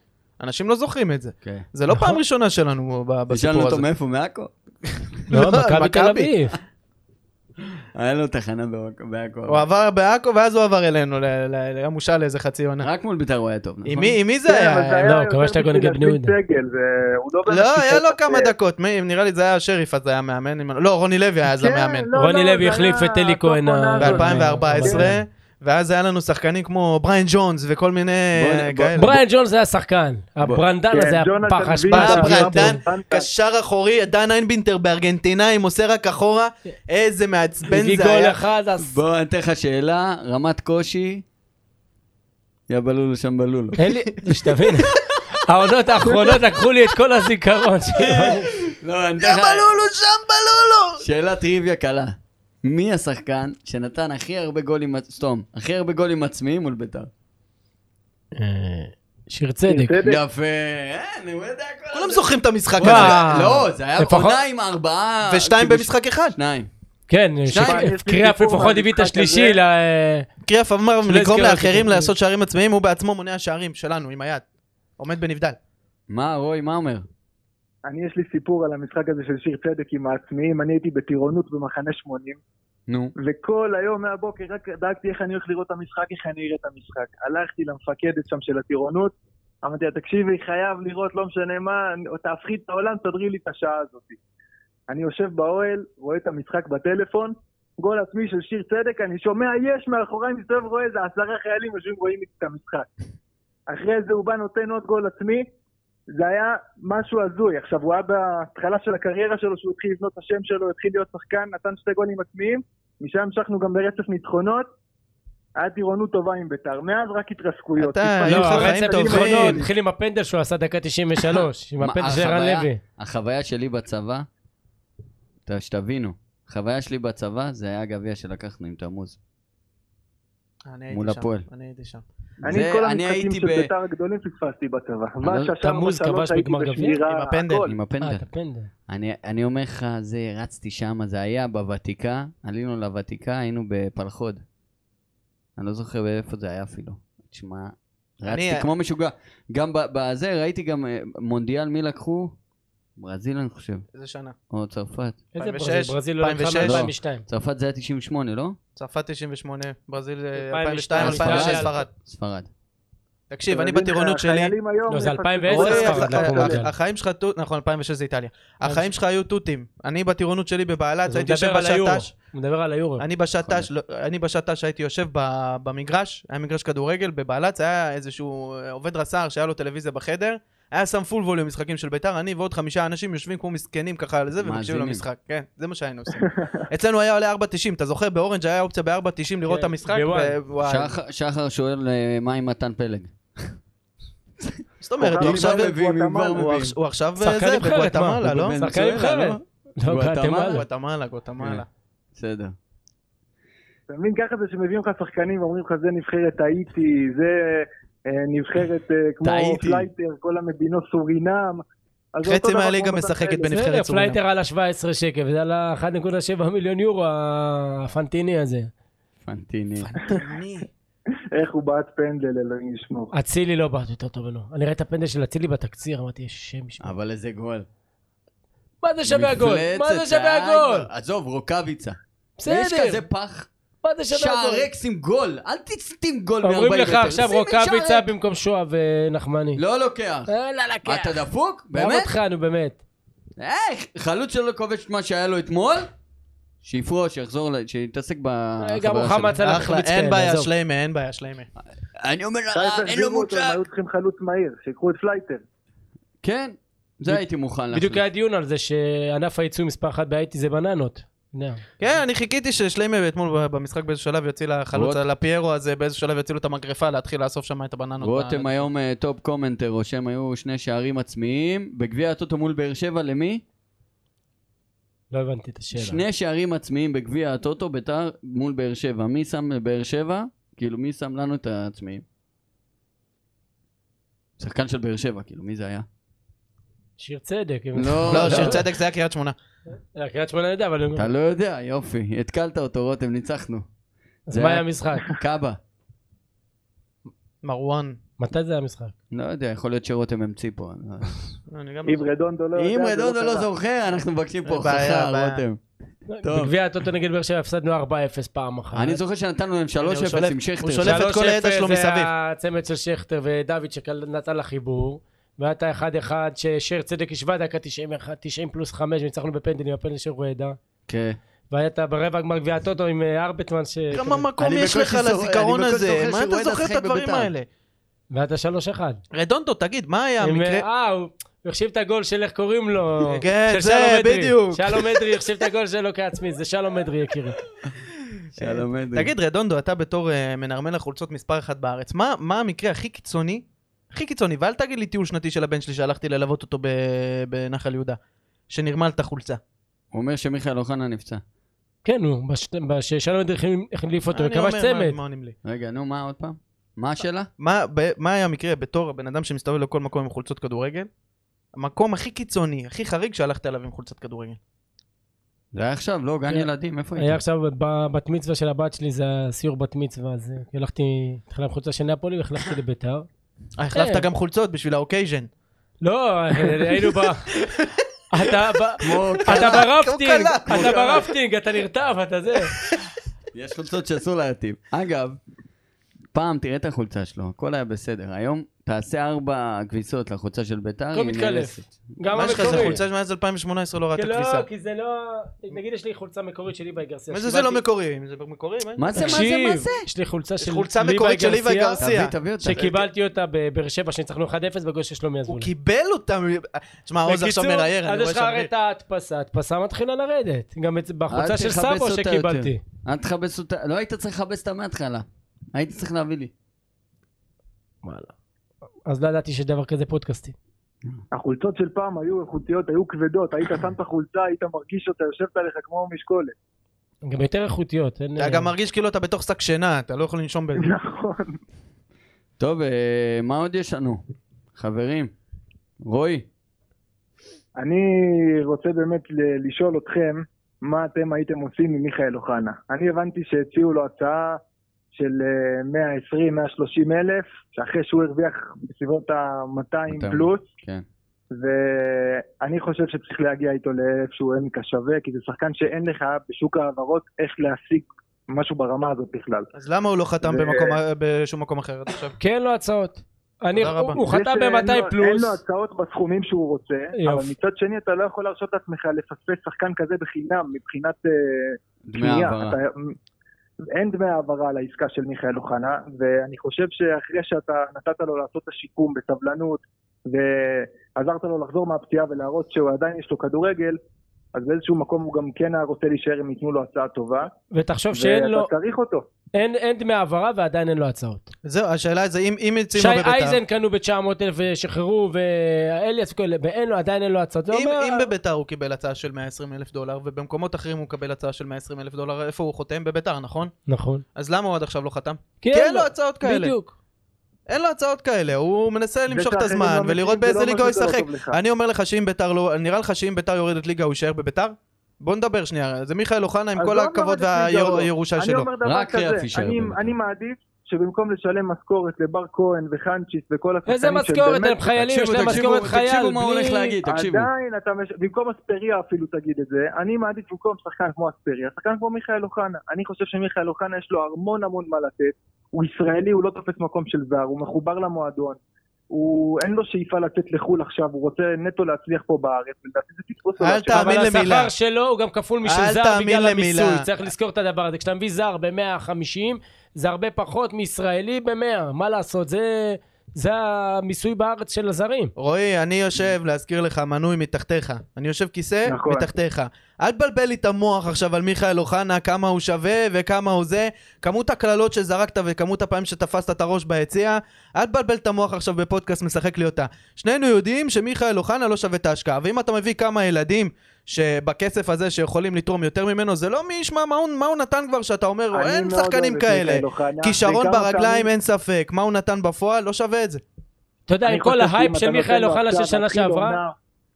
Speaker 3: אנשים לא זוכרים את זה. זה
Speaker 5: נכון.
Speaker 3: לא פעם ראשונה שלנו ב,
Speaker 2: תשאלנו
Speaker 3: בסיפור
Speaker 2: אותו
Speaker 3: הזה.
Speaker 2: מאיפה, מעכו?
Speaker 3: *laughs*
Speaker 4: לא,
Speaker 3: לא,
Speaker 4: מכבי תל
Speaker 3: מכבי.
Speaker 4: אביב.
Speaker 2: היה לו תחנה בעכו- בעכו.
Speaker 3: הוא עבר בעכו ואז הוא עבר אלינו, ל- ל- היה מושל לאיזה חצי עונה.
Speaker 2: רק מול בית"ר הוא היה טוב, נכון?
Speaker 3: עם מי, עם מי
Speaker 5: כן,
Speaker 3: זה
Speaker 5: אבל זה
Speaker 3: היה?
Speaker 5: היה
Speaker 4: לא,
Speaker 5: יותר
Speaker 4: כבשת גול
Speaker 5: בשביל
Speaker 4: נגד בני
Speaker 5: להשמיד
Speaker 4: יהודה.
Speaker 5: סגל, זה- הוא לא באמת
Speaker 3: לא, היה
Speaker 5: שיחק.
Speaker 3: לו כמה דקות, מי- נראה לי זה היה השריף, אז היה מאמן, אם אני- לא, רוני לוי היה אז
Speaker 5: כן,
Speaker 3: המאמן.
Speaker 5: לא,
Speaker 4: רוני
Speaker 5: לא,
Speaker 4: לוי
Speaker 5: זה
Speaker 4: החליף
Speaker 5: היה
Speaker 4: את אלי
Speaker 5: הסוף
Speaker 4: כהן
Speaker 5: עונה
Speaker 4: ה-
Speaker 5: הזאת. לא,
Speaker 3: ב-2014,
Speaker 4: כן.
Speaker 3: ואז היה לנו שחקנים כמו בריין ג'ונס וכל מיני
Speaker 2: בוא-
Speaker 3: אה,
Speaker 2: בוא-
Speaker 3: כאלה.
Speaker 4: בריין ג'ונס היה שחקן, הברנדן
Speaker 5: כן,
Speaker 4: הזה היה
Speaker 5: ג'ונתן
Speaker 4: פח
Speaker 5: וילס,
Speaker 4: אשפה.
Speaker 3: בא
Speaker 4: שם.
Speaker 5: ברנדן.
Speaker 3: אה, ברנדן,
Speaker 5: ברנדן.
Speaker 3: קשר אחורי, דן איינבינטר בארגנטינאי, מוסר רק אחורה, איזה מעצבן
Speaker 4: הביא
Speaker 3: זה
Speaker 4: גול
Speaker 3: היה.
Speaker 4: אחד, אז...
Speaker 2: בוא, אני אתן לך שאלה, רמת קושי, יא בלולו שם בלולו.
Speaker 4: אין
Speaker 3: *laughs*
Speaker 4: לי... שתבין, העונות האחרונות לקחו לי את כל
Speaker 3: *laughs*
Speaker 4: הזיכרון שלי.
Speaker 2: לא, אני אתן לך...
Speaker 3: בלולו שם בלולו!
Speaker 2: שאלה טריוויה קלה. מי השחקן שנתן הכי הרבה גולים, סתום, הכי הרבה גולים עצמיים מול בית"ר?
Speaker 4: אה, שיר צדק.
Speaker 5: צדק.
Speaker 2: יפה, אין, הוא יודע כל
Speaker 3: כולם
Speaker 2: הזמן.
Speaker 3: זוכרים את המשחק
Speaker 2: וואי,
Speaker 3: הזה.
Speaker 4: וואו.
Speaker 2: לא, זה היה
Speaker 4: לפחות-
Speaker 2: עונה עם ארבעה...
Speaker 3: ושתיים
Speaker 2: כאילו,
Speaker 3: במשחק אחד.
Speaker 2: שניים.
Speaker 4: כן,
Speaker 2: שניים.
Speaker 4: ש- קריאף לפחות הביא את השלישי ל...
Speaker 3: קריאף אמר
Speaker 4: שלא
Speaker 3: לגרום
Speaker 4: הזכרנו
Speaker 3: לאחרים
Speaker 4: אותו.
Speaker 3: לעשות שערים עצמאיים, הוא בעצמו מונע שערים שלנו עם היד. עומד בנבדל.
Speaker 2: מה, רוי, מה אומר?
Speaker 5: אני יש לי סיפור על המשחק הזה של שיר צדק עם העצמיים, אני הייתי בטירונות במחנה 80,
Speaker 2: נו.
Speaker 5: וכל היום מהבוקר רק דאגתי איך אני הולך לראות את המשחק, איך אני אראה את המשחק. הלכתי למפקדת שם של הטירונות, אמרתי לה, תקשיבי, חייב לראות, לא משנה מה, אני- תהפכי את העולם, תסדרי לי את השעה הזאת. אני יושב באוהל, רואה את המשחק בטלפון, גול עצמי של שיר צדק, אני שומע יש מאחוריי, מסתובב רואה איזה עשרה חיילים יושבים רואים איתי את המשחק. אחרי זה הוא בא נותן עוד גול עצמי, זה היה משהו הזוי. עכשיו, הוא היה בהתחלה של הקריירה שלו, שהוא התחיל לבנות את השם שלו, התחיל להיות שחקן, נתן שתי גולים עצמיים, משם המשכנו גם ברצף ניצחונות, היה טירונות טובה עם בית"ר, מאז רק התרסקויות.
Speaker 3: אתה-
Speaker 5: התפעלנו.
Speaker 3: היו
Speaker 4: לא,
Speaker 3: לך חיים אה,
Speaker 4: הרצף
Speaker 3: טובים.
Speaker 4: ניצחונות, התחיל עם הפנדל שהוא עשה דקה 93, עם
Speaker 2: מה,
Speaker 4: הפנדל של רן
Speaker 2: החוויה-
Speaker 4: לוי.
Speaker 2: החוויה שלי בצבא, ת- שתבינו, החוויה שלי בצבא זה היה הגביע שלקחנו עם תמוז.
Speaker 3: אני
Speaker 2: הייתי מול שם, הפועל.
Speaker 3: אני הייתי שם.
Speaker 5: אני
Speaker 2: זה-
Speaker 5: את כל
Speaker 2: אני
Speaker 5: המשחקים
Speaker 2: הייתי
Speaker 5: של
Speaker 2: ב-
Speaker 5: בית"ר הגדולים פספסתי בצבא.
Speaker 3: לא-
Speaker 5: מה שהשאר
Speaker 4: תמוז
Speaker 5: בשלוש
Speaker 4: כבש
Speaker 5: הייתי
Speaker 4: בגמר גביע?
Speaker 5: בשמירה,
Speaker 3: עם הפנדל.
Speaker 5: הכל.
Speaker 2: עם
Speaker 4: אה,
Speaker 2: הפנדל.
Speaker 4: את הפנדל.
Speaker 2: אני, אני אומר לך, זה, רצתי שם, זה היה בוותיקה, עלינו לוותיקה, היינו בפלחוד. אני לא זוכר באיפה זה היה אפילו. תשמע, רצתי
Speaker 3: אני-
Speaker 2: כמו משוגע. גם ב- בזה, ראיתי גם אה, מונדיאל, מי לקחו? ברזיל, אני חושב,
Speaker 3: איזה שנה?
Speaker 2: או צרפת.
Speaker 4: איזה
Speaker 3: 2006,
Speaker 4: ברזיל? ברזיל לא לקחה
Speaker 3: 2006.
Speaker 4: מ-2002.
Speaker 2: צרפת זה היה 98, לא?
Speaker 3: צרפת 98, ברזיל אה,
Speaker 4: 2002,
Speaker 3: 2002, 2006, ספרד.
Speaker 2: ספרד.
Speaker 3: תקשיב, אני
Speaker 5: אתם יודעים,
Speaker 3: בטירונות שלי.
Speaker 5: החיילים היום
Speaker 4: לא, זה
Speaker 5: מפספסים.
Speaker 4: 2010
Speaker 3: אוי,
Speaker 4: ספרד
Speaker 3: הח-
Speaker 4: לקחו
Speaker 3: הח-
Speaker 4: מונדיאל.
Speaker 3: החיים שלך, טו- נכון, 2006 זה איטליה. החיים שלך היו תותים. אני בטירונות שלי בבעלת,
Speaker 4: אז הוא
Speaker 3: הייתי יושב
Speaker 4: מדבר על היורו.
Speaker 3: בשטש.
Speaker 4: הוא מדבר על היורו.
Speaker 3: אני בשטש, לא- אני בשטש הייתי יושב ב- במגרש, היה מגרש כדורגל בבעלת, היה איזשהו אה, עובד רס"ר שהיה לו טלוויזיה בחדר, היה שם פול ווליום משחקים של ביתר, אני ועוד חמישה אנשים יושבים כמו מסכנים ככה על זה ומקשיבים
Speaker 2: מאזינים.
Speaker 3: למשחק, כן, זה מה שהיינו עושים. אצלנו היה עולה 4.90, אתה זוכר באורנג' היה אופציה ב-4.90 לראות את
Speaker 4: כן,
Speaker 3: המשחק?
Speaker 4: בוואן.
Speaker 3: ו- וואי.
Speaker 2: שחר, שחר שואל אה, מה עם מתן פלג.
Speaker 3: זאת אומרת,
Speaker 5: אם
Speaker 3: הוא עכשיו...
Speaker 5: כבר מביאים, אם כבר
Speaker 3: הוא
Speaker 5: מביאים.
Speaker 3: עכש- הוא עכשיו
Speaker 4: שחקן
Speaker 3: אה, זה,
Speaker 4: נבחרת, מה?
Speaker 3: בגואטמלה, לא?
Speaker 2: בבן-
Speaker 4: שחקן נבחרת. לא,
Speaker 2: גואטמלה.
Speaker 4: גואטמלה.
Speaker 3: גואטמלה, גואטמלה.
Speaker 2: בסדר.
Speaker 5: אתה מבין, ככה זה שמביאים לך שחקנים ואומרים לך, זה נבחרת האיטי, זה אה, נבחרת אה, כמו
Speaker 2: טעיתי.
Speaker 5: פלייטר, כל המדינות סורינם. אז זה אותו
Speaker 3: חצי
Speaker 5: דבר
Speaker 3: מהליגה
Speaker 5: כמו מתן
Speaker 3: משחקת
Speaker 5: פלד.
Speaker 3: בנבחרת
Speaker 4: בסדר,
Speaker 3: סורינם.
Speaker 4: פלייטר עלה 17 שקל, וזה עלה 1.7 מיליון יורו, הפנטיני הזה.
Speaker 2: פנטיני.
Speaker 5: איך הוא בעט פנדל, אלוהים ישמור.
Speaker 4: אצילי לא בעט יותר טוב ממנו. אני רואה את הפנדל של אצילי בתקציר, אמרתי, השם ישמע.
Speaker 2: אבל איזה גול.
Speaker 4: מה זה שווה הגול? מה זה
Speaker 2: מפלצת,
Speaker 4: שווה
Speaker 2: די כבר.
Speaker 4: הגול?
Speaker 2: עזוב, רוקאביצה. יש
Speaker 4: בסדר,
Speaker 2: כזה פח,
Speaker 4: מה זה שווה הגול?
Speaker 2: שערקס עם גול. אל תסתים גול מ-40
Speaker 4: אומרים לך עכשיו
Speaker 2: שים את
Speaker 4: רוקאביצה
Speaker 2: שערק.
Speaker 4: במקום שואה ונחמני.
Speaker 2: לא לוקח.
Speaker 4: לא לקח.
Speaker 2: אתה דפוק?
Speaker 4: גם
Speaker 2: באמת?
Speaker 4: אותך, נו באמת.
Speaker 2: איך? חלוץ שלא כובש את מה שהיה לו אתמול? שיפרוש, שיחזור, ל- שיתעסק בחברה
Speaker 4: אה, גם
Speaker 2: שלו.
Speaker 4: מוחמד
Speaker 3: אחלה,
Speaker 4: סלאח החמיץ
Speaker 3: אין
Speaker 4: כאלה,
Speaker 3: בעיה,
Speaker 4: עזוב.
Speaker 3: שליימה, אין בעיה, שליימה.
Speaker 2: אני אומר,
Speaker 5: שי,
Speaker 2: "אה, אין לו
Speaker 5: תחזירו אותו, הם
Speaker 2: מוצג.
Speaker 5: היו צריכים חלוץ מהיר, שיקחו את פלייטר.
Speaker 2: כן, זה הייתי מוכן לעשות.
Speaker 4: בדיוק היה דיון על זה שענף הייצוא מספר אחת בהאיטי זה בננות. לא.
Speaker 3: כן, אני חיכיתי ששליימה אתמול במשחק באיזה שלב יוציא לחלוץ
Speaker 2: רוט-
Speaker 3: על הפיירו הזה, באיזה שלב יוציא לו את המגרפה, להתחיל לאסוף שם את הבננות.
Speaker 2: רותם
Speaker 3: ב-
Speaker 2: היום אה, טופ קומנטר, רושם היו שני שערים עצמיים. בגביע הטוטו מול באר שבע למי?
Speaker 4: לא הבנתי את השאלה.
Speaker 2: שני שערים עצמיים בגביע הטוטו ביתר מול באר שבע. מי שם לבאר שבע? כאילו, מי שם לנו את העצמיים? שחקן של באר שבע, כאילו, מי זה היה?
Speaker 4: שיר צדק. אם-
Speaker 3: לא, שיר צדק זה היה קריית שמונה.
Speaker 4: לא, קריית שמונה אני יודע, אבל...
Speaker 2: אתה לא יודע, יופי. התקלת אותו, רותם, ניצחנו.
Speaker 4: אז
Speaker 2: זה
Speaker 4: מה
Speaker 2: היה-
Speaker 4: היה המשחק?
Speaker 2: קאבה.
Speaker 3: מרואן.
Speaker 4: מתי זה היה המשחק?
Speaker 2: לא יודע, יכול להיות שרותם המציא פה.
Speaker 3: אני גם-
Speaker 5: אם רדונדו לא
Speaker 2: אם
Speaker 5: יודע, זה
Speaker 2: רדונדו לא
Speaker 5: קרה.
Speaker 2: זוכר, אנחנו מבקשים פה
Speaker 3: אין בעיה,
Speaker 2: הוכחה,
Speaker 3: בעיה.
Speaker 2: רותם. טוב.
Speaker 4: בגביע הטוטו נגד באר שבע הפסדנו 4-0 פעם אחת.
Speaker 2: אני זוכר שנתנו להם 3-0 עם
Speaker 3: שולף-
Speaker 2: שכטר.
Speaker 3: הוא שולף את כל הידע
Speaker 4: 3-0
Speaker 3: שלו מסביב.
Speaker 4: זה הצמד של שכטר ודוד שנתן לחיבור. והיה את ה-1-1 ששאר צדק השווה דקה 91, 90 פלוס 5, וניצחנו בפנדלים, הפנדל של רואדה.
Speaker 2: כן.
Speaker 4: והיה את ברבע הגמר גביע הטוטו עם אה, ארבטמן, ש...
Speaker 3: כמה מקום
Speaker 2: אני
Speaker 3: יש
Speaker 2: בקושי
Speaker 3: לך
Speaker 2: זוכר-
Speaker 3: לזיכרון
Speaker 2: אני בקושי
Speaker 3: הזה?
Speaker 2: זוכר
Speaker 3: מה אתה
Speaker 2: שהוא
Speaker 3: זוכר את
Speaker 2: עדיין
Speaker 3: הדברים
Speaker 2: בבית"ר.
Speaker 3: האלה?
Speaker 4: והיה את ה-3-1.
Speaker 3: רדונדו, תגיד, מה היה
Speaker 4: עם,
Speaker 3: המקרה?
Speaker 4: אה, הוא הוא החשיב את הגול של איך קוראים
Speaker 3: *laughs*
Speaker 4: לו.
Speaker 3: כן,
Speaker 4: של
Speaker 3: זה,
Speaker 4: שלום אדרי.
Speaker 3: בדיוק.
Speaker 4: שלום אדרי החשיב את הגול שלו כעצמי, זה שלום אדרי יקירי.
Speaker 2: שלום אדרי.
Speaker 3: תגיד, רדונדו, אתה בתור אה, מנרמל החולצות מספר אחת בארץ, מה מה המקרה הכי קיצוני? הכי קיצוני, ואל תגיד לי טיול שנתי של הבן שלי שהלכתי ללוות אותו ב- בנחל יהודה, שנרמל את החולצה.
Speaker 2: הוא אומר שמיכאל אוחנה נפצע.
Speaker 4: כן, הוא, בש- בשלום אדרי החליף אותו,
Speaker 3: אני
Speaker 4: וכבש
Speaker 3: אומר, מה-
Speaker 4: צמד.
Speaker 3: מה עונים לי?
Speaker 2: רגע, נו, מה עוד פעם? מה השאלה?
Speaker 3: מה ב- מה היה המקרה בתור הבן אדם שמסתובב לכל מקום עם חולצות כדורגל? המקום הכי קיצוני, הכי חריג שהלכת אליו עם חולצת כדורגל.
Speaker 2: זה היה עכשיו, לא, גן
Speaker 4: כן.
Speaker 2: ילדים, איפה
Speaker 4: היה
Speaker 2: היית?
Speaker 4: עכשיו בבת מצווה של הבת שלי, זה הסיור בת מצווה, אז אה, הלכתי, התחילה עם חולצה של נפולי והחלפתי לביתר.
Speaker 3: אה, החלפת
Speaker 4: כן.
Speaker 3: גם חולצות בשביל האוקייז'ן.
Speaker 4: לא, היינו ב...
Speaker 2: *laughs*
Speaker 4: אתה ב-
Speaker 2: כמו
Speaker 4: אתה ברפטינג,
Speaker 3: כלה.
Speaker 4: אתה ברפטינג, אתה נרטב, אתה זה.
Speaker 2: יש חולצות שאסור להטיב. אגב, פעם תראה את החולצה שלו, הכל היה בסדר. היום תעשה ארבע כביסות לחולצה של ביתר.
Speaker 4: הכל
Speaker 2: היא
Speaker 4: מתקלף.
Speaker 2: נהרסת.
Speaker 4: גם
Speaker 3: מה יש לך, זה
Speaker 4: המקורי.
Speaker 3: חולצה שמאז 2018 לא ראתה
Speaker 4: כן,
Speaker 3: כביסה.
Speaker 4: לא, כי זה לא... נגיד יש לי חולצה מקורית של ליבי גרסיה.
Speaker 3: מה זה זה לא
Speaker 4: שקיבלתי-
Speaker 3: מקורי? אם זה מקורי, מה?
Speaker 2: מה זה, מה זה,
Speaker 4: תקשיב,
Speaker 2: מה זה?
Speaker 4: יש לי חולצה של
Speaker 3: חולצה
Speaker 4: ליבי
Speaker 3: מקורית של ליבי
Speaker 4: גרסיה,
Speaker 3: גרסיה.
Speaker 2: תביא, תביא אותה.
Speaker 4: שקיבלתי אותה בבאר שבע, שניצחנו 1-0 בגול של שלומי
Speaker 3: הוא
Speaker 4: אזולאי.
Speaker 3: קיבל אותם. תשמע, עוז עכשיו
Speaker 4: בקיצור,
Speaker 3: מראייר, אני
Speaker 4: אז
Speaker 3: רואה
Speaker 4: יש לך הרי
Speaker 3: שם...
Speaker 4: את ההדפסה, ההדפסה מתחילה לרדת. גם את- בחולצה
Speaker 2: אל
Speaker 4: של
Speaker 2: תכבס
Speaker 4: סבו
Speaker 2: אותה
Speaker 4: שקיבלתי.
Speaker 2: יותר. אל תכבס אותה, לא היית צריך לכבס אותה מההתחלה. היית צריך להביא לי.
Speaker 4: אז לא ידעתי שיש דבר כזה פודקאסטי.
Speaker 5: החולצות של פעם היו איכותיות, היו כבדות, היית שם את החולצה, היית מרגיש אותה, יושבת עליך כמו משקולת.
Speaker 4: גם יותר איכותיות. אין-
Speaker 3: אתה גם מרגיש כאילו אתה בתוך שק שינה, אתה לא יכול לנשום בזה.
Speaker 5: נכון.
Speaker 2: טוב, אה, מה עוד יש לנו? חברים, רועי,
Speaker 5: אני רוצה באמת ל- לשאול אתכם, מה אתם הייתם עושים עם מיכאל אוחנה? אני הבנתי שהציעו לו הצעה של אה, 120-130 אלף, שאחרי שהוא הרוויח בסביבות ה-200
Speaker 2: 200.
Speaker 5: פלוס,
Speaker 2: כן.
Speaker 5: ואני חושב שצריך להגיע איתו לאיפשהו עמק השווה, כי זה שחקן שאין לך בשוק ההעברות איך להשיג משהו ברמה הזאת בכלל.
Speaker 3: אז למה הוא לא חתם
Speaker 5: זה-
Speaker 3: במקום- בשום מקום אחר עד עכשיו?
Speaker 4: כי אין לו כן, לא הצעות. אני,
Speaker 3: תודה רבה.
Speaker 4: הוא, הוא
Speaker 5: זה
Speaker 4: חתם
Speaker 5: שאין לו-
Speaker 4: ב-200
Speaker 5: אה, אין
Speaker 4: פלוס.
Speaker 5: לו הצעות בסכומים שהוא רוצה,
Speaker 4: יופי.
Speaker 5: אבל מצד שני אתה לא יכול להרשות לעצמך לפספס שחקן כזה בחינם מבחינת אה,
Speaker 2: דמי
Speaker 5: קנייה.
Speaker 2: העברה.
Speaker 5: אתה- אין דמי העברה על העסקה של מיכאל אוחנה, ואני חושב שאחרי שאתה נתת לו לעשות את השיקום בסבלנות, ועזרת לו לחזור מהפציעה ולהראות שהוא עדיין יש לו כדורגל, אז באיזשהו מקום הוא גם כן היה רוצה להישאר אם ייתנו לו הצעה טובה,
Speaker 4: ותחשוב שאין לו,
Speaker 5: ואתה צריך אותו.
Speaker 4: אין, אין דמי העברה ועדיין אין לו הצעות.
Speaker 3: זהו, השאלה זה אם- אם
Speaker 4: שי
Speaker 3: הציעו לו בביתר.
Speaker 4: אייזן קנו ב-900 אלף ושחררו, ואליאס וכל אלה, ואין לו, עדיין אין לו הצעות. זה
Speaker 3: אם-
Speaker 4: אומר, אה,
Speaker 3: אם בביתר הוא קיבל הצעה של 120 אלף דולר, ובמקומות אחרים הוא מקבל הצעה של 120 אלף דולר, איפה הוא חותם? בביתר, נכון?
Speaker 4: נכון.
Speaker 3: אז למה הוא עד עכשיו לא חתם? כי אין לו הצעות כאלה.
Speaker 4: כן, בדיוק.
Speaker 3: אין לו הצעות כאלה, הוא מנסה
Speaker 5: זה
Speaker 3: למשוך את
Speaker 5: שאחרים
Speaker 3: הזמן ולראות
Speaker 5: לא מבינים, זה
Speaker 3: באיזה
Speaker 5: לא
Speaker 3: ליגה הוא
Speaker 5: אומר שזה לא
Speaker 3: ישחק.
Speaker 5: טוב לך.
Speaker 3: אני אומר לך שאם ביתר לא, נראה לך שאם ביתר יורדת ליגה הוא יישאר בביתר? בוא נדבר שנייה, זה מיכאל אוחנה עם
Speaker 5: אז
Speaker 3: כל
Speaker 5: לא אומר
Speaker 3: הכבוד
Speaker 5: את זה, לא.
Speaker 3: והירושה
Speaker 5: אני
Speaker 3: שלו.
Speaker 5: אומר דבר
Speaker 2: רק
Speaker 5: כזה,
Speaker 2: קריאף יישאר
Speaker 5: אני-
Speaker 2: בבית"ר.
Speaker 5: אני מעדיף שבמקום לשלם משכורת לבר כהן וחנצ'יס וכל השחקנים
Speaker 4: איזה משכורת הם חיילים, אה, יש
Speaker 2: תקשיבו,
Speaker 4: להם
Speaker 2: תקשיבו,
Speaker 4: משכורת חייל.
Speaker 2: תקשיבו מה
Speaker 4: בלי-
Speaker 2: הולך להגיד, תקשיבו.
Speaker 5: עדיין אתה, מש... במקום אספריה אפילו תגיד את זה, אני מעדיף במקום שחקן כמו אספריה, שחקן כמו מיכאל אוחנה. אני חושב שמיכאל אוחנה יש לו המון המון מה לתת, הוא ישראלי, הוא לא תופס מקום של זר, הוא מחובר למועדון, הוא אין לו שאיפה לצאת לחו"ל עכשיו, הוא רוצה נטו להצליח פה בארץ, ולדעתי זה פספוס
Speaker 3: אל
Speaker 5: עולם של-
Speaker 3: תאמין
Speaker 4: אבל
Speaker 3: למילה.
Speaker 4: השכר שלו הוא גם כפול משל
Speaker 3: אל
Speaker 4: זר
Speaker 3: תאמין
Speaker 4: בגלל
Speaker 3: למילה.
Speaker 4: המיסוי, צריך לזכור את הדבר הזה. כשאתה מביא זר ב-150, זה הרבה פחות מישראלי ב-100, מה לעשות, זה... זה המיסוי בארץ של הזרים.
Speaker 3: רועי, אני יושב, להזכיר לך, מנוי מתחתיך. אני יושב כיסא,
Speaker 5: נכון.
Speaker 3: מתחתיך. אל תבלבל לי את המוח עכשיו על מיכאל אוחנה, כמה הוא שווה וכמה הוא זה. כמות הקללות שזרקת וכמות הפעמים שתפסת את הראש ביציע, אל תבלבל את המוח עכשיו בפודקאסט, משחק לי אותה. שנינו יודעים שמיכאל אוחנה לא שווה את ההשקעה, ואם אתה מביא כמה ילדים שבכסף הזה שיכולים לתרום יותר ממנו, זה לא מי ישמע מה הוא, מה הוא נתן כבר, שאתה אומר,
Speaker 5: אני
Speaker 3: אין
Speaker 5: מאוד
Speaker 3: שחקנים
Speaker 5: אוהב את מיכאל
Speaker 3: כאלה.
Speaker 5: אוחנה,
Speaker 3: כישרון
Speaker 5: וכמה
Speaker 3: ברגליים
Speaker 5: פעמים-
Speaker 3: אין ספק, מה הוא נתן בפועל, לא שווה את זה.
Speaker 4: אתה יודע,
Speaker 5: אני
Speaker 4: עם כל
Speaker 5: חושב שאם
Speaker 4: ההייפ
Speaker 5: אתה
Speaker 4: של
Speaker 5: נותן
Speaker 4: מיכאל
Speaker 5: לו
Speaker 4: אוחנה של
Speaker 5: עכשיו כאילו,
Speaker 4: שנה
Speaker 5: להתחיל
Speaker 4: שעברה,
Speaker 5: עונה,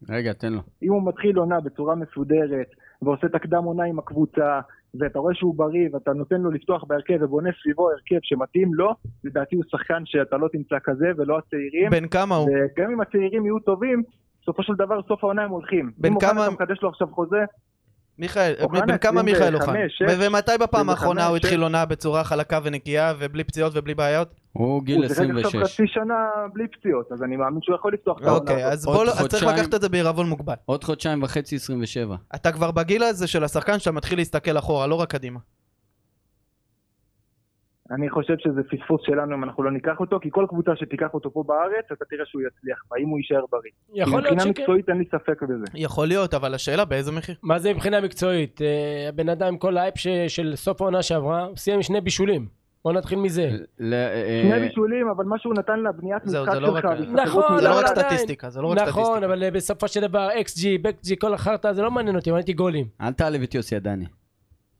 Speaker 2: רגע, תן לו.
Speaker 5: אם הוא מתחיל עונה בצורה מסודרת, ועושה את הקדם עונה עם הקבוצה, ואתה רואה שהוא בריא, ואתה נותן לו לפתוח בהרכב ובונה סביבו הרכב שמתאים לו, לדעתי הוא שחקן שאתה לא תמצא כזה, ולא הצעירים.
Speaker 3: בן כמה הוא?
Speaker 5: וגם אם הצעירים יהיו טובים, בסופו של דבר סוף העונה הם הולכים.
Speaker 3: בן
Speaker 5: אם אוחנה
Speaker 3: כמה-
Speaker 5: אתה מחדש לו עכשיו חוזה,
Speaker 3: מיכאל, אה,
Speaker 5: אוחנה,
Speaker 3: בן כמה
Speaker 5: 25,
Speaker 3: מיכאל אוחנה?
Speaker 5: שש.
Speaker 3: ו- ומתי בפעם
Speaker 5: 25,
Speaker 3: האחרונה הוא
Speaker 5: שש.
Speaker 3: התחיל עונה בצורה חלקה ונקייה ובלי פציעות ובלי בעיות?
Speaker 2: הוא גיל
Speaker 5: הוא שיחק עכשיו
Speaker 2: 26.
Speaker 5: חצי שנה בלי פציעות, אז אני מאמין שהוא יכול לפתוח את העונה
Speaker 3: אוקיי,
Speaker 5: הזאת.
Speaker 3: אז
Speaker 2: עוד
Speaker 3: בוא, לא- אז צריך
Speaker 2: חודשיים.
Speaker 3: לקחת את זה בעירבון מוגבל.
Speaker 2: עוד חודשיים וחצי 27.
Speaker 3: אתה כבר בגיל הזה של השחקן שאתה מתחיל להסתכל אחורה, לא רק קדימה.
Speaker 5: אני חושב שזה פספוס שלנו אם אנחנו לא ניקח אותו, כי כל קבוצה שתיקח אותו פה בארץ, אתה תראה שהוא יצליח בה, אם הוא יישאר בריא.
Speaker 4: יכול להיות
Speaker 5: מבחינה
Speaker 4: שכן.
Speaker 5: מקצועית אין לי ספק בזה.
Speaker 3: יכול להיות, אבל השאלה באיזה מחיר?
Speaker 4: מה זה מבחינה מקצועית? אה, הבן אדם עם כל האייפ ש- של סוף העונה שעברה, הוא סיים עם שני בישולים. בוא נתחיל מזה.
Speaker 2: ל- אה,
Speaker 5: שני בישולים, אבל מה שהוא נתן לבניית
Speaker 3: זהו,
Speaker 5: משחק
Speaker 3: זה לא רק-
Speaker 5: שלך, והשתפרות
Speaker 4: נכון,
Speaker 5: מול
Speaker 3: זה לא
Speaker 4: אבל
Speaker 3: רק
Speaker 5: אהלן,
Speaker 4: עדיין-
Speaker 3: סטטיסטיקה, זה לא רק
Speaker 4: נכון,
Speaker 3: סטטיסטיקה.
Speaker 4: אבל אה, בסופו של דבר, אקס ג'י, בק ג'י, כל החרטא, זה לא מעניין אותי, מעניין אותי גולים.
Speaker 2: אל תעלב את יוסי עדני.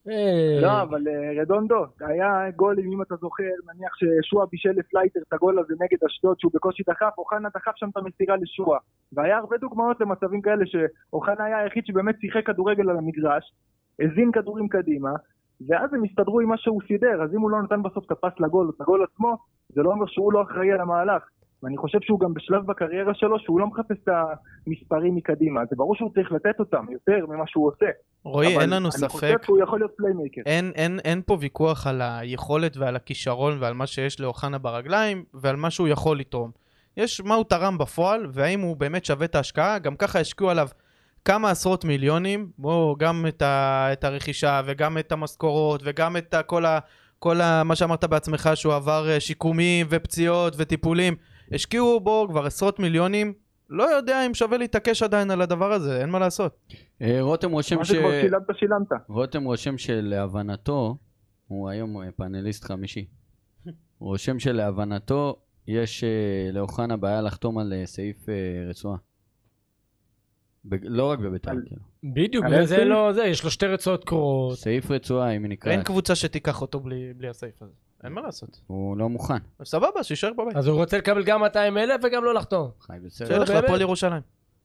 Speaker 4: אה,
Speaker 5: לא, אבל אה, רדונדו, היה גולים, אם אתה זוכר, נניח ששועה בישל לפלייטר את הגול הזה נגד אשדוד, שהוא בקושי דחף, אוחנה דחף שם את המסירה לשועה. והיה הרבה דוגמאות למצבים כאלה, שאוחנה היה היחיד שבאמת שיחק כדורגל על המגרש, הזין כדורים קדימה, ואז הם הסתדרו עם מה שהוא סידר, אז אם הוא לא נתן בסוף את הפס לגול, או את הגול עצמו, זה לא אומר שהוא לא אחראי על המהלך. ואני חושב שהוא גם בשלב בקריירה שלו, שהוא לא מחפש את המספרים מקדימה, זה ברור שהוא צריך לתת אותם יותר ממה שהוא עושה.
Speaker 3: רועי,
Speaker 5: אבל
Speaker 3: אין לנו
Speaker 5: אני חושב
Speaker 3: ספק.
Speaker 5: שהוא יכול להיות פליימייקר.
Speaker 3: אין, אין, אין פה ויכוח על היכולת ועל הכישרון ועל מה שיש לאוחנה ברגליים ועל מה שהוא יכול לתרום. יש מה הוא תרם בפועל והאם הוא באמת שווה את ההשקעה, גם ככה השקיעו עליו כמה עשרות מיליונים, בואו גם את, ה, את הרכישה וגם את המשכורות וגם את ה, כל, ה, כל ה, מה שאמרת בעצמך שהוא עבר אה, שיקומים ופציעות וטיפולים, השקיעו בו כבר עשרות מיליונים, לא יודע אם שווה להתעקש עדיין על הדבר הזה, אין מה לעשות.
Speaker 2: אה, רותם רושם
Speaker 5: מה
Speaker 2: ש...
Speaker 5: שכבר שילמת, שילמת.
Speaker 2: רותם רושם שלהבנתו, הוא היום אה, פאנליסט חמישי, הוא רושם שלהבנתו יש אה, לאוחנה בעיה לחתום על אה, סעיף אה, רצועה. ב- לא רק בביתר,
Speaker 5: על-
Speaker 2: כאילו.
Speaker 4: בדיוק,
Speaker 5: אבל
Speaker 4: זה
Speaker 5: אין-
Speaker 4: לא זה, יש לו שתי רצועות קרואות.
Speaker 2: סעיף רצועה, אם היא נקראת.
Speaker 3: אין קבוצה שתיקח אותו בלי, בלי הסעיף הזה, אין מה לעשות.
Speaker 2: הוא לא מוכן.
Speaker 3: סבבה, שיישאר בבית.
Speaker 4: אז הוא רוצה לקבל גם 200 אלף וגם לא לחתום.
Speaker 2: חי בסדר.
Speaker 3: שילך
Speaker 4: באמת?
Speaker 3: להפועל ירושלים.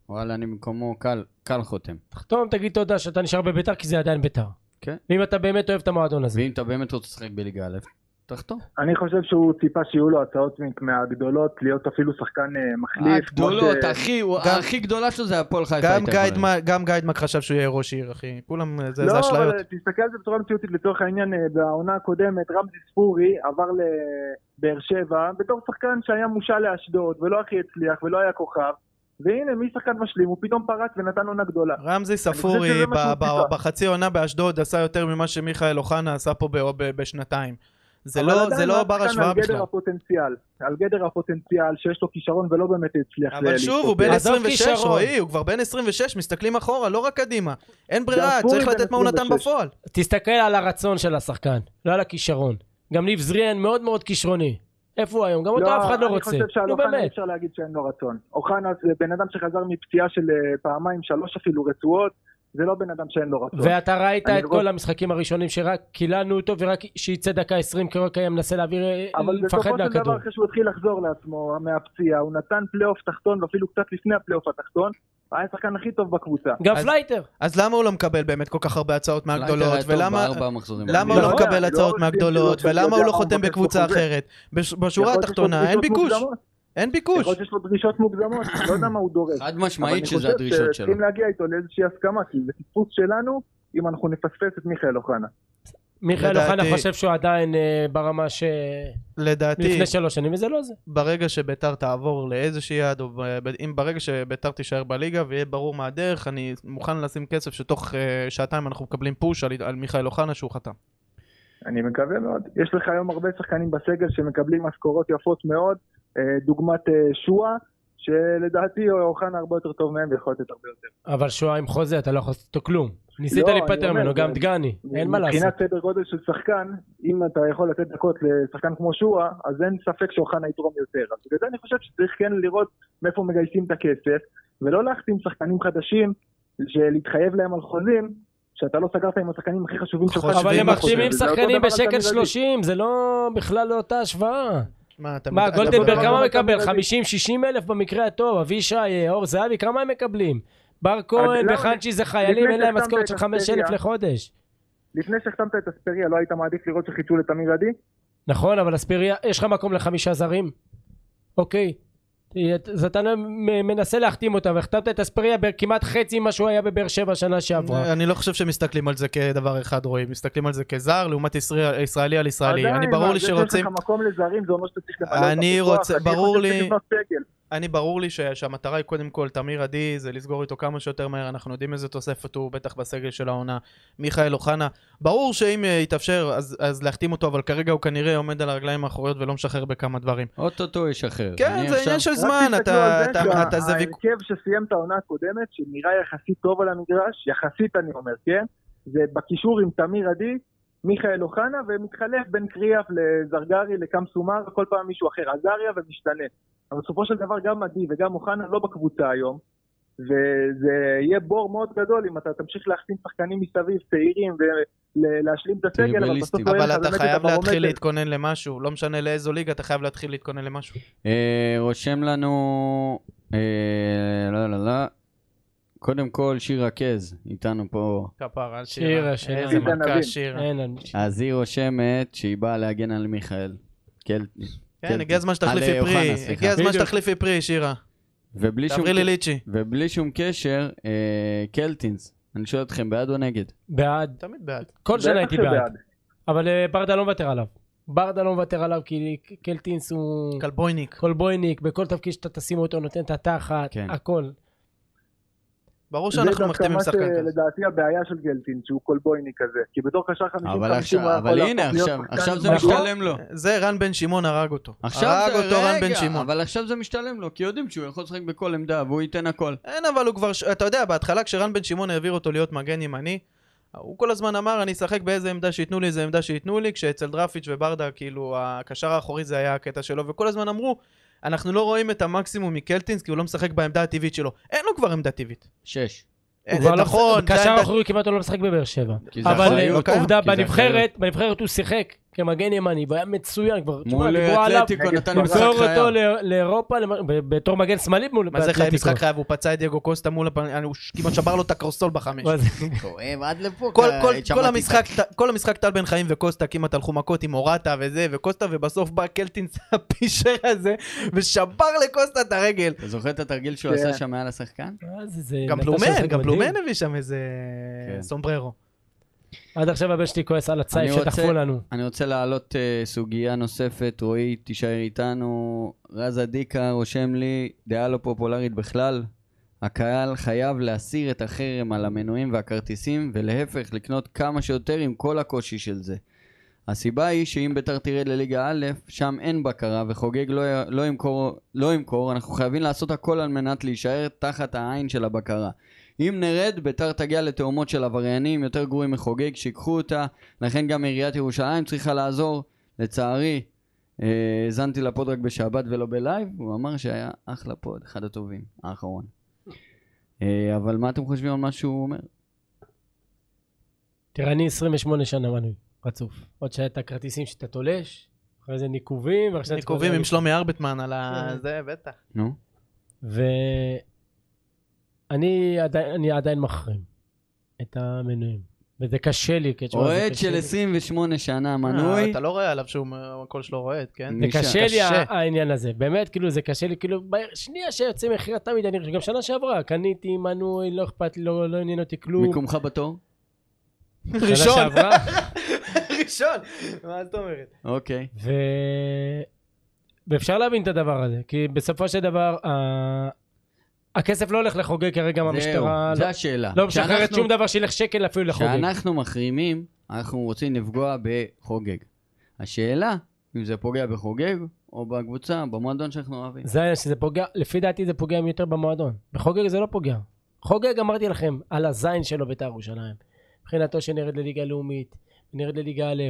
Speaker 2: וואלה, אני במקומו קל, קל חותם.
Speaker 4: תחתום, תגיד תודה שאתה נשאר בביתר, כי זה עדיין ביתר.
Speaker 2: כן.
Speaker 4: ואם אתה באמת אוהב את המועדון הזה.
Speaker 2: ואם אתה באמת רוצה לשחק בליגה א', תחתום.
Speaker 5: אני חושב שהוא ציפה שיהיו לו הצעות מה- מהגדולות, להיות אפילו שחקן אה, מחליף. כמו
Speaker 2: הגדולות,
Speaker 5: ש-
Speaker 2: אחי, הוא-
Speaker 3: גם-
Speaker 2: הכי גדולה שלו זה הפועל חיפה.
Speaker 3: גם
Speaker 2: הייתה יכולה
Speaker 3: גיידמק- גם גיידמק חשב שהוא יהיה ראש עיר, אחי. כולם, אה, זה זה
Speaker 5: לא,
Speaker 3: אשליות.
Speaker 5: אבל תסתכל על זה בצורה מציאותית, לצורך העניין, אה, בעונה הקודמת, רמזי ספורי עבר לבאר שבע, בתור שחקן שהיה מושל לאשדוד, ולא הכי הצליח, ולא היה כוכב, והנה, משחקן משלים, הוא פתאום פרץ ונתן עונה גדולה.
Speaker 3: רמזי
Speaker 5: חושב
Speaker 3: ספורי
Speaker 5: שזה לא מה שהוא
Speaker 3: ב- ב-
Speaker 5: ציפה.
Speaker 3: בחצי עונה באשדוד עשה יותר ממה שמיכאל אוחנה עשה פה ב- ב- בשנתיים. זה
Speaker 5: אבל
Speaker 3: לא-
Speaker 5: עדיין
Speaker 3: זה
Speaker 5: הוא
Speaker 3: לא
Speaker 5: היה
Speaker 3: בר
Speaker 5: שחקן
Speaker 3: השוואה
Speaker 5: על גדר
Speaker 3: בכלל.
Speaker 5: הפוטנציאל, על גדר הפוטנציאל, שיש לו כישרון ולא באמת הצליח.
Speaker 3: אבל
Speaker 5: ל-
Speaker 3: שוב, הוא
Speaker 5: להתפוצץ.
Speaker 3: בן
Speaker 4: עזוב
Speaker 3: 26,
Speaker 4: כישרון.
Speaker 3: רועי, הוא כבר בן 26, מסתכלים אחורה, לא רק קדימה. אין ברירה,
Speaker 5: ספורי
Speaker 3: צריך
Speaker 5: בן
Speaker 3: לתת מה הוא נתן
Speaker 5: 26.
Speaker 3: בפועל.
Speaker 4: תסתכל על הרצון של השחקן, לא על הכישרון. גם ניב זריאן מאוד מאוד כישרוני. איפה הוא היום? גם אותו אף אחד לא רוצה.
Speaker 5: אני חושב שעל
Speaker 4: נו
Speaker 5: אוחנה אי
Speaker 4: באמת.
Speaker 5: אפשר להגיד שאין לו רצון. אוחנה זה בן אדם שחזר מפציעה של אה, פעמיים, שלוש אפילו רצועות, זה לא בן אדם שאין לו רצון.
Speaker 4: ואתה ראית
Speaker 5: אני
Speaker 4: את
Speaker 5: לא-
Speaker 4: כל המשחקים הראשונים שרק קיללנו אותו ורק שיצא דקה 20 קרקע היה מנסה להעביר,
Speaker 5: אבל
Speaker 4: לפחד
Speaker 5: בסופו של
Speaker 4: מהכדור.
Speaker 5: דבר אחרי שהוא התחיל לחזור לעצמו מהפציעה, הוא נתן פלייאוף תחתון ואפילו קצת לפני הפלייאוף התחתון, היה השחקן הכי טוב בקבוצה.
Speaker 4: גם
Speaker 3: אז-
Speaker 4: פלייטר.
Speaker 3: אז למה הוא לא מקבל באמת כל כך הרבה הצעות מהגדולות,
Speaker 2: לייטר היה טוב
Speaker 3: ולמה...
Speaker 2: בארבע נכון. המחזורים.
Speaker 3: למה הוא
Speaker 2: בליגה.
Speaker 3: לא
Speaker 5: לא,
Speaker 3: מקבל
Speaker 5: לא
Speaker 3: הצעות
Speaker 5: רוצים
Speaker 3: מהגדולות,
Speaker 5: שהוא לא-
Speaker 3: ולמה הוא לא
Speaker 5: שהוא
Speaker 3: חותם
Speaker 5: יודע מה הוא
Speaker 3: בקבוצה
Speaker 5: מבקש בחוזה.
Speaker 3: אחרת? בש- בשורה
Speaker 5: יכול להיות שיש לו
Speaker 3: התחתונה אין
Speaker 5: דרישות
Speaker 3: ביקוש,
Speaker 5: מוקדמות,
Speaker 3: אין
Speaker 5: יכול
Speaker 3: ביקוש.
Speaker 5: להיות שיש לו דרישות מוקדמות, לא יודע מה הוא דורש.
Speaker 2: חד
Speaker 5: אבל אני
Speaker 2: משמעית שזה
Speaker 5: חושב
Speaker 2: הדרישות שלו.
Speaker 5: שצריכים להגיע איתו לאיזושהי הסכמה, כי זה טיפוס שלנו אם אנחנו נפספס את מיכאל אוחנה.
Speaker 4: מיכאל
Speaker 3: לדעתי-
Speaker 4: אוחנה חושב שהוא עדיין אה, ברמה שלפני
Speaker 3: לדעתי,
Speaker 4: שלוש שנים וזה לא זה.
Speaker 3: ברגע שביתר תעבור לאיזושהי יד, או ב- ב- אם ברגע שביתר תישאר בליגה ויהיה ברור מה הדרך, אני מוכן לשים כסף שתוך אה, שעתיים אנחנו מקבלים פוש על על מיכאל אוחנה שהוא חתם.
Speaker 5: אני מקווה מאוד. יש לך היום הרבה שחקנים בסגל שמקבלים משכורות יפות מאוד, אה, דוגמת אה, שואה, שלדעתי אוחנה הרבה יותר טוב מהם ויכול לתת הרבה יותר.
Speaker 4: אבל שואה עם חוזה אתה לא יכול לעשות איתו כלום. ניסית
Speaker 5: לא, אני
Speaker 4: להיפטר
Speaker 5: אומר,
Speaker 4: ממנו,
Speaker 5: זה-
Speaker 4: גם דגני, אין מה לעשות.
Speaker 5: מבחינת סדר גודל של שחקן, אם אתה יכול לתת דקות לשחקן כמו שואה, אז אין ספק שאוחנה יתרום יותר. אז בגלל זה אני חושב שצריך כן לראות מאיפה מגייסים את הכסף, ולא להחתים שחקנים חדשים, שלהתחייב להם על חוזים, שאתה לא סגרת עם השחקנים הכי חשובים שלך.
Speaker 3: חושבים
Speaker 4: אבל
Speaker 5: שזה
Speaker 4: הם
Speaker 5: מה
Speaker 4: מחתימים
Speaker 5: שזה. זה אותו
Speaker 4: שחקנים
Speaker 5: דבר על
Speaker 4: בשקל
Speaker 5: תמיר עדי.
Speaker 4: 30, זה לא בכלל לא אותה השוואה.
Speaker 3: מה, אתה-
Speaker 4: מה,
Speaker 3: אתה-
Speaker 4: גולדנברג
Speaker 5: אתה-
Speaker 4: כמה
Speaker 5: אתה-
Speaker 4: מקבל?
Speaker 5: אתה-
Speaker 4: 50-60 אלף במקרה הטוב, אבישי, אה, אור זהבי, כמה הם מקבלים?
Speaker 5: לא,
Speaker 4: בר כהן
Speaker 5: למה-
Speaker 4: וחנצ'י זה חיילים,
Speaker 5: לפני
Speaker 4: אין להם
Speaker 5: שהחתמת
Speaker 4: משכורת
Speaker 5: את
Speaker 4: של 5 אלף
Speaker 5: אספריה-
Speaker 4: לחודש.
Speaker 5: לפני שהחתמת את אספריה, לא היית מעדיף לראות שחידשו לתמיר עדי?
Speaker 4: נכון, אבל אספיריה, יש לך מקום לחמישה זרים? אוקיי. אז אתה מ- מנסה להחתים אותם, והחתמת את אספריה בכמעט חצי ממה שהוא היה בבאר שבע שנה שעברה.
Speaker 3: אני לא חושב שמסתכלים על זה כדבר אחד, רועי. מסתכלים על זה כזר לעומת ישראל- ישראלי על ישראלי. אני
Speaker 5: עדיין,
Speaker 3: ברור
Speaker 5: מה,
Speaker 3: לי
Speaker 5: זה
Speaker 3: שרוצים...
Speaker 5: שיש לך מקום לזרים, זה אומר שאתה צריך למלא את
Speaker 3: אני
Speaker 5: הפיתוח,
Speaker 3: רוצה-
Speaker 5: אני
Speaker 3: ברור
Speaker 5: חושב
Speaker 3: לי-
Speaker 5: שצריך לבנות סגל.
Speaker 3: אני ברור לי ש- שהמטרה היא קודם כל תמיר עדי זה לסגור איתו כמה שיותר מהר אנחנו יודעים איזה תוספת הוא בטח בסגל של העונה מיכאל אוחנה ברור שאם אה, יתאפשר אז, אז להחתים אותו אבל כרגע הוא כנראה עומד על הרגליים האחוריות ולא משחרר בכמה דברים
Speaker 2: אוטוטו ישחרר.
Speaker 3: כן
Speaker 2: אני
Speaker 3: זה
Speaker 2: עכשיו-
Speaker 3: עניין של
Speaker 5: רק
Speaker 3: זמן
Speaker 5: תסתכלו
Speaker 3: אתה,
Speaker 5: על
Speaker 3: אתה,
Speaker 5: זה
Speaker 3: אתה,
Speaker 5: שה-
Speaker 3: אתה זה ויכוח
Speaker 5: ההרכב שסיים את העונה הקודמת, שנראה יחסית טוב על המגרש, יחסית אני אומר, כן? זה בקישור עם תמיר עדי, מיכאל אוחנה, ומתחלף בין קריאף לזרגרי, לקמסומר, כל פעם מישהו אחר, עזריה ומשתנה. אבל בסופו של דבר גם עדי וגם אוחנה לא בקבוצה היום, וזה יהיה בור מאוד גדול אם אתה תמשיך להחתים שחקנים מסביב, צעירים, ולהשלים את הסגל, אבל בסוף
Speaker 2: טריבליסטים.
Speaker 5: לא יהיה לך
Speaker 3: אבל אתה
Speaker 5: באמת את
Speaker 3: חייב להתחיל
Speaker 5: הברומטר.
Speaker 3: להתכונן למשהו לא משנה לאיזו ליגה אתה חייב להתחיל להתכונן למשהו
Speaker 2: אה, רושם לנו... אה, לא, לא, לא. קודם כל, שיר רקז איתנו פה.
Speaker 3: כפר על שירה
Speaker 4: שירה, שירה. אה,
Speaker 3: איזה
Speaker 5: איתן
Speaker 3: מכה
Speaker 5: אבין.
Speaker 3: שירה
Speaker 4: אין, אני-
Speaker 2: אז היא רושמת שהיא באה להגן על מיכאל. קל-
Speaker 3: כן הגיע הזמן
Speaker 2: על, אה,
Speaker 3: שתחליפי
Speaker 2: אוחנה,
Speaker 3: פרי
Speaker 2: סליחה.
Speaker 3: הגיע הזמן
Speaker 4: בדיוק.
Speaker 3: שתחליפי פרי שירה
Speaker 2: ובלי שום,
Speaker 3: תעברי לי ליצ'י
Speaker 2: ובלי שום קשר, אה, קלטינס, אני שואל אתכם, בעד או נגד?
Speaker 4: בעד.
Speaker 3: תמיד בעד
Speaker 4: כל שנה
Speaker 5: בטח
Speaker 4: הייתי
Speaker 5: שבעד.
Speaker 4: בעד. אבל אה, ברדה לא מוותר עליו. ברדה לא מוותר עליו כי קלטינס הוא
Speaker 3: כלבויניק
Speaker 4: קולבויניק, בכל תפקיד שאתה תשים אותו הוא נותן את התחת,
Speaker 2: כן.
Speaker 4: הכל.
Speaker 3: ברור שאנחנו מחתימים שחקן
Speaker 5: זה דווקא
Speaker 3: כזה
Speaker 5: מה שלדעתי הבעיה של גלטין, שהוא קולבויני כזה. כי בתור קשר 50-50 הוא
Speaker 2: אבל עכשיו,
Speaker 5: יכול
Speaker 2: אבל הנה,
Speaker 5: להפוך להיות
Speaker 2: עכשיו,
Speaker 5: שחקן
Speaker 2: עכשיו זה
Speaker 5: מדהים.
Speaker 2: משתלם לו.
Speaker 3: אה, זה רן בן שמעון הרג אותו.
Speaker 2: לא. עכשיו
Speaker 3: הרג
Speaker 2: זה,
Speaker 3: אותו רן בן
Speaker 2: רגע,
Speaker 3: שמעון.
Speaker 2: אבל עכשיו זה משתלם לו, כי יודעים שהוא יכול לשחק בכל עמדה והוא ייתן הכל.
Speaker 3: אין, אבל הוא כבר, ש- אתה יודע, בהתחלה כשרן בן שמעון העביר אותו להיות מגן ימני, הוא כל הזמן אמר, אני אשחק באיזה עמדה שייתנו לי, איזה עמדה שייתנו לי, כשאצל דרפיץ' וברדה, כאילו, הקשר האחורי זה היה הקטע שלו, וכל הזמן אמרו, אנחנו לא רואים את המקסימום מקלטינס, כי הוא לא משחק בעמדה הטבעית שלו. אין לו כבר עמדה טבעית.
Speaker 2: שש.
Speaker 3: אה,
Speaker 4: הוא כבר לא-
Speaker 3: נכון, זה
Speaker 4: קשר
Speaker 3: העמדה-
Speaker 4: אחורי כמעט הוא לא משחק בבאר שבע.
Speaker 2: כי זה נכון,
Speaker 4: אבל
Speaker 2: אחריות,
Speaker 4: אה, עובדה,
Speaker 2: אוקיי. כי זה אחריות.
Speaker 4: בנבחרת, בנבחרת הוא שיחק כמגן ימני, והיה מצוין כבר. תשמע,
Speaker 2: מול אה,
Speaker 4: דיברו עליו,
Speaker 2: אתלטיקו נתן משחק
Speaker 4: למכור
Speaker 2: חייו.
Speaker 4: אותו לא- לאירופה למ- ב- בתור מגן שמאלי מול
Speaker 3: מה זה חייב
Speaker 4: באתלטיקו.
Speaker 3: משחק חייב? הוא פצע את דייגו קוסטה מול הפנים, הוא ש- כמעט שבר לו את הקרסול בחמש.
Speaker 4: מה זה-
Speaker 2: כואב אה, עד לפה.
Speaker 3: כל,
Speaker 2: כי
Speaker 3: כל,
Speaker 2: שמעתי
Speaker 3: כל, המשחק, כל המשחק טל בן חיים וקוסטה כמעט הלכו מכות עם אורטה וזה וקוסטה ובסוף בא קלטינס הפישר *laughs* הזה ושבר לקוסטה את הרגל.
Speaker 2: אתה זוכר את התרגיל שהוא
Speaker 5: כן.
Speaker 2: עשה שם מעל השחקן?
Speaker 4: מה זה, זה
Speaker 3: גם
Speaker 4: אה, נתן
Speaker 3: בלומן,
Speaker 4: שם
Speaker 3: גם
Speaker 4: מדהים.
Speaker 3: בלומן הביא שם איזה
Speaker 2: כן.
Speaker 3: סומבררו.
Speaker 4: עד עכשיו הבן שלי כועס על הצייף
Speaker 2: אני רוצה-
Speaker 4: שדחפו לנו.
Speaker 2: אני רוצה להעלות אה, סוגיה נוספת, רועי, תישאר איתנו. רז אדיקה רושם לי, דעה לא פופולרית בכלל. הקהל חייב להסיר את החרם על המנויים והכרטיסים, ולהפך, לקנות כמה שיותר עם כל הקושי של זה. הסיבה היא שאם ביתר תרד לליגה א', שם אין בקרה, וחוגג לא, י- לא, ימכור, לא ימכור, אנחנו חייבים לעשות הכל על מנת להישאר תחת העין של הבקרה. אם נרד, ביתר תגיע לתאומות של עבריינים יותר גרועים מחוגג, שיקחו אותה, לכן גם עיריית ירושלים צריכה לעזור. לצערי, אה, האזנתי לפוד רק בשבת ולא בלייב, הוא אמר שהיה אחלה פוד, אחד הטובים, האחרון. אה, אבל מה אתם חושבים על מה שהוא אומר?
Speaker 4: תראה, אני 28 שנה מנוי, רצוף. עוד שהיה את הכרטיסים שאתה תולש, אחרי זה ניקובים, ועכשיו... את כל
Speaker 3: ניקובים
Speaker 4: זה-
Speaker 3: עם שלומי ארבטמן על ה...
Speaker 4: כן.
Speaker 3: זה, בטח.
Speaker 2: נו.
Speaker 4: ואני עדיין, אני עדיין מחרים את המנויים. וזה קשה לי, כי תשמע, זה
Speaker 2: אוהד
Speaker 4: קשה
Speaker 2: של
Speaker 4: לי.
Speaker 2: 28 שנה
Speaker 3: אה,
Speaker 2: מנוי.
Speaker 3: אתה לא רואה עליו שהוא, הקול שלו רועד,
Speaker 2: *laughs*
Speaker 3: כן?
Speaker 2: נו.
Speaker 4: זה
Speaker 2: נישה,
Speaker 4: קשה לי
Speaker 3: קשה.
Speaker 4: ה- העניין הזה, באמת, כאילו זה קשה לי, כאילו, בשנייה שיוצא מכירה תמיד, אני חושב, גם שנה שעברה, קניתי מנוי, לא אכפת לי, לא לא עניין אותי כלום.
Speaker 2: מיקומך בתור?
Speaker 4: שנה שעברה,
Speaker 3: *laughs* ראשון. מה זאת אומרת?
Speaker 2: אוקיי.
Speaker 4: ו... ואפשר להבין את הדבר הזה, כי בסופו של דבר, ה- הכסף לא הולך לחוגג כרגע
Speaker 2: זהו,
Speaker 4: מהמשטרה,
Speaker 2: זו השאלה.
Speaker 4: לא משחררת
Speaker 2: כשאנחנו-
Speaker 4: שום דבר שילך שקל אפילו לחוגג.
Speaker 2: כשאנחנו מחרימים, אנחנו רוצים לפגוע בחוגג. השאלה, אם זה פוגע בחוגג, או בקבוצה, במועדון שאנחנו אוהבים.
Speaker 4: זה העניין שזה פוגע, לפי דעתי זה פוגע יותר במועדון. בחוגג זה לא פוגע. חוגג, אמרתי לכם, על הזין שלו בית"ר ירושלים. מבחינתו שנרד לליגה לאומית, נרד לליגה א',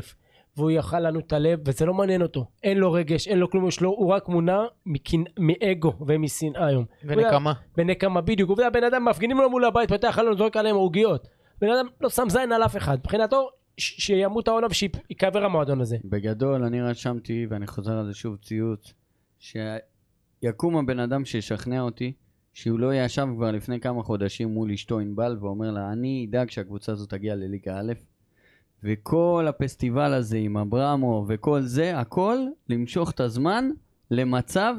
Speaker 4: והוא יאכל לנו את הלב, וזה לא מעניין אותו. אין לו רגש, אין לו כלום, יש לו, הוא רק מונע מכנ... מאגו ומשנאה היום.
Speaker 3: ונקמה.
Speaker 4: בנקמה בדיוק, עובדה הבן אדם מפגינים לו מול הבית, פותח חלון, זורק עליהם עוגיות. בן אדם לא שם זין על אף אחד, מבחינתו ש- שימות העולם שייקבר המועדון הזה.
Speaker 2: בגדול, אני רשמתי, ואני חוזר על זה שוב ציוץ, שיקום הבן אדם שישכנע אותי, שהוא לא ישב כבר לפני כמה חודשים מול אשתו ענבל, ואומר לה, אני אדאג שהקבוצה הזאת תגיע לליגה א', וכל הפסטיבל הזה עם אברמו וכל זה, הכל למשוך את הזמן למצב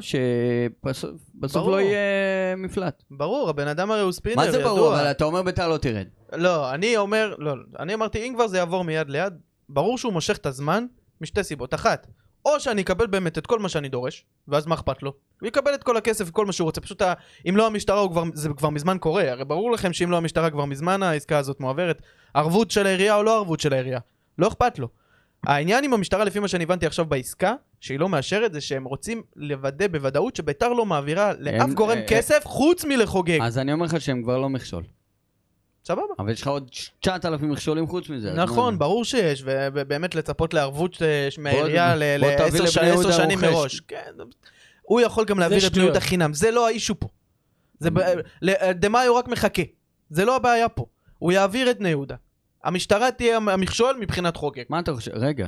Speaker 2: שבסוף בסוף
Speaker 3: ברור.
Speaker 2: לא יהיה מפלט.
Speaker 3: ברור, הבן אדם הרי הוא ספינר,
Speaker 2: מה זה
Speaker 3: ידוע.
Speaker 2: ברור? אבל אתה אומר ביתר לא תרד.
Speaker 3: לא, אני אומר, לא, אני אמרתי, אם כבר זה יעבור מיד ליד, ברור שהוא מושך את הזמן משתי סיבות. אחת, או שאני אקבל באמת את כל מה שאני דורש, ואז מה אכפת לו? הוא יקבל את כל הכסף וכל מה שהוא רוצה, פשוט ה... אם לא המשטרה, הוא כבר... זה כבר מזמן קורה, הרי ברור לכם שאם לא המשטרה כבר מזמן העסקה הזאת מועברת, ערבות של העירייה או לא ערבות של העירייה, לא אכפת לו. העניין עם המשטרה, לפי מה שאני הבנתי עכשיו בעסקה, שהיא לא מאשרת, זה שהם רוצים לוודא בוודאות שביתר לא מעבירה לאף
Speaker 2: הם-
Speaker 3: גורם
Speaker 2: אה, אה.
Speaker 3: כסף חוץ מלחוגג.
Speaker 2: אז אני אומר לך שהם כבר לא מכשול.
Speaker 3: סבבה.
Speaker 2: אבל יש לך עוד 9,000 מכשולים חוץ מזה. אז מה-
Speaker 3: נכון, ברור שיש, ובאמת לצפות לערבות אה, ש- מהעירייה ל-
Speaker 2: בוא תביא
Speaker 3: לעשר
Speaker 2: לבני
Speaker 3: שנים- עשר
Speaker 2: יהודה
Speaker 3: שנים
Speaker 2: רוכש.
Speaker 3: מראש. כן, הוא יכול גם להעביר את בני
Speaker 4: שטויות.
Speaker 3: יהודה חינם, זה לא האישו פה. זה ב- ל- דה מאי הוא רק מחכה, זה לא הבעיה פה. הוא יעביר את בני יהודה. המשטרה תהיה המ- המכשול מבחינת חוגג.
Speaker 2: מה אתה חושב? רגע.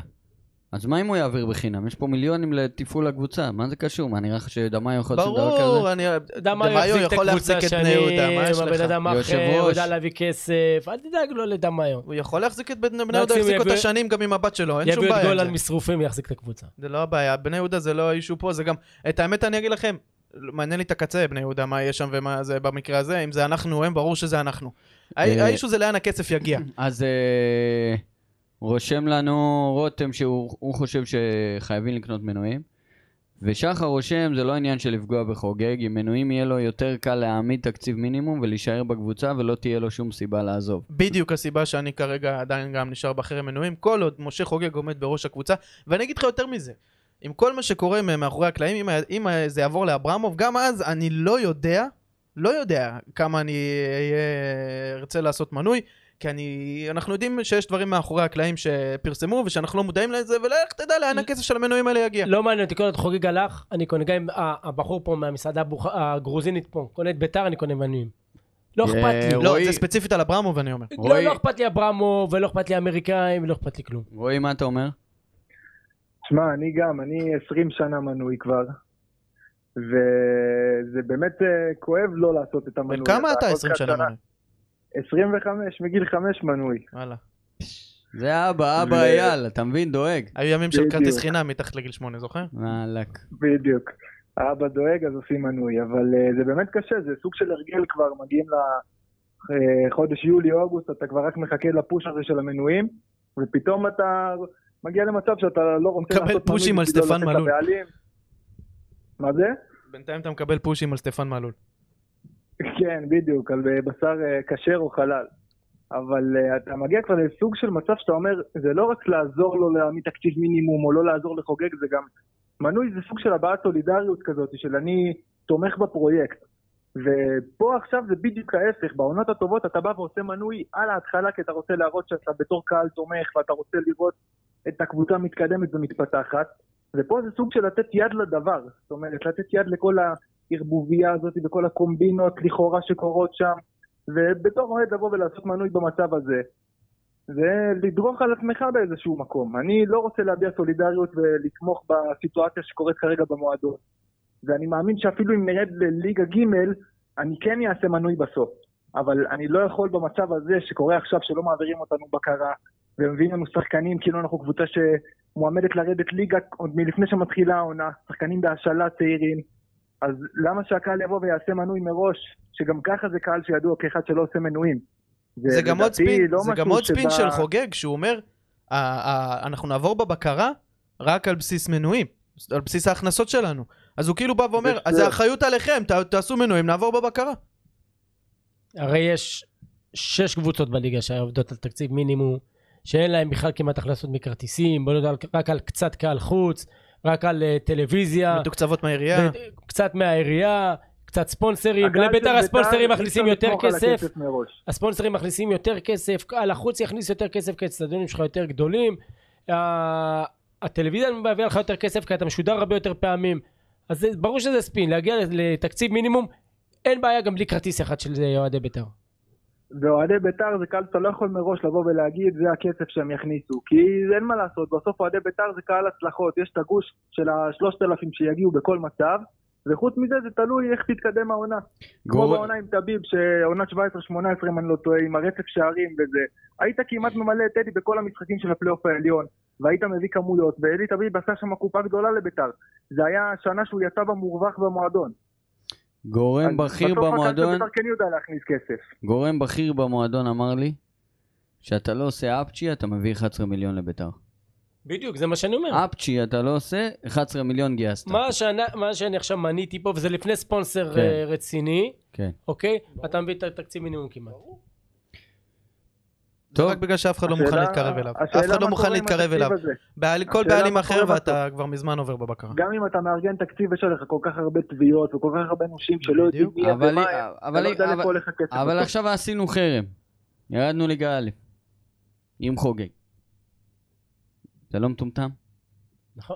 Speaker 2: אז מה אם הוא יעביר בחינם? יש פה מיליונים לתפעול הקבוצה, מה זה קשור? מה, נראה לך שדמאי יכול לעשות דבר כזה?
Speaker 3: ברור, אני... דה מאי
Speaker 4: דמאי
Speaker 3: הוא
Speaker 4: יחזיק את
Speaker 3: יכול
Speaker 4: הקבוצה
Speaker 3: להחזיק את בני יהודה, מה יש
Speaker 4: שנים, הבן
Speaker 3: לך?
Speaker 4: אדם אחר,
Speaker 2: יושב-ראש.
Speaker 4: הוא יודע להביא כסף, אל תדאג לו לדמאי.
Speaker 3: הוא יכול להחזיק את בני בני יהודה,
Speaker 4: מקסימום
Speaker 3: יחזיק אותה
Speaker 4: לא יביאו-
Speaker 3: שנים גם עם הבת שלו, אין שום
Speaker 4: יביאו את
Speaker 3: בעיה.
Speaker 4: גול
Speaker 3: עם
Speaker 4: על
Speaker 3: זה.
Speaker 4: משרופים ויחזיק את הקבוצה.
Speaker 3: זה לא הבעיה, בני יהודה זה לא האישו פה, זה גם... את האמת אני אגיד לכם, מעניין לי את הקצה, בני יהודה, מה יש שם ומה זה במקרה הזה, אם זה אנחנו או הם, ברור שזה אנחנו.
Speaker 2: אה,
Speaker 3: הא- האישו זה לאן הכסף יגיע.
Speaker 2: אז אה, רושם לנו רותם שהוא הוא חושב שחייבים לקנות מנויים. ושחר רושם, זה לא עניין של לפגוע בחוגג, עם מנויים יהיה לו יותר קל להעמיד תקציב מינימום ולהישאר בקבוצה ולא תהיה לו שום סיבה לעזוב.
Speaker 3: בדיוק הסיבה שאני כרגע עדיין גם נשאר בחרם מנויים, כל עוד משה חוגג עומד בראש הקבוצה, ואני אגיד לך יותר מזה, עם כל מה שקורה מ- מאחורי הקלעים, אם, ה- אם ה- זה יעבור לאברמוב, גם אז אני לא יודע, לא יודע כמה אני אהיה- ארצה לעשות מנוי, כי אני, אנחנו יודעים שיש דברים מאחורי הקלעים שפרסמו ושאנחנו לא מודעים לזה, ולך תדע לאן הכסף של המנויים האלה יגיע.
Speaker 4: לא מעניין אותי, כל עוד חוגג הלך, אני קונה, גם אם ה- הבחור פה מהמסעדה הבוכ- הגרוזינית פה, קונה את ביתר, אני קונה מנויים. לא אכפת לי.
Speaker 2: אה,
Speaker 3: לא,
Speaker 2: רועי-
Speaker 3: זה ספציפית על אברמוב אני אומר.
Speaker 4: לא,
Speaker 2: רועי-
Speaker 4: לא אכפת לי אברמו, ולא אכפת לי אמריקאים, ולא אכפת לי כלום.
Speaker 2: רועי, מה אתה אומר?
Speaker 5: שמע, אני גם, אני 20 שנה מנוי כבר, וזה באמת אה, כואב לא לעשות את המנוי.
Speaker 3: בן כמה אתה
Speaker 5: כל
Speaker 3: 20
Speaker 5: כך
Speaker 3: שנה מנוי?
Speaker 5: 25, מגיל 5 מנוי.
Speaker 3: וואלה.
Speaker 2: זה אבא, אבא
Speaker 5: ל-
Speaker 2: אייל, אתה מבין? דואג.
Speaker 3: היו ימים של
Speaker 5: בדיוק.
Speaker 3: כרטיס חינם מתחת לגיל 8, זוכר?
Speaker 2: וואלק.
Speaker 5: בדיוק. האבא דואג, אז עושים מנוי, אבל אה, זה באמת קשה, זה סוג של הרגל כבר, מגיעים אה, לחודש יולי-אוגוסט, אתה כבר רק מחכה לפוש הזה של המנויים, ופתאום אתה מגיע למצב שאתה לא רוצה
Speaker 3: מקבל
Speaker 5: לעשות מנוי.
Speaker 3: פושים על
Speaker 5: בשביל לא
Speaker 3: סטפן
Speaker 5: לתת
Speaker 3: מלול.
Speaker 5: לבעלים. מה זה?
Speaker 3: בינתיים אתה מקבל פושים על סטפן מלול.
Speaker 5: כן, בדיוק, על אה, בשר אה, כשר או חלל. אבל אה, אתה מגיע כבר לסוג של מצב שאתה אומר, זה לא רק לעזור לו להעמיד תקציב מינימום או לא לעזור לחוגג, זה גם... מנוי זה סוג של הבעת סולידריות כזאת, של אני תומך בפרויקט. ופה עכשיו זה בדיוק ההפך, בעונות הטובות אתה בא ועושה מנוי על ההתחלה כי אתה רוצה להראות שאתה בתור קהל תומך ואתה רוצה לראות את הקבוצה מתקדמת ומתפתחת ופה זה סוג של לתת יד לדבר, זאת אומרת לתת יד לכל הערבוביה הזאת וכל הקומבינות לכאורה שקורות שם ובתור אוהד לבוא ולעשות מנוי במצב הזה זה לדרוך על עצמך באיזשהו מקום. אני לא רוצה להביע סולידריות ולתמוך בסיטואציה שקורית כרגע במועדון. ואני מאמין שאפילו אם נרד לליגה ג', אני כן אעשה מנוי בסוף. אבל אני לא יכול במצב הזה שקורה עכשיו שלא מעבירים אותנו בקרה, ומביאים לנו שחקנים כאילו אנחנו קבוצה שמועמדת לרדת ליגה עוד מלפני שמתחילה העונה, שחקנים בהשאלה צעירים. אז למה שהקהל יבוא ויעשה מנוי מראש, שגם ככה זה קהל שידוע כאחד שלא עושה מנויים.
Speaker 3: זה גם עוד
Speaker 5: לדעתי
Speaker 3: ספין,
Speaker 5: לא
Speaker 3: זה גם
Speaker 5: משהו
Speaker 3: עוד ספין
Speaker 5: שבא-
Speaker 3: של חוגג, שהוא אומר, "ה- ה- אנחנו נעבור בבקרה רק על בסיס מנויים, על בסיס ההכנסות שלנו. אז הוא כאילו בא ואומר, אז זה
Speaker 5: בסדר.
Speaker 3: אחריות עליכם, ת- תעשו מנויים, נעבור בבקרה.
Speaker 4: הרי יש שש קבוצות בליגה שעובדות על תקציב מינימום, שאין להם בכלל כמעט הכנסות מכרטיסים, בונות על- רק על קצת קהל חוץ, רק על אה, טלוויזיה,
Speaker 3: מתוקצבות מהעירייה.
Speaker 4: ו- קצת מהעירייה, קצת ספונסרים,
Speaker 5: הקהל של
Speaker 4: לביתר
Speaker 5: בית"ר
Speaker 4: הספונסרים
Speaker 5: אי אפשר
Speaker 4: מכניסים יותר
Speaker 5: לסמוך על
Speaker 4: כסף,
Speaker 5: הכסף מראש.
Speaker 4: הספונסרים מכניסים יותר כסף, קהל החוץ יכניס יותר כסף כי האצטדיונים שלך יותר גדולים, ה- הטלוויזיה מביאה לך יותר כסף כי אתה משודר הרבה יותר פעמים, אז זה- ברור שזה ספין, להגיע לתקציב מינימום, אין בעיה גם בלי כרטיס אחד של אה, אוהדי בית"ר.
Speaker 5: ואוהדי בית"ר זה קהל שאתה לא יכול מראש לבוא ולהגיד זה הכסף שהם יכניסו כי אין מה לעשות בסוף אוהדי בית"ר זה קהל הצלחות יש את הגוש של השלושת אלפים שיגיעו בכל מצב וחוץ מזה זה תלוי איך תתקדם העונה כמו
Speaker 2: גור-
Speaker 5: בעונה עם טביב שעונת 17-18 אם אני לא טועה עם הרצף שערים וזה היית כמעט ממלא את טדי בכל המשחקים של הפלייאוף העליון והיית מביא כמויות ואלי טביב עשה שם קופה גדולה לבית"ר זה היה שנה שהוא יצא במורווח במועדון
Speaker 2: גורם
Speaker 5: אז
Speaker 2: כן, בכיר
Speaker 5: בסוף הקהל של
Speaker 2: במועדון,
Speaker 5: בית"ר כן יודע להכניס כסף
Speaker 2: גורם בכיר במועדון אמר לי, שאתה לא עושה אפצ'י, אתה מביא 11 מיליון לביתר.
Speaker 4: בדיוק, זה מה שאני אומר.
Speaker 3: אה.
Speaker 2: אפצ'י אתה לא עושה, 11 מיליון גייסת.
Speaker 4: מה שאני, מה שאני עכשיו מניתי פה, וזה לפני ספונסר
Speaker 2: כן.
Speaker 4: אה, רציני,
Speaker 2: כן.
Speaker 4: אוקיי? אתה מביא את התקציב מינימום כמעט.
Speaker 3: זה
Speaker 2: טוב.
Speaker 3: רק בגלל שאף אחד לא מוכן
Speaker 5: השאלה-
Speaker 3: להתקרב אליו. אף
Speaker 5: השאלה
Speaker 3: אחד לא
Speaker 5: מה קורה
Speaker 3: מוכן
Speaker 5: עם
Speaker 3: להתקרב
Speaker 5: התקציב
Speaker 3: אליו.
Speaker 5: הזה.
Speaker 3: בעל- כל
Speaker 5: השאלה
Speaker 3: בעלים
Speaker 5: מה
Speaker 3: אחר
Speaker 5: קורה
Speaker 3: ואתה כבר מזמן עובר בבקרה.
Speaker 5: גם אם אתה מארגן תקציב יש עליך כל כך הרבה תביעות וכל כך הרבה נושים שלא יודעים
Speaker 3: בדיוק.
Speaker 5: מי הם
Speaker 2: אבל,
Speaker 5: ומה הם. אתה
Speaker 2: אבל,
Speaker 5: לא יודע לאן
Speaker 2: אבל,
Speaker 5: הולך הכסף.
Speaker 2: אבל
Speaker 5: בסוף.
Speaker 2: עכשיו עשינו חרם. ירדנו ליגה א', עם חוגג. זה לא מטומטם?
Speaker 4: נכון.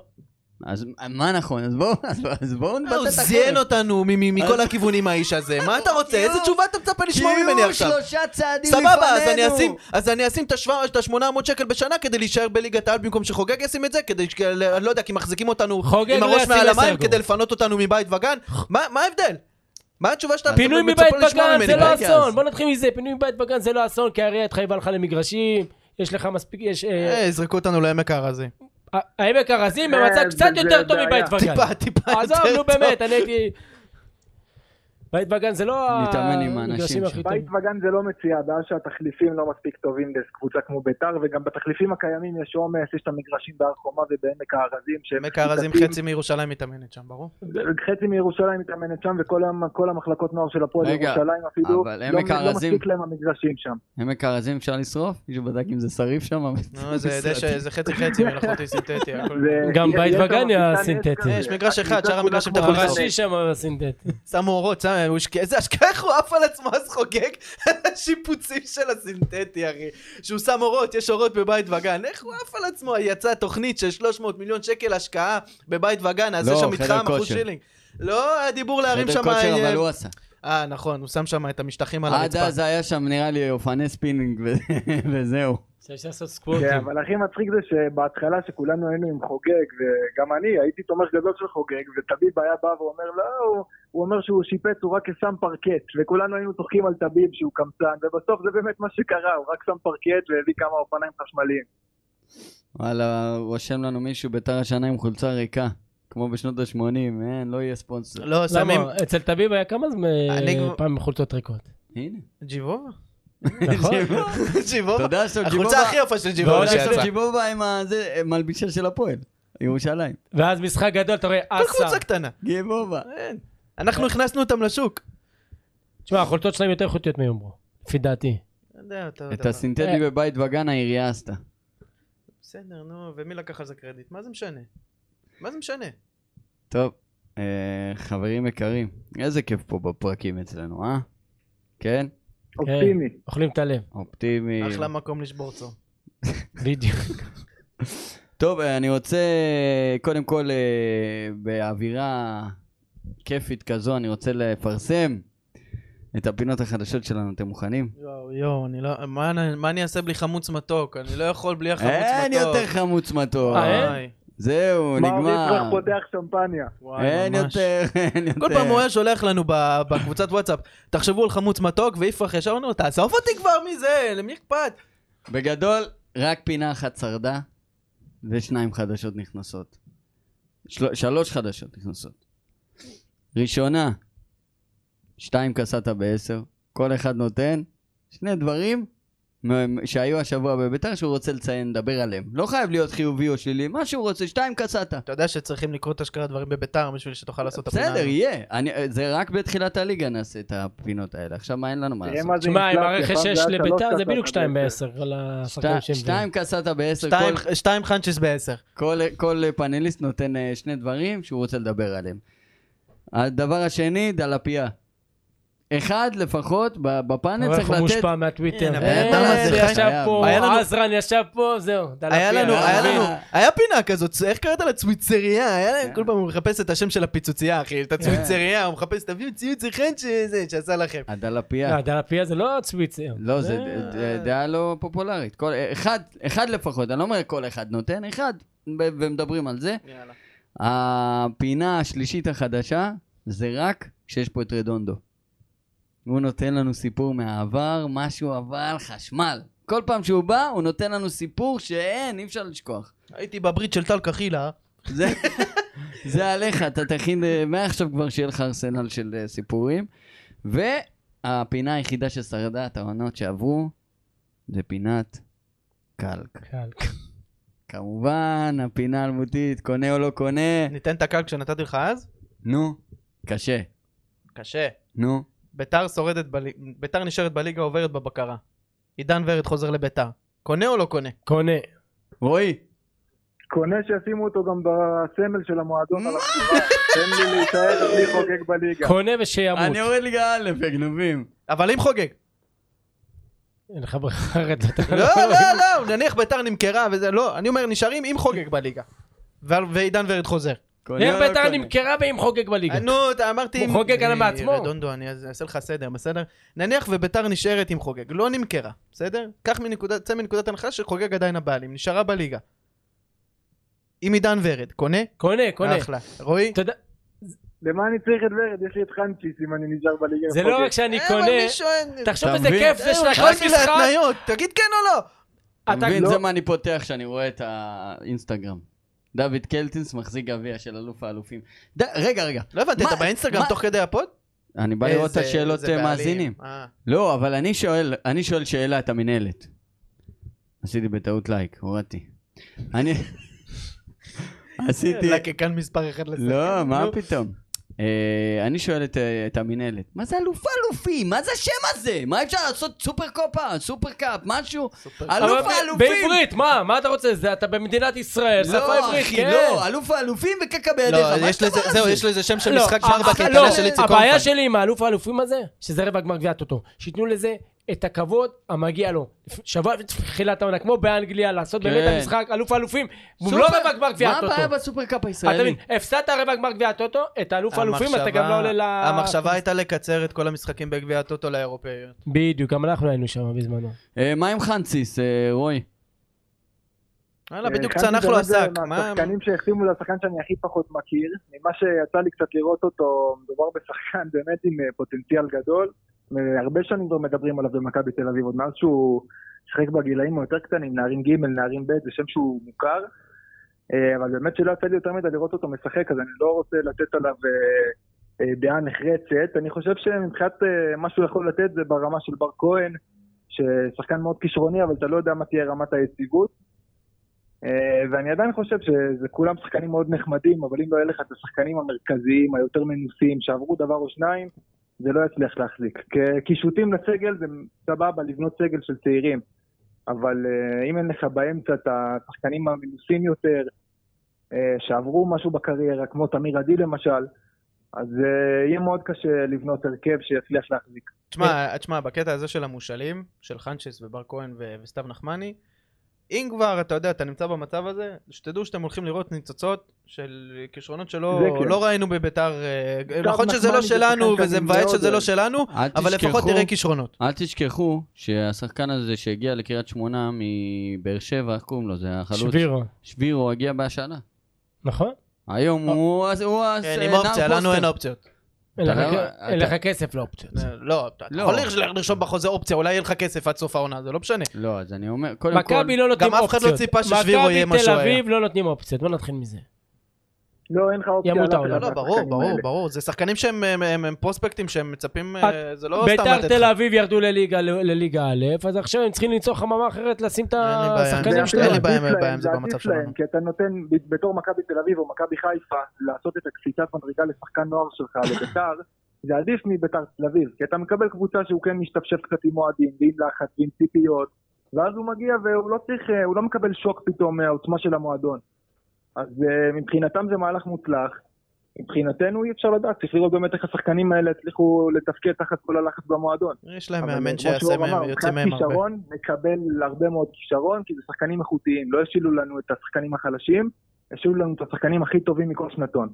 Speaker 2: אז מה נכון? אז בואו אז, בואו- אז בואו נבטא את
Speaker 3: הוא
Speaker 2: החרם.
Speaker 3: זיין אותנו מ- מ-
Speaker 2: אה?
Speaker 3: מכל הכיוונים האיש הזה, מה אתה רוצה? איזה תשובה אתה מצפה לשמוע ממני עכשיו?
Speaker 2: שלושה צעדים
Speaker 3: סבבה, אז אני אשים, אז אני אשים את ה-800 שקל בשנה כדי להישאר בליגת העל במקום שחוגג ישים את זה, כדי, ש- אני לא יודע, כי מחזיקים אותנו
Speaker 4: חוגג
Speaker 3: עם
Speaker 4: לא
Speaker 3: הראש
Speaker 4: ישים
Speaker 3: מעל
Speaker 4: עשר
Speaker 3: המים
Speaker 4: גול.
Speaker 3: כדי לפנות אותנו מבית וגן, מה מה ההבדל? מה התשובה שאתה
Speaker 4: פינוי
Speaker 3: מצפה
Speaker 4: מבית
Speaker 3: לשמוע
Speaker 4: בגן
Speaker 3: ממני?
Speaker 4: זה לא
Speaker 3: ראיתי אז.
Speaker 4: אסון, בוא נתחיל מזה, פינוי מבית בגן זה לא אסון, כי העירייה התחייבה לך למגרשים, יש לך מספיק, יש... אה,
Speaker 3: אה, יזרקו אותנו לעמק הארזים.
Speaker 4: ה- העמק הרזים
Speaker 5: אה,
Speaker 4: במצב קצת
Speaker 5: זה
Speaker 4: יותר טוב
Speaker 5: בעיה.
Speaker 4: מבית וגן.
Speaker 3: טיפה, טיפה יותר
Speaker 4: *laughs* עזוב, נו
Speaker 3: טוב.
Speaker 4: באמת, אני הייתי... בית וגן זה לא
Speaker 2: נתאמן עם האנשים
Speaker 4: המגרשים
Speaker 2: שם.
Speaker 4: הכי
Speaker 5: בית
Speaker 4: טובים.
Speaker 5: וגן זה לא מציאה, הבעיה שהתחליפים לא מספיק טובים לקבוצה כמו ביתר, וגם בתחליפים הקיימים יש עומס, יש את המגרשים בהר חומה ובעמק הארזים. שהם
Speaker 3: עמק הארזים
Speaker 5: משותפים.
Speaker 3: חצי מירושלים מתאמנת שם, ברור?
Speaker 5: חצי מירושלים מתאמנת שם, וכל המ- כל המחלקות נוער של הפועל
Speaker 2: רגע,
Speaker 5: ירושלים אפילו,
Speaker 2: אבל
Speaker 5: לא-
Speaker 2: עמק
Speaker 5: לא
Speaker 2: הארזים-
Speaker 5: מספיק להם המגרשים שם.
Speaker 2: עמק הארזים אפשר לשרוף? מישהו בדק אם זה שריף שם?
Speaker 3: נו, זה דשא, זה חצי חצי
Speaker 4: *laughs*
Speaker 3: מלאכותי סינתטי, הכל.
Speaker 5: זה-
Speaker 4: גם
Speaker 5: יש-
Speaker 4: בית
Speaker 5: יש שם
Speaker 4: וגן
Speaker 5: מתקן עץ
Speaker 4: הסינתטי.
Speaker 5: כזה.
Speaker 3: יש מגרש אחד,
Speaker 5: הקבוצה
Speaker 3: שאר המגרשים
Speaker 5: כולה
Speaker 3: אתה יכול
Speaker 5: כמו
Speaker 3: לעשות.
Speaker 4: הראשי שם הסינתטי.
Speaker 3: שמו אורות, שם, הוא השקיע, איזה השקעה, איך הוא עף על עצמו אז חוגג על השיפוצים של הסינתטי, אחי. שהוא שם אורות, יש אורות בבית וגן, איך הוא עף על עצמו? יצאה תוכנית של 300 מיליון שקל השקעה בבית וגן, אז
Speaker 2: לא,
Speaker 3: יש שם
Speaker 2: חדר
Speaker 3: מתחם, אחוז
Speaker 2: כושר.
Speaker 3: שילינג. לא, היה דיבור להרים
Speaker 2: חדר
Speaker 3: שם...
Speaker 2: כושר
Speaker 3: אה,
Speaker 2: אבל הוא עשה.
Speaker 3: אה, נכון, הוא שם שם את המשטחים על
Speaker 2: עד
Speaker 3: הרצפה.
Speaker 2: אז היה שם נראה לי אופני ספינינג ו- *laughs* וזהו.
Speaker 4: אפשר לעשות
Speaker 5: כן,
Speaker 4: סקוורטים.
Speaker 5: אבל הכי מצחיק זה שבהתחלה שכולנו היינו עם חוגג, וגם אני הייתי תומך גדול של חוגג, וטביב היה בא ואומר, לא, הוא, הוא אומר שהוא שיפץ, הוא רק שם פרקט, וכולנו היינו צוחקים על טביב שהוא קמצן, ובסוף זה באמת מה שקרה, הוא רק שם פרקט והביא כמה אופניים חשמליים.
Speaker 2: וואלה, רושם לנו מישהו ביתר השנה עם חולצה ריקה. כמו בשנות ה-80, אין, לא יהיה ספונסר.
Speaker 3: לא, שמים...
Speaker 4: למה? אצל טביב היה כמה זמן
Speaker 3: אני כבר-
Speaker 4: פעם חולצות ריקות.
Speaker 2: הנה.
Speaker 3: ג'יבובה?
Speaker 4: נכון?
Speaker 3: ג'יבובה?
Speaker 2: *laughs* תודה שאתה
Speaker 3: החולצה הכי יפה של ג'יבובה
Speaker 4: ועוד יש לו
Speaker 3: שיצאה.
Speaker 2: ג'יבובה עם הזה, מלבישה של הפועל. ירושלים.
Speaker 4: ואז משחק גדול, אתה רואה
Speaker 3: כל
Speaker 4: אסה.
Speaker 3: קבוצה קטנה.
Speaker 2: ג'יבובה.
Speaker 3: אין. אנחנו הכנסנו אותם לשוק.
Speaker 4: תשמע, החולצות שלהם יותר איכותיות מיומרו, לפי דעתי.
Speaker 3: לא יודע, אותו
Speaker 2: את
Speaker 3: דבר.
Speaker 2: הסינתטי בבית וגן העירייה עשתה.
Speaker 3: בסדר, נו, ומי לקח על זה קרדיט? מה זה משנה? מה זה משנה?
Speaker 2: טוב, אה, חברים יקרים, איזה כיף פה בפרקים אצלנו, אה? כן?
Speaker 5: אופטימי.
Speaker 4: כן, אוכלים את הלב,
Speaker 2: אופטימי.
Speaker 3: אחלה מקום לשבור צום.
Speaker 4: בדיוק.
Speaker 2: טוב, אה, אני רוצה, קודם כל, אה, באווירה כיפית כזו, אני רוצה לפרסם את הפינות החדשות שלנו, אתם מוכנים?
Speaker 3: יואו, יואו, אני לא... מה אני- מה אני אעשה בלי חמוץ מתוק? אני לא יכול בלי החמוץ מתוק.
Speaker 2: אין יותר חמוץ מתוק.
Speaker 4: אה,
Speaker 3: וואי,
Speaker 2: זהו,
Speaker 5: מר
Speaker 2: נגמר.
Speaker 5: מצרך פותח שמפניה.
Speaker 3: וואי,
Speaker 2: אין
Speaker 3: ממש.
Speaker 2: יותר, *laughs* אין יותר.
Speaker 3: כל פעם הוא היה שולח לנו ב- בקבוצת וואטסאפ, תחשבו על חמוץ מתוק, ויפרח ישר אומר לו, תעזוב אותי כבר מזה, למי אכפת?
Speaker 2: בגדול, רק פינה אחת שרדה, ושניים חדשות נכנסות. של... שלוש חדשות נכנסות. ראשונה, שתיים קסטה בעשר, כל אחד נותן שני דברים מ- שהיו השבוע בביתר שהוא רוצה לציין, לדבר עליהם. לא חייב להיות חיובי או שלילי, מה שהוא רוצה, שתיים קסטה.
Speaker 3: אתה יודע שצריכים לקרוא את אשכרה דברים בביתר בשביל שתוכל לעשות את הפינה.
Speaker 2: בסדר,
Speaker 3: הזאת.
Speaker 2: יהיה. אני, זה רק בתחילת הליגה נעשה את הפינות האלה. עכשיו, מה אין לנו מה
Speaker 5: תראה
Speaker 2: לעשות?
Speaker 5: מה זה
Speaker 4: שמע, עם
Speaker 5: אינפלציה,
Speaker 4: הרכש
Speaker 5: פעם
Speaker 4: שיש
Speaker 5: זה היה
Speaker 4: לביתר
Speaker 5: שלוש
Speaker 4: זה בדיוק
Speaker 5: קסטות
Speaker 4: 2
Speaker 5: בעשר.
Speaker 4: ב-10 על השחקנים
Speaker 2: שתי-
Speaker 4: שהם...
Speaker 2: שתיים קסטה בעשר,
Speaker 3: שתיים-
Speaker 2: כל-
Speaker 3: שתיים חנצ'ס בעשר.
Speaker 2: כל, כל פאנליסט נותן אה, שני דברים שהוא רוצה לדבר עליהם. הדבר השני, דלפייה. אחד לפחות ב- בפאנל
Speaker 4: אבל איך
Speaker 2: צריך
Speaker 4: הוא
Speaker 2: לתת...
Speaker 4: מושפע מהטוויטר.
Speaker 3: הנה,
Speaker 2: הבן אדם
Speaker 4: אה,
Speaker 2: הזה
Speaker 4: ישב
Speaker 2: חייב.
Speaker 4: פה,
Speaker 3: היה לנו-
Speaker 4: עזרן ישב פה, זהו. דלפיה,
Speaker 3: היה לנו,
Speaker 4: אתה
Speaker 3: היה
Speaker 4: מבין?
Speaker 3: לנו,
Speaker 2: אה.
Speaker 3: היה פינה כזאת, איך קראת לה? צוויצריה, היה להם, כל פעם הוא מחפש את השם של הפיצוצייה, אחי, את הצוויצריה, הוא מחפש, תביאו ציוץ אחד שזה, שעשה לכם.
Speaker 2: הדלפייה.
Speaker 4: לא, דלפיה זה לא אה, צוויצר.
Speaker 2: לא, זה ד- ד- דעה לא פופולרית. כל, אחד, אחד לפחות, אני לא אומר כל אחד נותן, אחד, ו- ומדברים על זה. הפינה השלישית החדשה זה רק כשיש פה את רדונדו. הוא נותן לנו סיפור מהעבר, משהו אבל חשמל. כל פעם שהוא בא, הוא נותן לנו סיפור שאין, אי אפשר לשכוח.
Speaker 3: הייתי בברית של טל קחילה,
Speaker 2: זה, זה עליך, אתה תכין, אה, מעכשיו כבר שיהיה לך ארסנל של אה, סיפורים. והפינה היחידה ששרדה את העונות שעברו, זה פינת קלק.
Speaker 4: קל.
Speaker 2: כמובן, הפינה האלמותית, קונה או לא קונה,
Speaker 3: ניתן את הקל כשנתתי לך אז?
Speaker 2: נו, קשה,
Speaker 3: קשה.
Speaker 2: נו.
Speaker 3: ביתר שורדת, בלי- ביתר נשארת בליגה, עוברת בבקרה. עידן ורד חוזר לביתר. קונה או לא קונה?
Speaker 4: קונה.
Speaker 2: רועי,
Speaker 5: קונה שישימו אותו גם בסמל של המועדון על הכתובה. תן לי להישאר בלי חוגג בליגה.
Speaker 4: קונה ושימות.
Speaker 2: אני יורד ליגה א', הגנובים.
Speaker 3: אבל אם חוגג.
Speaker 4: אין לך ברירה רצת.
Speaker 3: *laughs* לא, לא, לא, נניח ביתר נמכרה וזה, לא, אני אומר, נשארים עם חוגג בליגה. ו- ועידן ורד חוזר.
Speaker 2: קונה
Speaker 4: איך
Speaker 2: או לא
Speaker 4: ביתר
Speaker 2: קונה?
Speaker 4: נמכרה ועם חוגג בליגה.
Speaker 3: נו, אתה אמרתי...
Speaker 4: הוא חוגג על
Speaker 3: אני-
Speaker 4: מעצמו.
Speaker 3: רדונדו, אני אז- אעשה לך סדר, בסדר? נניח וביתר נשארת עם חוגג, לא נמכרה, בסדר? קח מנקודת, צא מנקודת הנחה שחוגג עדיין הבעלים, נשארה בליגה. עם עידן ורד, קונה?
Speaker 4: קונה, קונה.
Speaker 3: אחלה. רועי?
Speaker 4: אתה יודע,
Speaker 5: למה אני צריך את ורד? יש לי את חנצ'יס אם אני נשאר בליגה.
Speaker 4: זה
Speaker 5: עם
Speaker 4: לא
Speaker 5: חוגג.
Speaker 4: רק שאני
Speaker 3: אה, אבל
Speaker 4: קונה,
Speaker 3: מי שואל?
Speaker 4: תחשוב
Speaker 2: אתה
Speaker 4: איזה
Speaker 2: מבין?
Speaker 4: כיף זה
Speaker 3: אה,
Speaker 4: שאתה
Speaker 3: רק
Speaker 4: נכנס
Speaker 3: לי
Speaker 4: משחק,
Speaker 3: להתניות, תגיד כן או לא.
Speaker 2: אתה
Speaker 4: אתה-
Speaker 2: מבין,
Speaker 4: לא.
Speaker 2: זה מה אני פותח כשאני רואה את האינסטגרם. דוד קלטינס מחזיק גביע של אלוף האלופים. ד- רגע, רגע.
Speaker 3: לא הבנתי,
Speaker 2: מה-
Speaker 3: אתה באינסטגרם
Speaker 2: מה-
Speaker 3: תוך כדי הפוד?
Speaker 2: אני בא לראות את
Speaker 3: איזה-
Speaker 2: השאלות
Speaker 3: איזה
Speaker 2: אה,
Speaker 3: בעלים.
Speaker 2: מאזינים.
Speaker 3: אה.
Speaker 2: לא, אבל אני שואל, אני שואל שאלה את המינהלת. עשיתי בטעות לייק, הורדתי. אני... עשיתי...
Speaker 3: לקקן מספר אחד לסכם.
Speaker 2: לא, מה
Speaker 3: נו.
Speaker 2: פתאום. אה, אני שואל את, אה, את המינהלת, מה זה אלוף אלופים? מה זה השם הזה? מה אפשר לעשות סופר קופה, סופר קאפ, משהו?
Speaker 3: סופר-
Speaker 2: אלוף
Speaker 4: אבל
Speaker 2: האלופים!
Speaker 4: בעברית, מה? מה אתה רוצה? זה- אתה במדינת ישראל, שפה
Speaker 2: לא,
Speaker 4: עברית,
Speaker 2: אחי,
Speaker 4: כן.
Speaker 2: לא, אלוף האלופים וקקע בידיך,
Speaker 3: לא,
Speaker 2: מה
Speaker 3: יש לזה,
Speaker 2: הדבר
Speaker 3: זהו,
Speaker 2: הזה?
Speaker 3: יש לזה שם של
Speaker 4: לא,
Speaker 3: משחק
Speaker 4: אה,
Speaker 3: גמר
Speaker 4: אה,
Speaker 3: בקייטנה
Speaker 4: לא,
Speaker 3: של איציק
Speaker 4: הבעיה
Speaker 3: קורפן.
Speaker 4: שלי עם האלוף האלופים הזה, שזה רבע גמר גביע הטוטו. שייתנו לזה את הכבוד המגיע לו. שבוע לפני תחילת העונה, כמו באנגליה, לעשות
Speaker 2: כן.
Speaker 4: באמת את המשחק, אלוף האלופים, הוא
Speaker 2: סופר-
Speaker 4: לא רבע גמר גביע
Speaker 2: מה הבעיה
Speaker 4: הטוטו.
Speaker 2: בסופר קאפ
Speaker 4: אתה
Speaker 2: הישראלי?
Speaker 4: מבין, הפסדת רבע גמר גביע הטוטו, את האלוף האלופים, אתה גם לא עולה ל...
Speaker 3: המחשבה הייתה לקצר את כל המשחקים בגביע הטוטו לאירופאיות.
Speaker 4: בדיוק, גם אנחנו היינו שם בזמנו.
Speaker 2: אה, מה עם חנציס, אה, רועי?
Speaker 3: וואלה,
Speaker 5: אה,
Speaker 3: בדיוק
Speaker 5: חנצ'יס
Speaker 3: צנח לו
Speaker 5: באמת זה
Speaker 3: השק. מה-
Speaker 5: מהשחקנים שהחתימו לשחקן שאני הכי פחות מכיר. ממה שיצא לי קצת לראות אותו, מדובר בשחקן *laughs* באמת עם אה, פוטנציאל גדול. אה, הרבה שנים כבר מדברים עליו במכבי תל אביב, עוד מאז שהוא שיחק בגילאים היותר קטנים, נערים ג', נערים ב', זה שם שהוא מוכר. אה, אבל באמת שלא יצא לי יותר מדי לראות אותו משחק, אז אני לא רוצה לתת עליו אה, אה, דעה נחרצת. אני חושב שמבחינת אה, מה שהוא יכול לתת זה ברמה של בר כהן, ששחקן מאוד כישרוני, אבל אתה לא יודע מה תהיה רמת היציבות. אה, ואני עדיין חושב שזה כולם שחקנים מאוד נחמדים, אבל אם לא יהיה לך את השחקנים המרכזיים, היותר מנוסים, שעברו דבר או שניים, זה לא יצליח להחזיק. כ- קישוטים לסגל זה סבבה לבנות סגל של צעירים, אבל אה, אם אין לך באמצע את השחקנים המנוסים יותר, אה, שעברו משהו בקריירה, כמו תמיר עדי למשל, אז אה, יהיה מאוד קשה לבנות הרכב שיצליח להחזיק.
Speaker 3: תשמע, תשמע, בקטע הזה של המושאלים, של חנצ'ס ובר כהן ו- וסתיו נחמני, אם כבר, אתה יודע, אתה נמצא במצב הזה, שתדעו שאתם הולכים לראות ניצוצות של כישרונות שלא
Speaker 5: זה כן.
Speaker 3: לא ראינו בביתר, אה, נכון
Speaker 5: נחמני
Speaker 3: שזה לא
Speaker 5: זה
Speaker 3: שלנו,
Speaker 5: שחקן
Speaker 3: וזה
Speaker 5: שאני
Speaker 3: מבאס
Speaker 5: מאוד
Speaker 3: שזה לא
Speaker 5: אוהב.
Speaker 3: שלנו,
Speaker 2: אל
Speaker 3: אבל לפחות
Speaker 2: תשכחו-
Speaker 3: תראה כישרונות.
Speaker 2: אל תשכחו שהשחקן הזה שהגיע לקריית שמונה מבאר שבע, איך קוראים לו? זה החלוץ.
Speaker 4: שבירו.
Speaker 2: שבירו הגיע בהשאלה.
Speaker 4: נכון?
Speaker 2: היום הוא... אז- הוא אז- אה,
Speaker 3: כן, עם
Speaker 4: אה,
Speaker 2: נער
Speaker 3: אופציה, לנו
Speaker 2: פוסטר.
Speaker 3: אין אופציות.
Speaker 4: אין לך-
Speaker 2: אתה-
Speaker 4: אין לך כסף לאופציות.
Speaker 3: לא, אתה
Speaker 2: לא.
Speaker 3: יכול לרשום בחוזה אופציה, אולי יהיה לך כסף עד סוף העונה, זה לא משנה.
Speaker 2: לא, אז אני אומר, קודם כל...
Speaker 4: מכבי לא נותנים אופציות.
Speaker 3: גם אף אחד לא ציפה ששבירו יהיה מה שהוא
Speaker 4: מכבי תל
Speaker 3: היה.
Speaker 4: אביב לא נותנים אופציות, בוא נתחיל מזה.
Speaker 5: לא, אין לך אופציה.
Speaker 4: ימות
Speaker 5: על אף אחד
Speaker 4: העולם.
Speaker 3: לא, לא, ברור,
Speaker 5: מהשחקנים
Speaker 3: ברור,
Speaker 5: האלה.
Speaker 3: ברור. זה שחקנים שהם הם- הם- הם פרוספקטים שהם מצפים, אה, זה לא סתם
Speaker 4: ביתר
Speaker 3: לתת
Speaker 4: תל
Speaker 3: לך.
Speaker 4: אביב ירדו לליגה- לליגה א', אז עכשיו הם צריכים למצוא חממה אחרת לשים את
Speaker 3: אין לי בעיה,
Speaker 4: השחקנים
Speaker 3: כן, אין לי
Speaker 4: שלהם.
Speaker 3: בעיה,
Speaker 5: עדיף
Speaker 3: בעיה עם
Speaker 5: להם,
Speaker 3: זה במצב
Speaker 5: עדיף
Speaker 3: שלנו.
Speaker 5: להם, כי אתה נותן ב- בתור מכבי תל אביב או מכבי חיפה לעשות את הקפיצת מדרגה לשחקן נוער
Speaker 3: *laughs*
Speaker 5: שלך לביתר, זה עדיף מביתר תל אביב, כי אתה מקבל קבוצה שהוא כן משתפשף קצת עם אוהדים ועם לחץ ועם ציפיות, ואז הוא מגיע והוא לא צריך, אה, הוא לא מקבל שוק פתאום מהעוצמה של המועדון. אז אה, מבחינתם זה מהלך מוצלח. מבחינתנו אי אפשר לדעת, צריך לראות באמת איך השחקנים האלה הצליחו לתפקד תחת כל הלחץ במועדון.
Speaker 3: יש להם
Speaker 5: אבל
Speaker 3: מאמן
Speaker 5: כמו שהוא
Speaker 3: שיעשה
Speaker 5: אמר,
Speaker 3: מהם, יוצא
Speaker 5: מבחינת
Speaker 3: מהם
Speaker 5: *laughs*
Speaker 3: הרבה.
Speaker 5: כישרון, נקבל הרבה מאוד כישרון, כי זה שחקנים איכותיים. לא השילו לנו את השחקנים החלשים, השילו לנו את השחקנים הכי טובים מכל שנתון.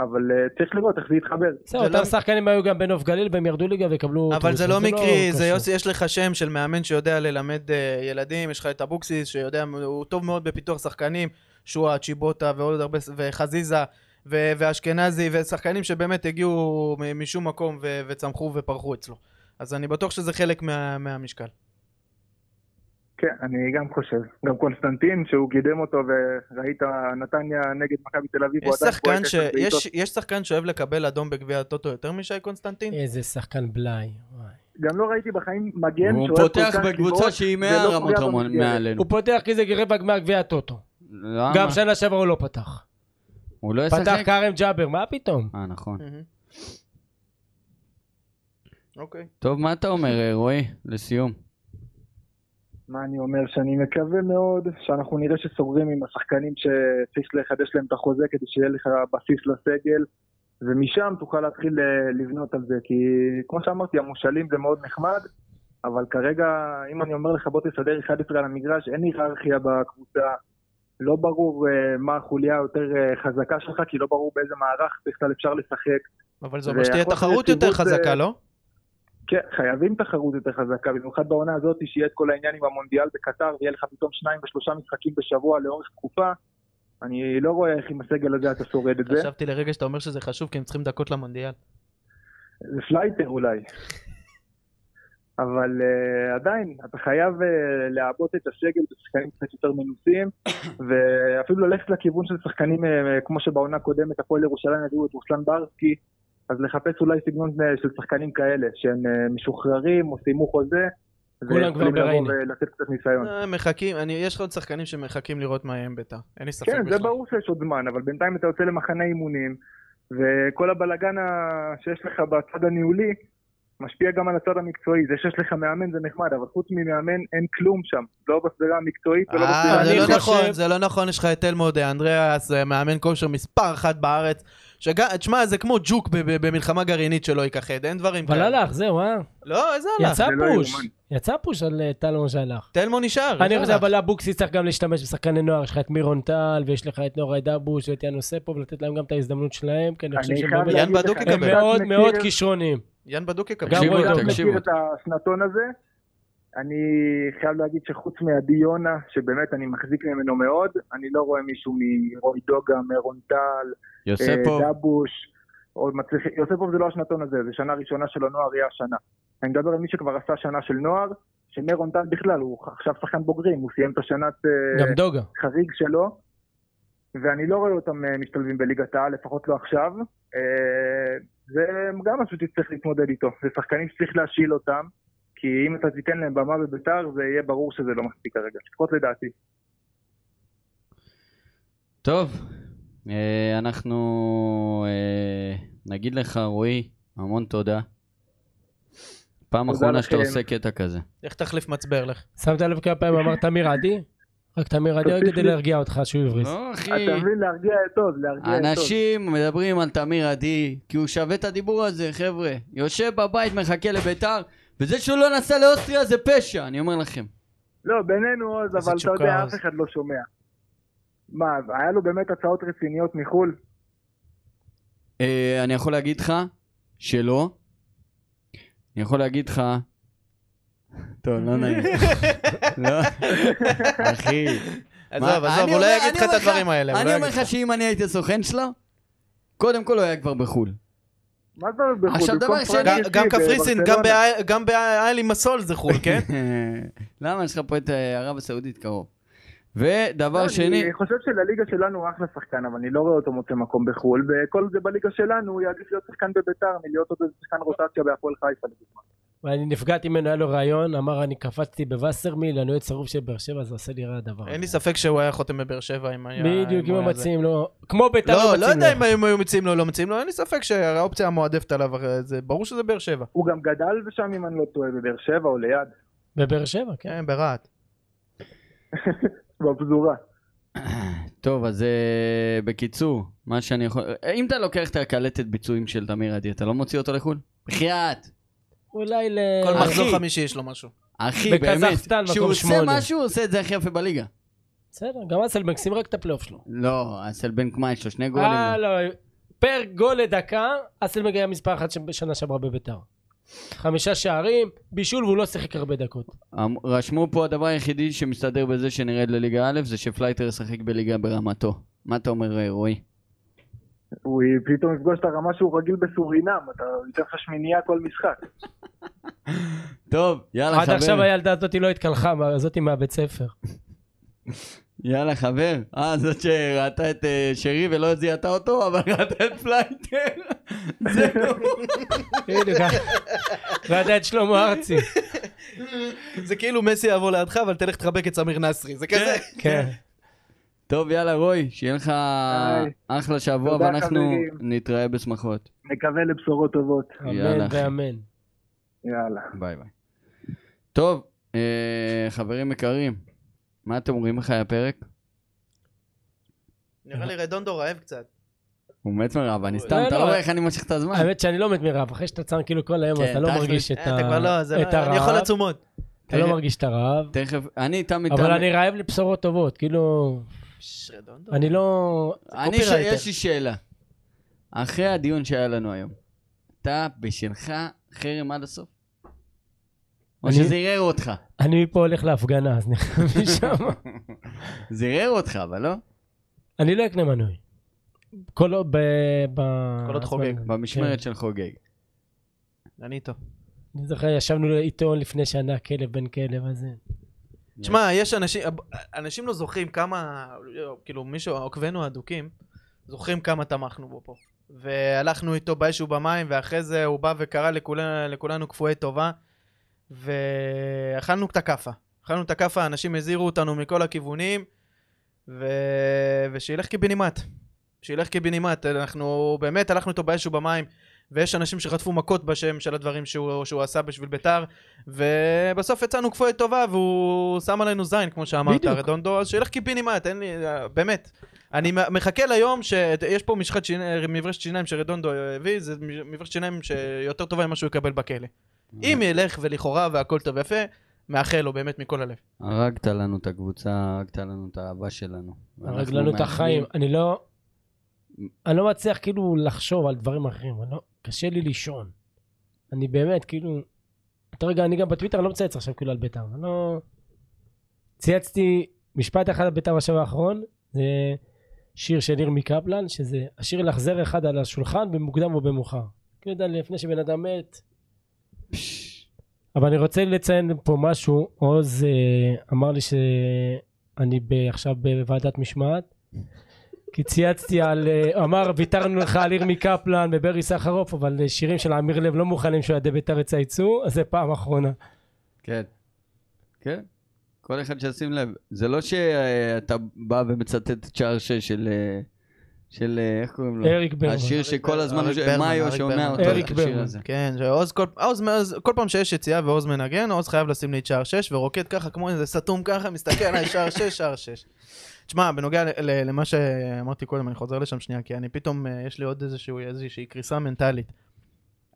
Speaker 5: אבל אה, צריך לראות איך זה יתחבר.
Speaker 4: בסדר,
Speaker 3: זה
Speaker 4: אותם
Speaker 3: לא-
Speaker 4: שחקנים היו גם בנוף גליל והם ירדו ליגה ויקבלו...
Speaker 3: אבל זה
Speaker 4: אוטובוס.
Speaker 3: לא מקרי, זה
Speaker 4: קשור.
Speaker 3: יוסי, יש לך שם של מאמן שיודע ללמד אה, ילדים, יש לך את אבוקסיס שיודע, הוא טוב מאוד בפיתוח שחקנים, שואה, צ'יבוטה ועוד הרבה, ס- וחזיזה ו- ואשכנזי, ושחקנים שבאמת הגיעו מ- משום מקום ו- וצמחו ופרחו אצלו. אז אני בטוח שזה חלק מה- מהמשקל.
Speaker 5: כן, אני גם חושב. גם קונסטנטין, שהוא קידם אותו, וראית נתניה נגד מכבי תל אביב,
Speaker 3: יש
Speaker 5: הוא עדיין
Speaker 3: שחקן
Speaker 5: בועט
Speaker 3: ש-
Speaker 5: עשר בעיטות.
Speaker 3: יש- יש שחקן שאוהב לקבל אדום בגביע הטוטו יותר משי קונסטנטין?
Speaker 4: איזה שחקן בלאי. וואי.
Speaker 5: גם לא ראיתי בחיים
Speaker 3: כן,
Speaker 5: מגן
Speaker 2: הוא
Speaker 5: שאוהב כל
Speaker 2: פותח
Speaker 5: כך
Speaker 2: בקבוצה
Speaker 5: לבעוט,
Speaker 2: שהיא
Speaker 5: ולא
Speaker 2: 100
Speaker 3: לא
Speaker 5: פוגע
Speaker 2: רמות רמון
Speaker 5: במסגרת.
Speaker 2: מעלינו.
Speaker 4: הוא פותח כי זה רבע גמר גביע הטוטו.
Speaker 2: למה?
Speaker 4: גם שנה שעברה הוא לא פתח.
Speaker 2: הוא לא
Speaker 4: פתח
Speaker 2: ישחק?
Speaker 4: כרם ג'אבר, מה פתאום?
Speaker 2: אה, נכון.
Speaker 3: מהמם.
Speaker 5: Mm-hmm.
Speaker 3: אוקיי.
Speaker 2: טוב, מה אתה אומר, אה, רועי? לסיום.
Speaker 5: מה אני אומר? שאני מקווה מאוד שאנחנו נראה שסוגרים עם השחקנים שצריך לחדש להם את החוזה כדי שיהיה לך בסיס לסגל, ומשם תוכל להתחיל אה, לבנות על זה, כי כמו שאמרתי, המושאלים זה מאוד נחמד, אבל כרגע, אם אני אומר לך בוא תסדר 11 על המגרש, אין היררכיה בקבוצה, לא ברור אה, מה החוליה היותר אה, חזקה שלך, כי לא ברור באיזה מערך בכלל אפשר לשחק.
Speaker 3: אבל זה
Speaker 5: זה
Speaker 3: אומר שתהיה
Speaker 5: יכול להיות
Speaker 3: תחרות יותר
Speaker 5: סיבוב, אה,
Speaker 3: חזקה, לא?
Speaker 5: כן, חייבים תחרות יותר חזקה, במיוחד בעונה הזאת שיהיה את כל העניין עם המונדיאל בקטר, ויהיה לך פתאום שניים ושלושה משחקים בשבוע לאורך תקופה. אני לא רואה איך עם הסגל הזה אתה שורד את זה.
Speaker 3: חשבתי לרגע שאתה אומר שזה חשוב כי הם צריכים דקות למונדיאל.
Speaker 5: זה פלייטר אולי. אבל uh, עדיין, אתה חייב uh, לעבות את הסגל בשחקנים קצת יותר
Speaker 4: *coughs*
Speaker 5: מנוסים, ואפילו ללכת לכיוון של שחקנים uh, כמו שבעונה הקודמת הפועל ירושלים הביאו את רוסלן ברסקי, אז לחפש אולי סגנון uh, של שחקנים כאלה, שהם uh, משוחררים או סיימו חוזה,
Speaker 4: כולם
Speaker 5: ויכולים
Speaker 4: כבר
Speaker 5: לבוא
Speaker 4: בריינה.
Speaker 5: ולתת קצת ניסיון.
Speaker 3: אה, מחכים, אני- יש לך עוד שחקנים שמחכים לראות מה יהיה עם ביתר, אין לי ספק
Speaker 5: כן,
Speaker 3: בכלל.
Speaker 5: זה ברור שיש עוד זמן, אבל בינתיים אתה יוצא למחנה אימונים, וכל הבלגן ה- שיש לך בצד הניהולי משפיע גם על הצד המקצועי. זה שיש לך מאמן זה נחמד, אבל חוץ ממאמן אין כלום שם, לא בסדרה המקצועית ולא
Speaker 3: אה,
Speaker 5: בסדרה...
Speaker 3: זה
Speaker 4: אני
Speaker 3: לא
Speaker 4: חושב-
Speaker 3: נכון, זה לא נכון, יש לך את אלמוד אה, אנדריאס, אה, מאמן כושר מספר אחת בארץ, שגם, תשמע, זה כמו ג'וק ב- ב- במלחמה גרעינית שלא ייכחד, אין דברים
Speaker 4: אבל
Speaker 3: כאלה.
Speaker 4: הלך, זהו, אה?
Speaker 3: לא, איזה הלך?
Speaker 4: יצא
Speaker 5: זה לא
Speaker 4: פוש.
Speaker 5: יאומן.
Speaker 4: יצא פוש על אה, טלמון שהלך.
Speaker 3: תלמוד נשאר.
Speaker 4: אני
Speaker 3: איזה
Speaker 4: חושב,
Speaker 3: הלך?
Speaker 4: אבל אבוקסיס צריך גם להשתמש בשחקני נוער, יש לך את מירון טל, ויש לך את נורי דבוש, ואת יאנו ספו, ולתת להם גם את ההזדמנות שלהם, כי אני חושב שהם
Speaker 5: חייב
Speaker 4: באמת-
Speaker 3: יאן
Speaker 5: להגיד לך,
Speaker 3: בדוק
Speaker 5: אני
Speaker 3: יקבל.
Speaker 4: הם
Speaker 5: קצת
Speaker 4: מאוד
Speaker 5: מכיר-
Speaker 4: מאוד כישרוניים.
Speaker 3: יאן בדוק יקבל.
Speaker 4: גם
Speaker 2: תקשיבו,
Speaker 4: רועי
Speaker 5: אני
Speaker 4: דוב.
Speaker 5: קצת
Speaker 2: תקשיבו.
Speaker 5: מכיר את השנתון הזה. אני חייב להגיד שחוץ מעדי יונה, שבאמת אני מחזיק ממנו מאוד, אני לא רואה מישהו מרוי דוגה, מרון טל,
Speaker 2: יוספוב,
Speaker 5: אה, דבוש, עוד מצליח... יוספוב זה לא השנתון הזה, זה שנה ראשונה של הנוער, יהיה השנה. אני מדבר על מי שכבר עשה שנה של נוער, שמרון טל בכלל, הוא עכשיו שחקן בוגרים, הוא סיים את השנת אה,
Speaker 4: גם דוגה.
Speaker 5: חריג שלו, ואני לא רואה אותם אה, משתלבים בליגת העל, לפחות לא עכשיו. אה, זה גם משהו שצריך להתמודד איתו, זה שחקנים שצריך להשיל אותם, כי אם אתה תיתן להם במה בביתר, זה יהיה ברור שזה לא מספיק כרגע, לפחות לדעתי.
Speaker 2: טוב, אה, אנחנו אה, נגיד לך, רועי, המון תודה. פעם
Speaker 5: תודה
Speaker 2: אחרונה שאתה
Speaker 5: לכם.
Speaker 2: עושה קטע כזה.
Speaker 3: לך תחליף מצבר, לך.
Speaker 4: שמת לב כמה פעמים אמר תמיר עדי? רק תמיר עדי רק
Speaker 3: *laughs*
Speaker 5: תוסיף
Speaker 4: כדי
Speaker 5: לי.
Speaker 4: להרגיע אותך שהוא הבריז.
Speaker 2: לא, אחי,
Speaker 5: אתה מבין, כן, להרגיע את עוז, להרגיע את עוז.
Speaker 2: אנשים מדברים על תמיר עדי, כי הוא שווה את הדיבור הזה, חבר'ה. יושב בבית, מחכה לביתר, וזה שהוא לא נסע לאוסטריה זה פשע, אני אומר לכם.
Speaker 5: לא, בינינו אז,
Speaker 4: איזה
Speaker 5: אבל אתה
Speaker 4: תשוקה
Speaker 5: יודע,
Speaker 4: אז.
Speaker 5: אף אחד לא שומע. מה, היה לו באמת הצעות רציניות מחו"ל?
Speaker 2: אה, אני יכול להגיד לך שלא. אני יכול להגיד לך... טוב, לא
Speaker 3: *laughs*
Speaker 2: נעים. לא, אחי. מה-
Speaker 3: עזוב, עזוב,
Speaker 2: אני
Speaker 3: הוא לא
Speaker 2: אומר-
Speaker 3: יגיד לך
Speaker 2: אני
Speaker 3: את
Speaker 2: אומר
Speaker 3: הדברים האלה. הוא
Speaker 2: אני
Speaker 3: לא
Speaker 2: אומר
Speaker 3: יגיד
Speaker 2: לך שאם אני הייתי סוכן שלו, קודם כל הוא היה כבר בחו"ל.
Speaker 5: מה זה אומר בחו"ל?
Speaker 2: עכשיו,
Speaker 5: במקום
Speaker 2: דבר
Speaker 5: פרנק
Speaker 2: שני-
Speaker 3: גם-
Speaker 5: יציב
Speaker 3: גם קפריסין, גם
Speaker 5: בברצלונה.
Speaker 3: באי- גם באייל עם הסול זה חו"ל,
Speaker 2: *laughs*
Speaker 3: כן?
Speaker 2: למה? יש לך פה את אה, ערב הסעודית קרוב. ודבר שני,
Speaker 5: לא, אני חושב שלליגה שלנו הוא אחלה שחקן, אבל אני לא רואה אותו מוצא מקום בחו"ל, וכל זה בליגה שלנו, הוא יעדיף להיות שחקן בביתר מלהיות עוד איזה שחקן רוטציה בהפועל חיפה, לדוגמה.
Speaker 4: ואני נפגעתי ממנו, היה לו רעיון, אמר, אני קפצתי בווסרמיל, אני אוהד שרוף של באר שבע, זה עושה לי רע הדבר.
Speaker 3: אין לי
Speaker 4: הזה."
Speaker 3: ספק שהוא היה חותם בבאר שבע אם היה...
Speaker 4: בדיוק, אם
Speaker 3: הוא
Speaker 4: הם
Speaker 3: היה זה.
Speaker 4: מציעים לו, כמו ביתר
Speaker 3: לא, לא
Speaker 4: מציעים לו.
Speaker 3: יודע אם הם היו מציעים לו או לא מציעים לו, אין לי ספק שהאופציה המועדפת עליו, הרי זה ברור שזה באר שבע.
Speaker 5: הוא גם גדל שם, אם אני לא טועה, בבאר שבע או ליד,
Speaker 4: בבאר שבע, כן.
Speaker 3: כן, ברהט.
Speaker 5: בפזורה.
Speaker 2: טוב, אז אה, בקיצור, מה שאני יכול... אה, אם אתה לוקח את הקלטת ביצועים של תמיר עדי, אתה לא מוציא אותו לחו"ל? בחייאת!
Speaker 4: אולי ל...
Speaker 3: כל
Speaker 2: אחי.
Speaker 3: מחזור חמישי יש לו משהו.
Speaker 2: אחי,
Speaker 4: בקזחסטן,
Speaker 2: באמת,
Speaker 4: מקום
Speaker 2: כשהוא עושה
Speaker 4: שמונה.
Speaker 2: משהו, הוא עושה את זה הכי יפה בליגה.
Speaker 4: בסדר, גם אסלבנק, שים רק את הפלייאוף שלו.
Speaker 2: לא, אסל בן קמה יש לו שני גולים.
Speaker 4: אה, לא, פר גול לדקה, אסלבנק היה מספר אחת בשנה שעברה בביתר. חמישה שערים, בישול, והוא לא שיחק הרבה דקות.
Speaker 2: אמ- רשמו פה הדבר היחידי שמסתדר בזה שנרד לליגה א', זה שפלייטר ישחק בליגה ברמתו. מה אתה אומר, אה, רועי?
Speaker 5: הוא פתאום יפגוש את הרמה שהוא רגיל בסורינם, אתה ייתן לך שמינייה כל משחק.
Speaker 2: *laughs* טוב, יאללה,
Speaker 4: עד עכשיו
Speaker 2: חבר.
Speaker 4: הילדה הזאתי לא התקלחה, מה- הזאתי מהבית ספר.
Speaker 2: יאללה, חבר. אה, זאת שראתה את אה, שרי ולא זיהתה אותו, אבל *laughs* ראתה את פלייטר. זהו.
Speaker 4: בדיוק,
Speaker 3: *laughs*
Speaker 4: ראתה את שלמה ארצי.
Speaker 3: זה כאילו מסי יעבור לידך, אבל תלך תחבק את סמיר נסרי, זה כזה.
Speaker 4: כן.
Speaker 2: טוב, יאללה, רועי, שיהיה לך
Speaker 5: היי.
Speaker 2: אחלה שבוע,
Speaker 5: תודה,
Speaker 2: ואנחנו
Speaker 5: חברים.
Speaker 2: נתראה בשמחות.
Speaker 5: נקווה לבשורות טובות.
Speaker 2: יאללה,
Speaker 4: אמן
Speaker 2: אחי.
Speaker 4: ואמן.
Speaker 5: יאללה.
Speaker 2: ביי ביי. טוב, אה, חברים יקרים, מה אתם אומרים לך הפרק?
Speaker 3: נראה לי רדונדו רעב קצת.
Speaker 2: הוא מת מרעב, אני סתם,
Speaker 4: לא,
Speaker 2: אתה
Speaker 4: לא.
Speaker 2: לא רואה איך אני מושך את הזמן.
Speaker 4: האמת שאני לא מת מרעב, אחרי שאתה צם כאילו כל היום,
Speaker 2: כן,
Speaker 4: אתה לא
Speaker 2: תכלס.
Speaker 4: מרגיש את
Speaker 3: אה,
Speaker 4: ה-
Speaker 3: אתה כבר לא, זה לא,
Speaker 4: את
Speaker 3: אני יכול
Speaker 4: הרעב.
Speaker 3: עצומות.
Speaker 4: אתה לא מרגיש את
Speaker 3: *laughs*
Speaker 4: הרעב.
Speaker 2: תכף, אני תמיד...
Speaker 4: אבל אני רעב לבשורות טובות, כאילו,
Speaker 3: ש, רדונדו.
Speaker 4: אני לא...
Speaker 2: אני, ש...
Speaker 3: קופירייטר.
Speaker 2: יש לי שאלה. אחרי הדיון שהיה לנו היום, אתה בשלך חרם עד הסוף? או
Speaker 4: אני-
Speaker 2: שזה ערער אותך?
Speaker 4: אני מפה הולך להפגנה,
Speaker 3: *laughs*
Speaker 4: אז נכנס משם.
Speaker 2: זה ערער אותך, אבל לא?
Speaker 4: אני לא אקנה מנוי. כל עוד ב... ב-
Speaker 3: כל עוד חוגג.
Speaker 2: אוקיי, במשמרת של חוגג.
Speaker 3: אני איתו.
Speaker 4: כן. אני זוכר, ישבנו איתו לפני שנה, כלב בן כלב הזה.
Speaker 3: תשמע, יש אנשים, אנשים לא זוכרים כמה, כאילו מישהו, עוקבינו האדוקים, זוכרים כמה תמכנו בו פה. והלכנו איתו באיזשהו במים, ואחרי זה הוא בא וקרא לכולנו, לכולנו כפויי טובה, ואכלנו את הכאפה. אכלנו את הכאפה, אנשים הזהירו אותנו מכל הכיוונים, ו... ושילך קיבינימט. שילך קיבינימט, אנחנו באמת הלכנו איתו באיזשהו במים, ויש אנשים שחטפו מכות בשם של הדברים שהוא, שהוא עשה בשביל ביתר, ובסוף יצאנו כפויי טובה והוא שם עלינו זין כמו שאמרת
Speaker 4: בדיוק.
Speaker 3: רדונדו אז שילך קיבינימט אין לי אה, באמת אני מ- מחכה ליום שיש פה משחת שיניים מברשת שיניים שרדונדו הביא זה מ- מברשת שיניים שיותר טובה ממה שהוא יקבל בכלא אם ילך ולכאורה והכל טוב ויפה מאחל לו באמת מכל הלב
Speaker 2: הרגת לנו את הקבוצה, הרגת לנו את האהבה שלנו.
Speaker 4: הרג לנו את החיים. אני לא... אני לא מצליח כאילו לחשוב על דברים אחרים. אני לא... קשה לי לישון. אני באמת, כאילו... אתה רגע, אני גם בטוויטר לא מצייץ עכשיו כאילו על בית"ר. אני לא... צייצתי משפט אחד על בית"ר בשבוע האחרון. זה שיר של ירמי קפלן, שזה השיר לחזר אחד על השולחן במוקדם או במאוחר. כאילו, אתה יודע, לפני שבן אדם מת, אבל אני רוצה לציין פה משהו, עוז אה, אמר לי שאני ב, עכשיו בוועדת משמעת, כי צייצתי על, אה, אמר ויתרנו לך על ירמי קפלן וברי סחרוף, אבל אה, שירים של עמיר לב לא מוכנים שאוהדי בית"ר יצייצו, אז זה פעם אחרונה.
Speaker 2: כן. כן. כל אחד שישים לב. זה לא שאתה בא ומצטט את שער שש של... אה, של אה, איך קוראים לו?
Speaker 4: אריק ברמן.
Speaker 2: השיר שכל הזמן,
Speaker 3: אריק
Speaker 2: ש-
Speaker 3: ברמן,
Speaker 2: מאיו
Speaker 3: אריק
Speaker 2: שומע
Speaker 3: ברמן.
Speaker 2: אותו,
Speaker 4: אריק
Speaker 2: את השיר
Speaker 4: ברמן.
Speaker 2: הזה.
Speaker 3: כן שעוז כל, עוז, עוז, כל פעם שיש יציאה ועוז מנגן עוז חייב לשים לי את שער 6 ורוקד ככה כמו איזה סתום ככה מסתכל עליי שער 6 שער 6 תשמע בנוגע ל- ל- למה שאמרתי קודם אני חוזר לשם שנייה כי אני פתאום אה, יש לי עוד איזשהו, איזושהי קריסה מנטלית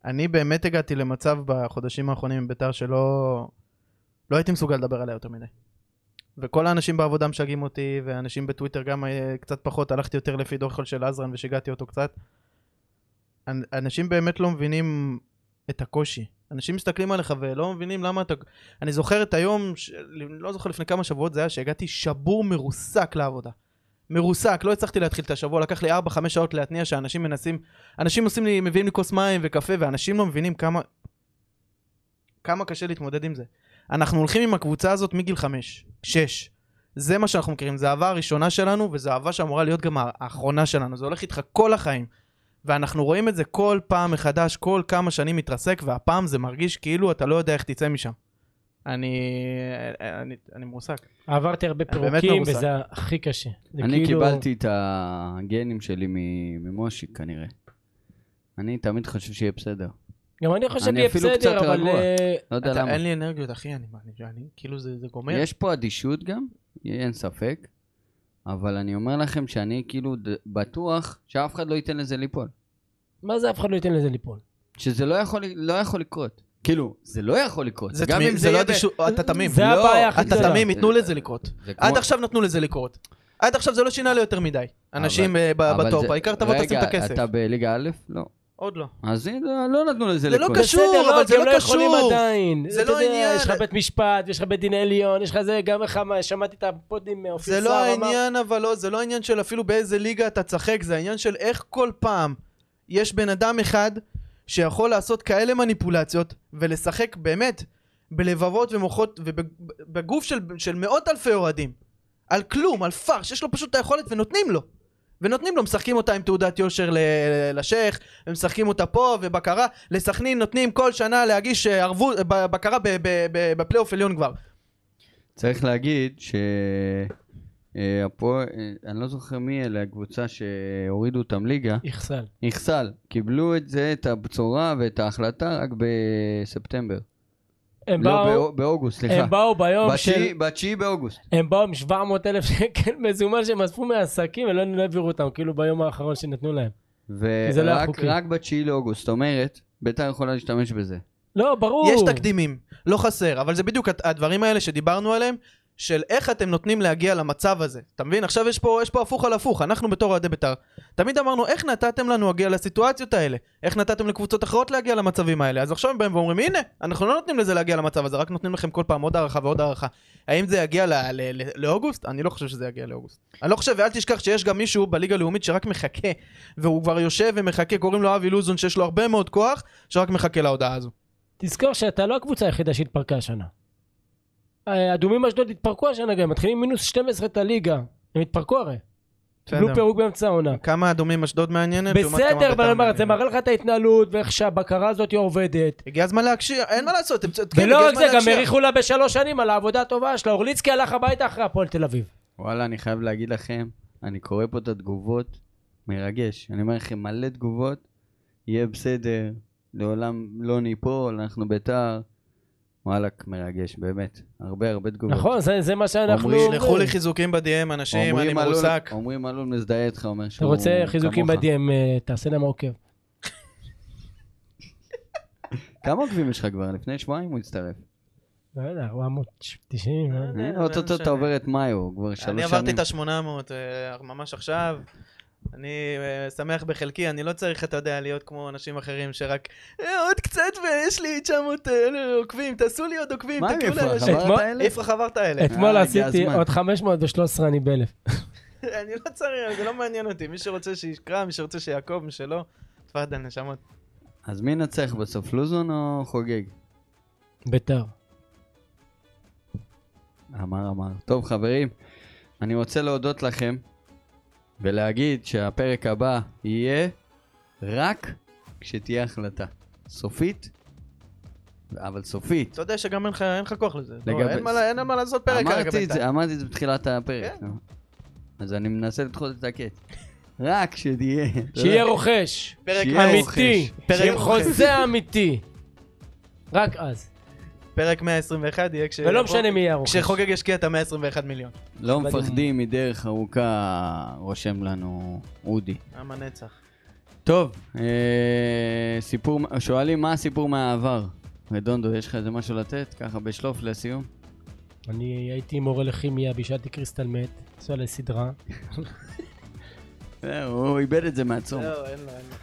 Speaker 3: אני באמת הגעתי למצב בחודשים האחרונים עם ביתר שלא לא הייתי מסוגל לדבר עליה יותר מדי. וכל האנשים בעבודה משגעים אותי, ואנשים בטוויטר גם אה, קצת פחות, הלכתי יותר לפי דורכול של עזרן ושיגעתי אותו קצת. אנ- אנשים באמת לא מבינים את הקושי. אנשים מסתכלים עליך ולא מבינים למה אתה... אני זוכר את היום, ש... לא זוכר לפני כמה שבועות זה היה, שהגעתי שבור מרוסק לעבודה. מרוסק, לא הצלחתי להתחיל את השבוע, לקח לי 4-5 שעות להתניע שאנשים מנסים, אנשים עושים לי, מביאים לי כוס מים וקפה, ואנשים לא מבינים כמה, כמה קשה להתמודד עם זה. אנחנו הולכים עם הקבוצה הזאת מגיל 5, 6. זה מה שאנחנו מכירים, זו האהבה הראשונה שלנו, וזו אהבה שאמורה להיות גם האחרונה שלנו, זה הולך איתך כל החיים. ואנחנו רואים את זה כל פעם מחדש, כל כמה שנים מתרסק, והפעם זה מרגיש כאילו אתה לא יודע איך תצא משם. אני... אני, אני מועסק.
Speaker 4: עברתי הרבה
Speaker 3: באמת
Speaker 4: פירוקים,
Speaker 3: מרוסק.
Speaker 4: וזה הכי קשה. זה
Speaker 2: אני
Speaker 4: כאילו-
Speaker 2: קיבלתי את הגנים שלי מ- ממושיק כנראה. אני תמיד חושב שיהיה בסדר.
Speaker 4: גם אני חושב
Speaker 2: אני
Speaker 4: שיהיה
Speaker 2: אפילו קצת
Speaker 4: בסדר, אבל...
Speaker 2: רגוע.
Speaker 4: אה,
Speaker 2: לא יודע
Speaker 3: אתה-
Speaker 2: למה.
Speaker 3: אין לי אנרגיות, אחי, אני, אני, אני כאילו זה, זה גומר.
Speaker 2: יש פה אדישות גם, אין ספק, אבל אני אומר לכם שאני כאילו ד- בטוח שאף אחד לא ייתן לזה ליפול.
Speaker 4: מה זה אף אחד לא ייתן לזה ליפול?
Speaker 2: שזה לא יכול, לא יכול לקרות. כאילו, זה לא יכול לקרות.
Speaker 3: זה
Speaker 2: גם
Speaker 3: תמים,
Speaker 2: אם
Speaker 3: זה לא
Speaker 2: יהיה
Speaker 3: אדישות, אתה תמים.
Speaker 4: זה
Speaker 2: לא,
Speaker 4: הבעיה הכי
Speaker 3: אתה
Speaker 4: גדולה.
Speaker 3: תמים, ייתנו לזה לקרות.
Speaker 2: ב- זה אה, כמו-
Speaker 3: עד עכשיו נתנו לזה לקרות. עד עכשיו זה לא שינה לי יותר מדי. אנשים אה, ב-
Speaker 2: אבל
Speaker 3: בטופ,
Speaker 2: זה-
Speaker 3: העיקר תבוא תשים את
Speaker 2: רגע,
Speaker 3: הכסף.
Speaker 2: אתה לא בליגה א'? לא.
Speaker 3: עוד לא.
Speaker 2: אז הנה, לא נתנו לזה
Speaker 3: זה לא
Speaker 2: לקרות.
Speaker 3: קשור,
Speaker 4: בסדר,
Speaker 3: אבל
Speaker 4: לא,
Speaker 3: זה
Speaker 4: כי הם
Speaker 3: לא
Speaker 4: לא יכולים
Speaker 3: קשור.
Speaker 4: עדיין.
Speaker 3: זה
Speaker 4: אתה
Speaker 3: לא
Speaker 4: יודע,
Speaker 3: העניין.
Speaker 4: יש לך בית משפט, יש לך בית דין עליון, יש לך זה, גם איך אמר- שמעתי את הפודים, אה, אופיר
Speaker 3: זה
Speaker 4: סער
Speaker 3: לא
Speaker 4: אמר-
Speaker 3: העניין, אבל לא, זה לא העניין של אפילו באיזה ליגה אתה צחק, זה העניין של איך כל פעם יש בן אדם אחד שיכול לעשות כאלה מניפולציות ולשחק באמת בלבבות ומוחות ובגוף של, של מאות אלפי אוהדים. על כלום, על פרש, יש לו פשוט את היכולת ונותנים לו. ונותנים לו, משחקים אותה עם תעודת יושר ל- ל- לשייח, ומשחקים אותה פה, ובקרה, לסכנין נותנים כל שנה להגיש אה, ערבות, ב- בקרה ב- ב- ב- בפלייאוף עליון כבר.
Speaker 2: צריך להגיד ש... אה, הפועל- אה, אני לא זוכר מי אלה, הקבוצה שהורידו אותם ליגה,
Speaker 4: איכסל.
Speaker 2: נכסל. קיבלו את זה, את הבשורה ואת ההחלטה רק בספטמבר.
Speaker 4: הם
Speaker 2: לא,
Speaker 4: באו-
Speaker 2: באו- באוגוסט, סליחה.
Speaker 4: הם באו ביום
Speaker 2: בתשיעי-
Speaker 4: של...
Speaker 2: בתשיעי באוגוסט.
Speaker 4: הם באו עם 700 אלף שקל *laughs* מזומן שהם אספו מהעסקים, ולא לא העבירו אותם, כאילו ביום האחרון שנתנו להם. זה לא היה
Speaker 2: ורק
Speaker 4: חוקי.
Speaker 2: רק בתשיעי לאוגוסט. זאת אומרת, ביתר יכולה להשתמש בזה.
Speaker 4: לא, ברור.
Speaker 3: יש תקדימים, לא חסר, אבל זה בדיוק הת- הדברים האלה שדיברנו עליהם, של איך אתם נותנים להגיע למצב הזה. אתה מבין? עכשיו יש פה, יש פה הפוך על הפוך, אנחנו בתור אוהדי בית"ר, תמיד אמרנו, איך נתתם לנו להגיע לסיטואציות האלה? איך נתתם לקבוצות אחרות להגיע למצבים האלה? אז עכשיו הם באים ואומרים, הנה, אנחנו לא נותנים לזה להגיע למצב הזה, רק נותנים לכם כל פעם עוד הערכה ועוד הערכה. האם זה יגיע ל- ל- ל- לאוגוסט? אני לא חושב שזה יגיע לאוגוסט. אני לא חושב, ואל תשכח שיש גם מישהו בליגה הלאומית שרק מחכה, והוא כבר יושב ומחכה, קוראים לו אבי לוזון, שיש לו הרבה מאוד כוח, שרק מחכה להודעה הזו.
Speaker 4: תזכור שאתה לא הקבוצה היחידה שהתפרקה השנה. האדומים אשדוד התפרקו השנה גם, מתחילים מינוס 12 את הליגה. הם התפרקו הרי. קיבלו
Speaker 3: בסדר.
Speaker 4: פירוק באמצע העונה.
Speaker 3: כמה אדומים אשדוד מעניינת? לעומת כמה
Speaker 4: בסדר,
Speaker 3: בית"ר
Speaker 4: אבל אני אומר, זה
Speaker 3: מעניינת.
Speaker 4: מראה לך את ההתנהלות ואיך שהבקרה הזאת עובדת.
Speaker 3: הגיע הזמן להקשיב, אין כן, מה לעשות, הם צודקים,
Speaker 4: ולא
Speaker 3: הגיע
Speaker 4: רק
Speaker 3: הזמן
Speaker 4: זה, גם
Speaker 3: להקשיב.
Speaker 4: האריכו לה בשלוש שנים על העבודה הטובה שלה. אורליצקי הלך הביתה אחרי הפועל תל אביב.
Speaker 2: וואלה, אני חייב להגיד לכם, אני קורא פה את התגובות, מרגש. אני אומר לכם, מלא תגובות, יהיה בסדר, לעולם לא ניפול, אנחנו ביתר. וואלכ, מרגש, באמת. הרבה הרבה
Speaker 3: לא.
Speaker 2: תגובות.
Speaker 4: נכון, זה זה מה שאנחנו
Speaker 2: אומרים,
Speaker 3: שלחו לי חיזוקים ב-DM, אנשים, אני
Speaker 2: אומרים אלון-
Speaker 3: מרוסק.
Speaker 2: אומרים אלון מזדהה איתך, אומר
Speaker 4: אתה
Speaker 2: שהוא
Speaker 4: רוצה חיזוקים
Speaker 2: כמוך.
Speaker 4: בדי.אם, אה, תעשה להם עוקב.
Speaker 2: כמה עוקבים יש לך כבר? לפני שבועיים הוא הצטרף.
Speaker 4: לא יודע, 490. לא יודע.
Speaker 3: יודע,
Speaker 2: אה,
Speaker 3: אה, לא
Speaker 2: אוטוטו
Speaker 3: משנה.
Speaker 2: אתה עובר את מאיו, כבר שלוש שנים.
Speaker 3: אני עברתי את ה-800 ממש עכשיו. אני אה, שמח בחלקי, אני לא צריך, אתה יודע, להיות כמו אנשים אחרים שרק "אה, עוד קצת ויש לי 900 אה, עוקבים, תעשו לי עוד עוקבים,
Speaker 2: מה עם
Speaker 3: תקראו
Speaker 2: יפרח?
Speaker 3: לאנשים.
Speaker 2: עברת
Speaker 4: אתמול-
Speaker 2: אלף?
Speaker 3: יפרח עברת אלה.
Speaker 4: אתמול
Speaker 2: אה, הגיע
Speaker 4: עשיתי
Speaker 2: הזמן.
Speaker 4: עוד 513, אני באלף.
Speaker 3: *laughs* אני לא צריך, זה לא מעניין אותי. מי שרוצה שיקרא, מי שרוצה שיעקוב, מי שלא, תפאדל, נשמות.
Speaker 2: אז מי ינצח בסוף, לוזון או חוגג?
Speaker 4: ביתר.
Speaker 2: אמר אמר. טוב חברים, אני רוצה להודות לכם ולהגיד שהפרק הבא יהיה רק כשתהיה החלטה. סופית, אבל סופית.
Speaker 3: אתה יודע שגם אין לך- אין לך כוח לזה. לא,
Speaker 2: לגבי-
Speaker 3: אין מה לה- אין מה לעשות פרק כרגע
Speaker 2: אמרתי את
Speaker 3: בינתיים.
Speaker 2: זה, אמרתי את זה בתחילת הפרק. אז אני מנסה לדחות את הקט. רק כשתהיה.
Speaker 4: שיהיה רוכש.
Speaker 3: פרק
Speaker 2: שיהיה
Speaker 3: מאה-
Speaker 2: לא רוכש.
Speaker 4: אמיתי.
Speaker 3: פרק
Speaker 4: עם
Speaker 3: רוכש.
Speaker 4: חוזה אמיתי. רק אז.
Speaker 3: פרק 121 יהיה כש...
Speaker 4: ולא משנה מי יהיה הרוכש.
Speaker 3: כשחוגג ישקיע את ה-121 מיליון.
Speaker 2: לא
Speaker 4: אבל-
Speaker 2: מפחדים מדרך ארוכה, רושם לנו אודי.
Speaker 3: עם הנצח.
Speaker 2: טוב, אה, סיפור, שואלים מה הסיפור מהעבר. רדונדו, יש לך איזה משהו לתת? ככה בשלוף לסיום.
Speaker 4: אני הייתי מורה לכימיה, בישלתי קריסטל מת, עשו עליי סדרה.
Speaker 2: זהו, אה, הוא איבד את זה מהצום.
Speaker 3: זהו, לא, אין לו, אין לו.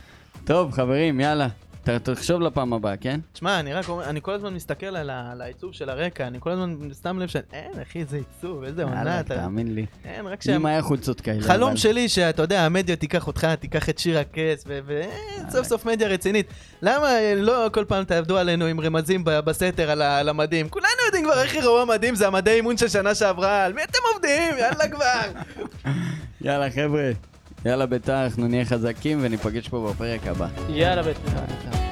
Speaker 2: טוב, חברים, יאללה. ת- תחשוב לפעם הבאה, כן?
Speaker 3: תשמע, אני רק אומר, אני כל הזמן מסתכל על ה- על העיצוב של הרקע, אני כל הזמן שם לב ש... אין, אחי, איזה עיצוב, איזה עונה,
Speaker 2: יאללה,
Speaker 3: אתה...
Speaker 2: תאמין לי.
Speaker 3: אין, רק
Speaker 2: אם
Speaker 3: שה...
Speaker 2: היה חולצות כאלה.
Speaker 3: חלום
Speaker 2: אבל-
Speaker 3: שלי שאתה יודע, המדיה תיקח אותך, תיקח את שיר הכס,
Speaker 2: אה,
Speaker 3: וסוף אה, סוף מדיה רצינית. למה אה, לא כל פעם תעבדו עלינו עם רמזים ב- בסתר על ה- על המדים? כולנו יודעים כבר איך יראו המדים, זה המדי אימון של שנה שעברה, על מי אתם עובדים? יאללה כבר.
Speaker 2: יאללה, חבר'ה. יאללה, ביתר, אנחנו נהיה חזקים וניפגש פה בפרק הבא.
Speaker 4: יאללה, בטח.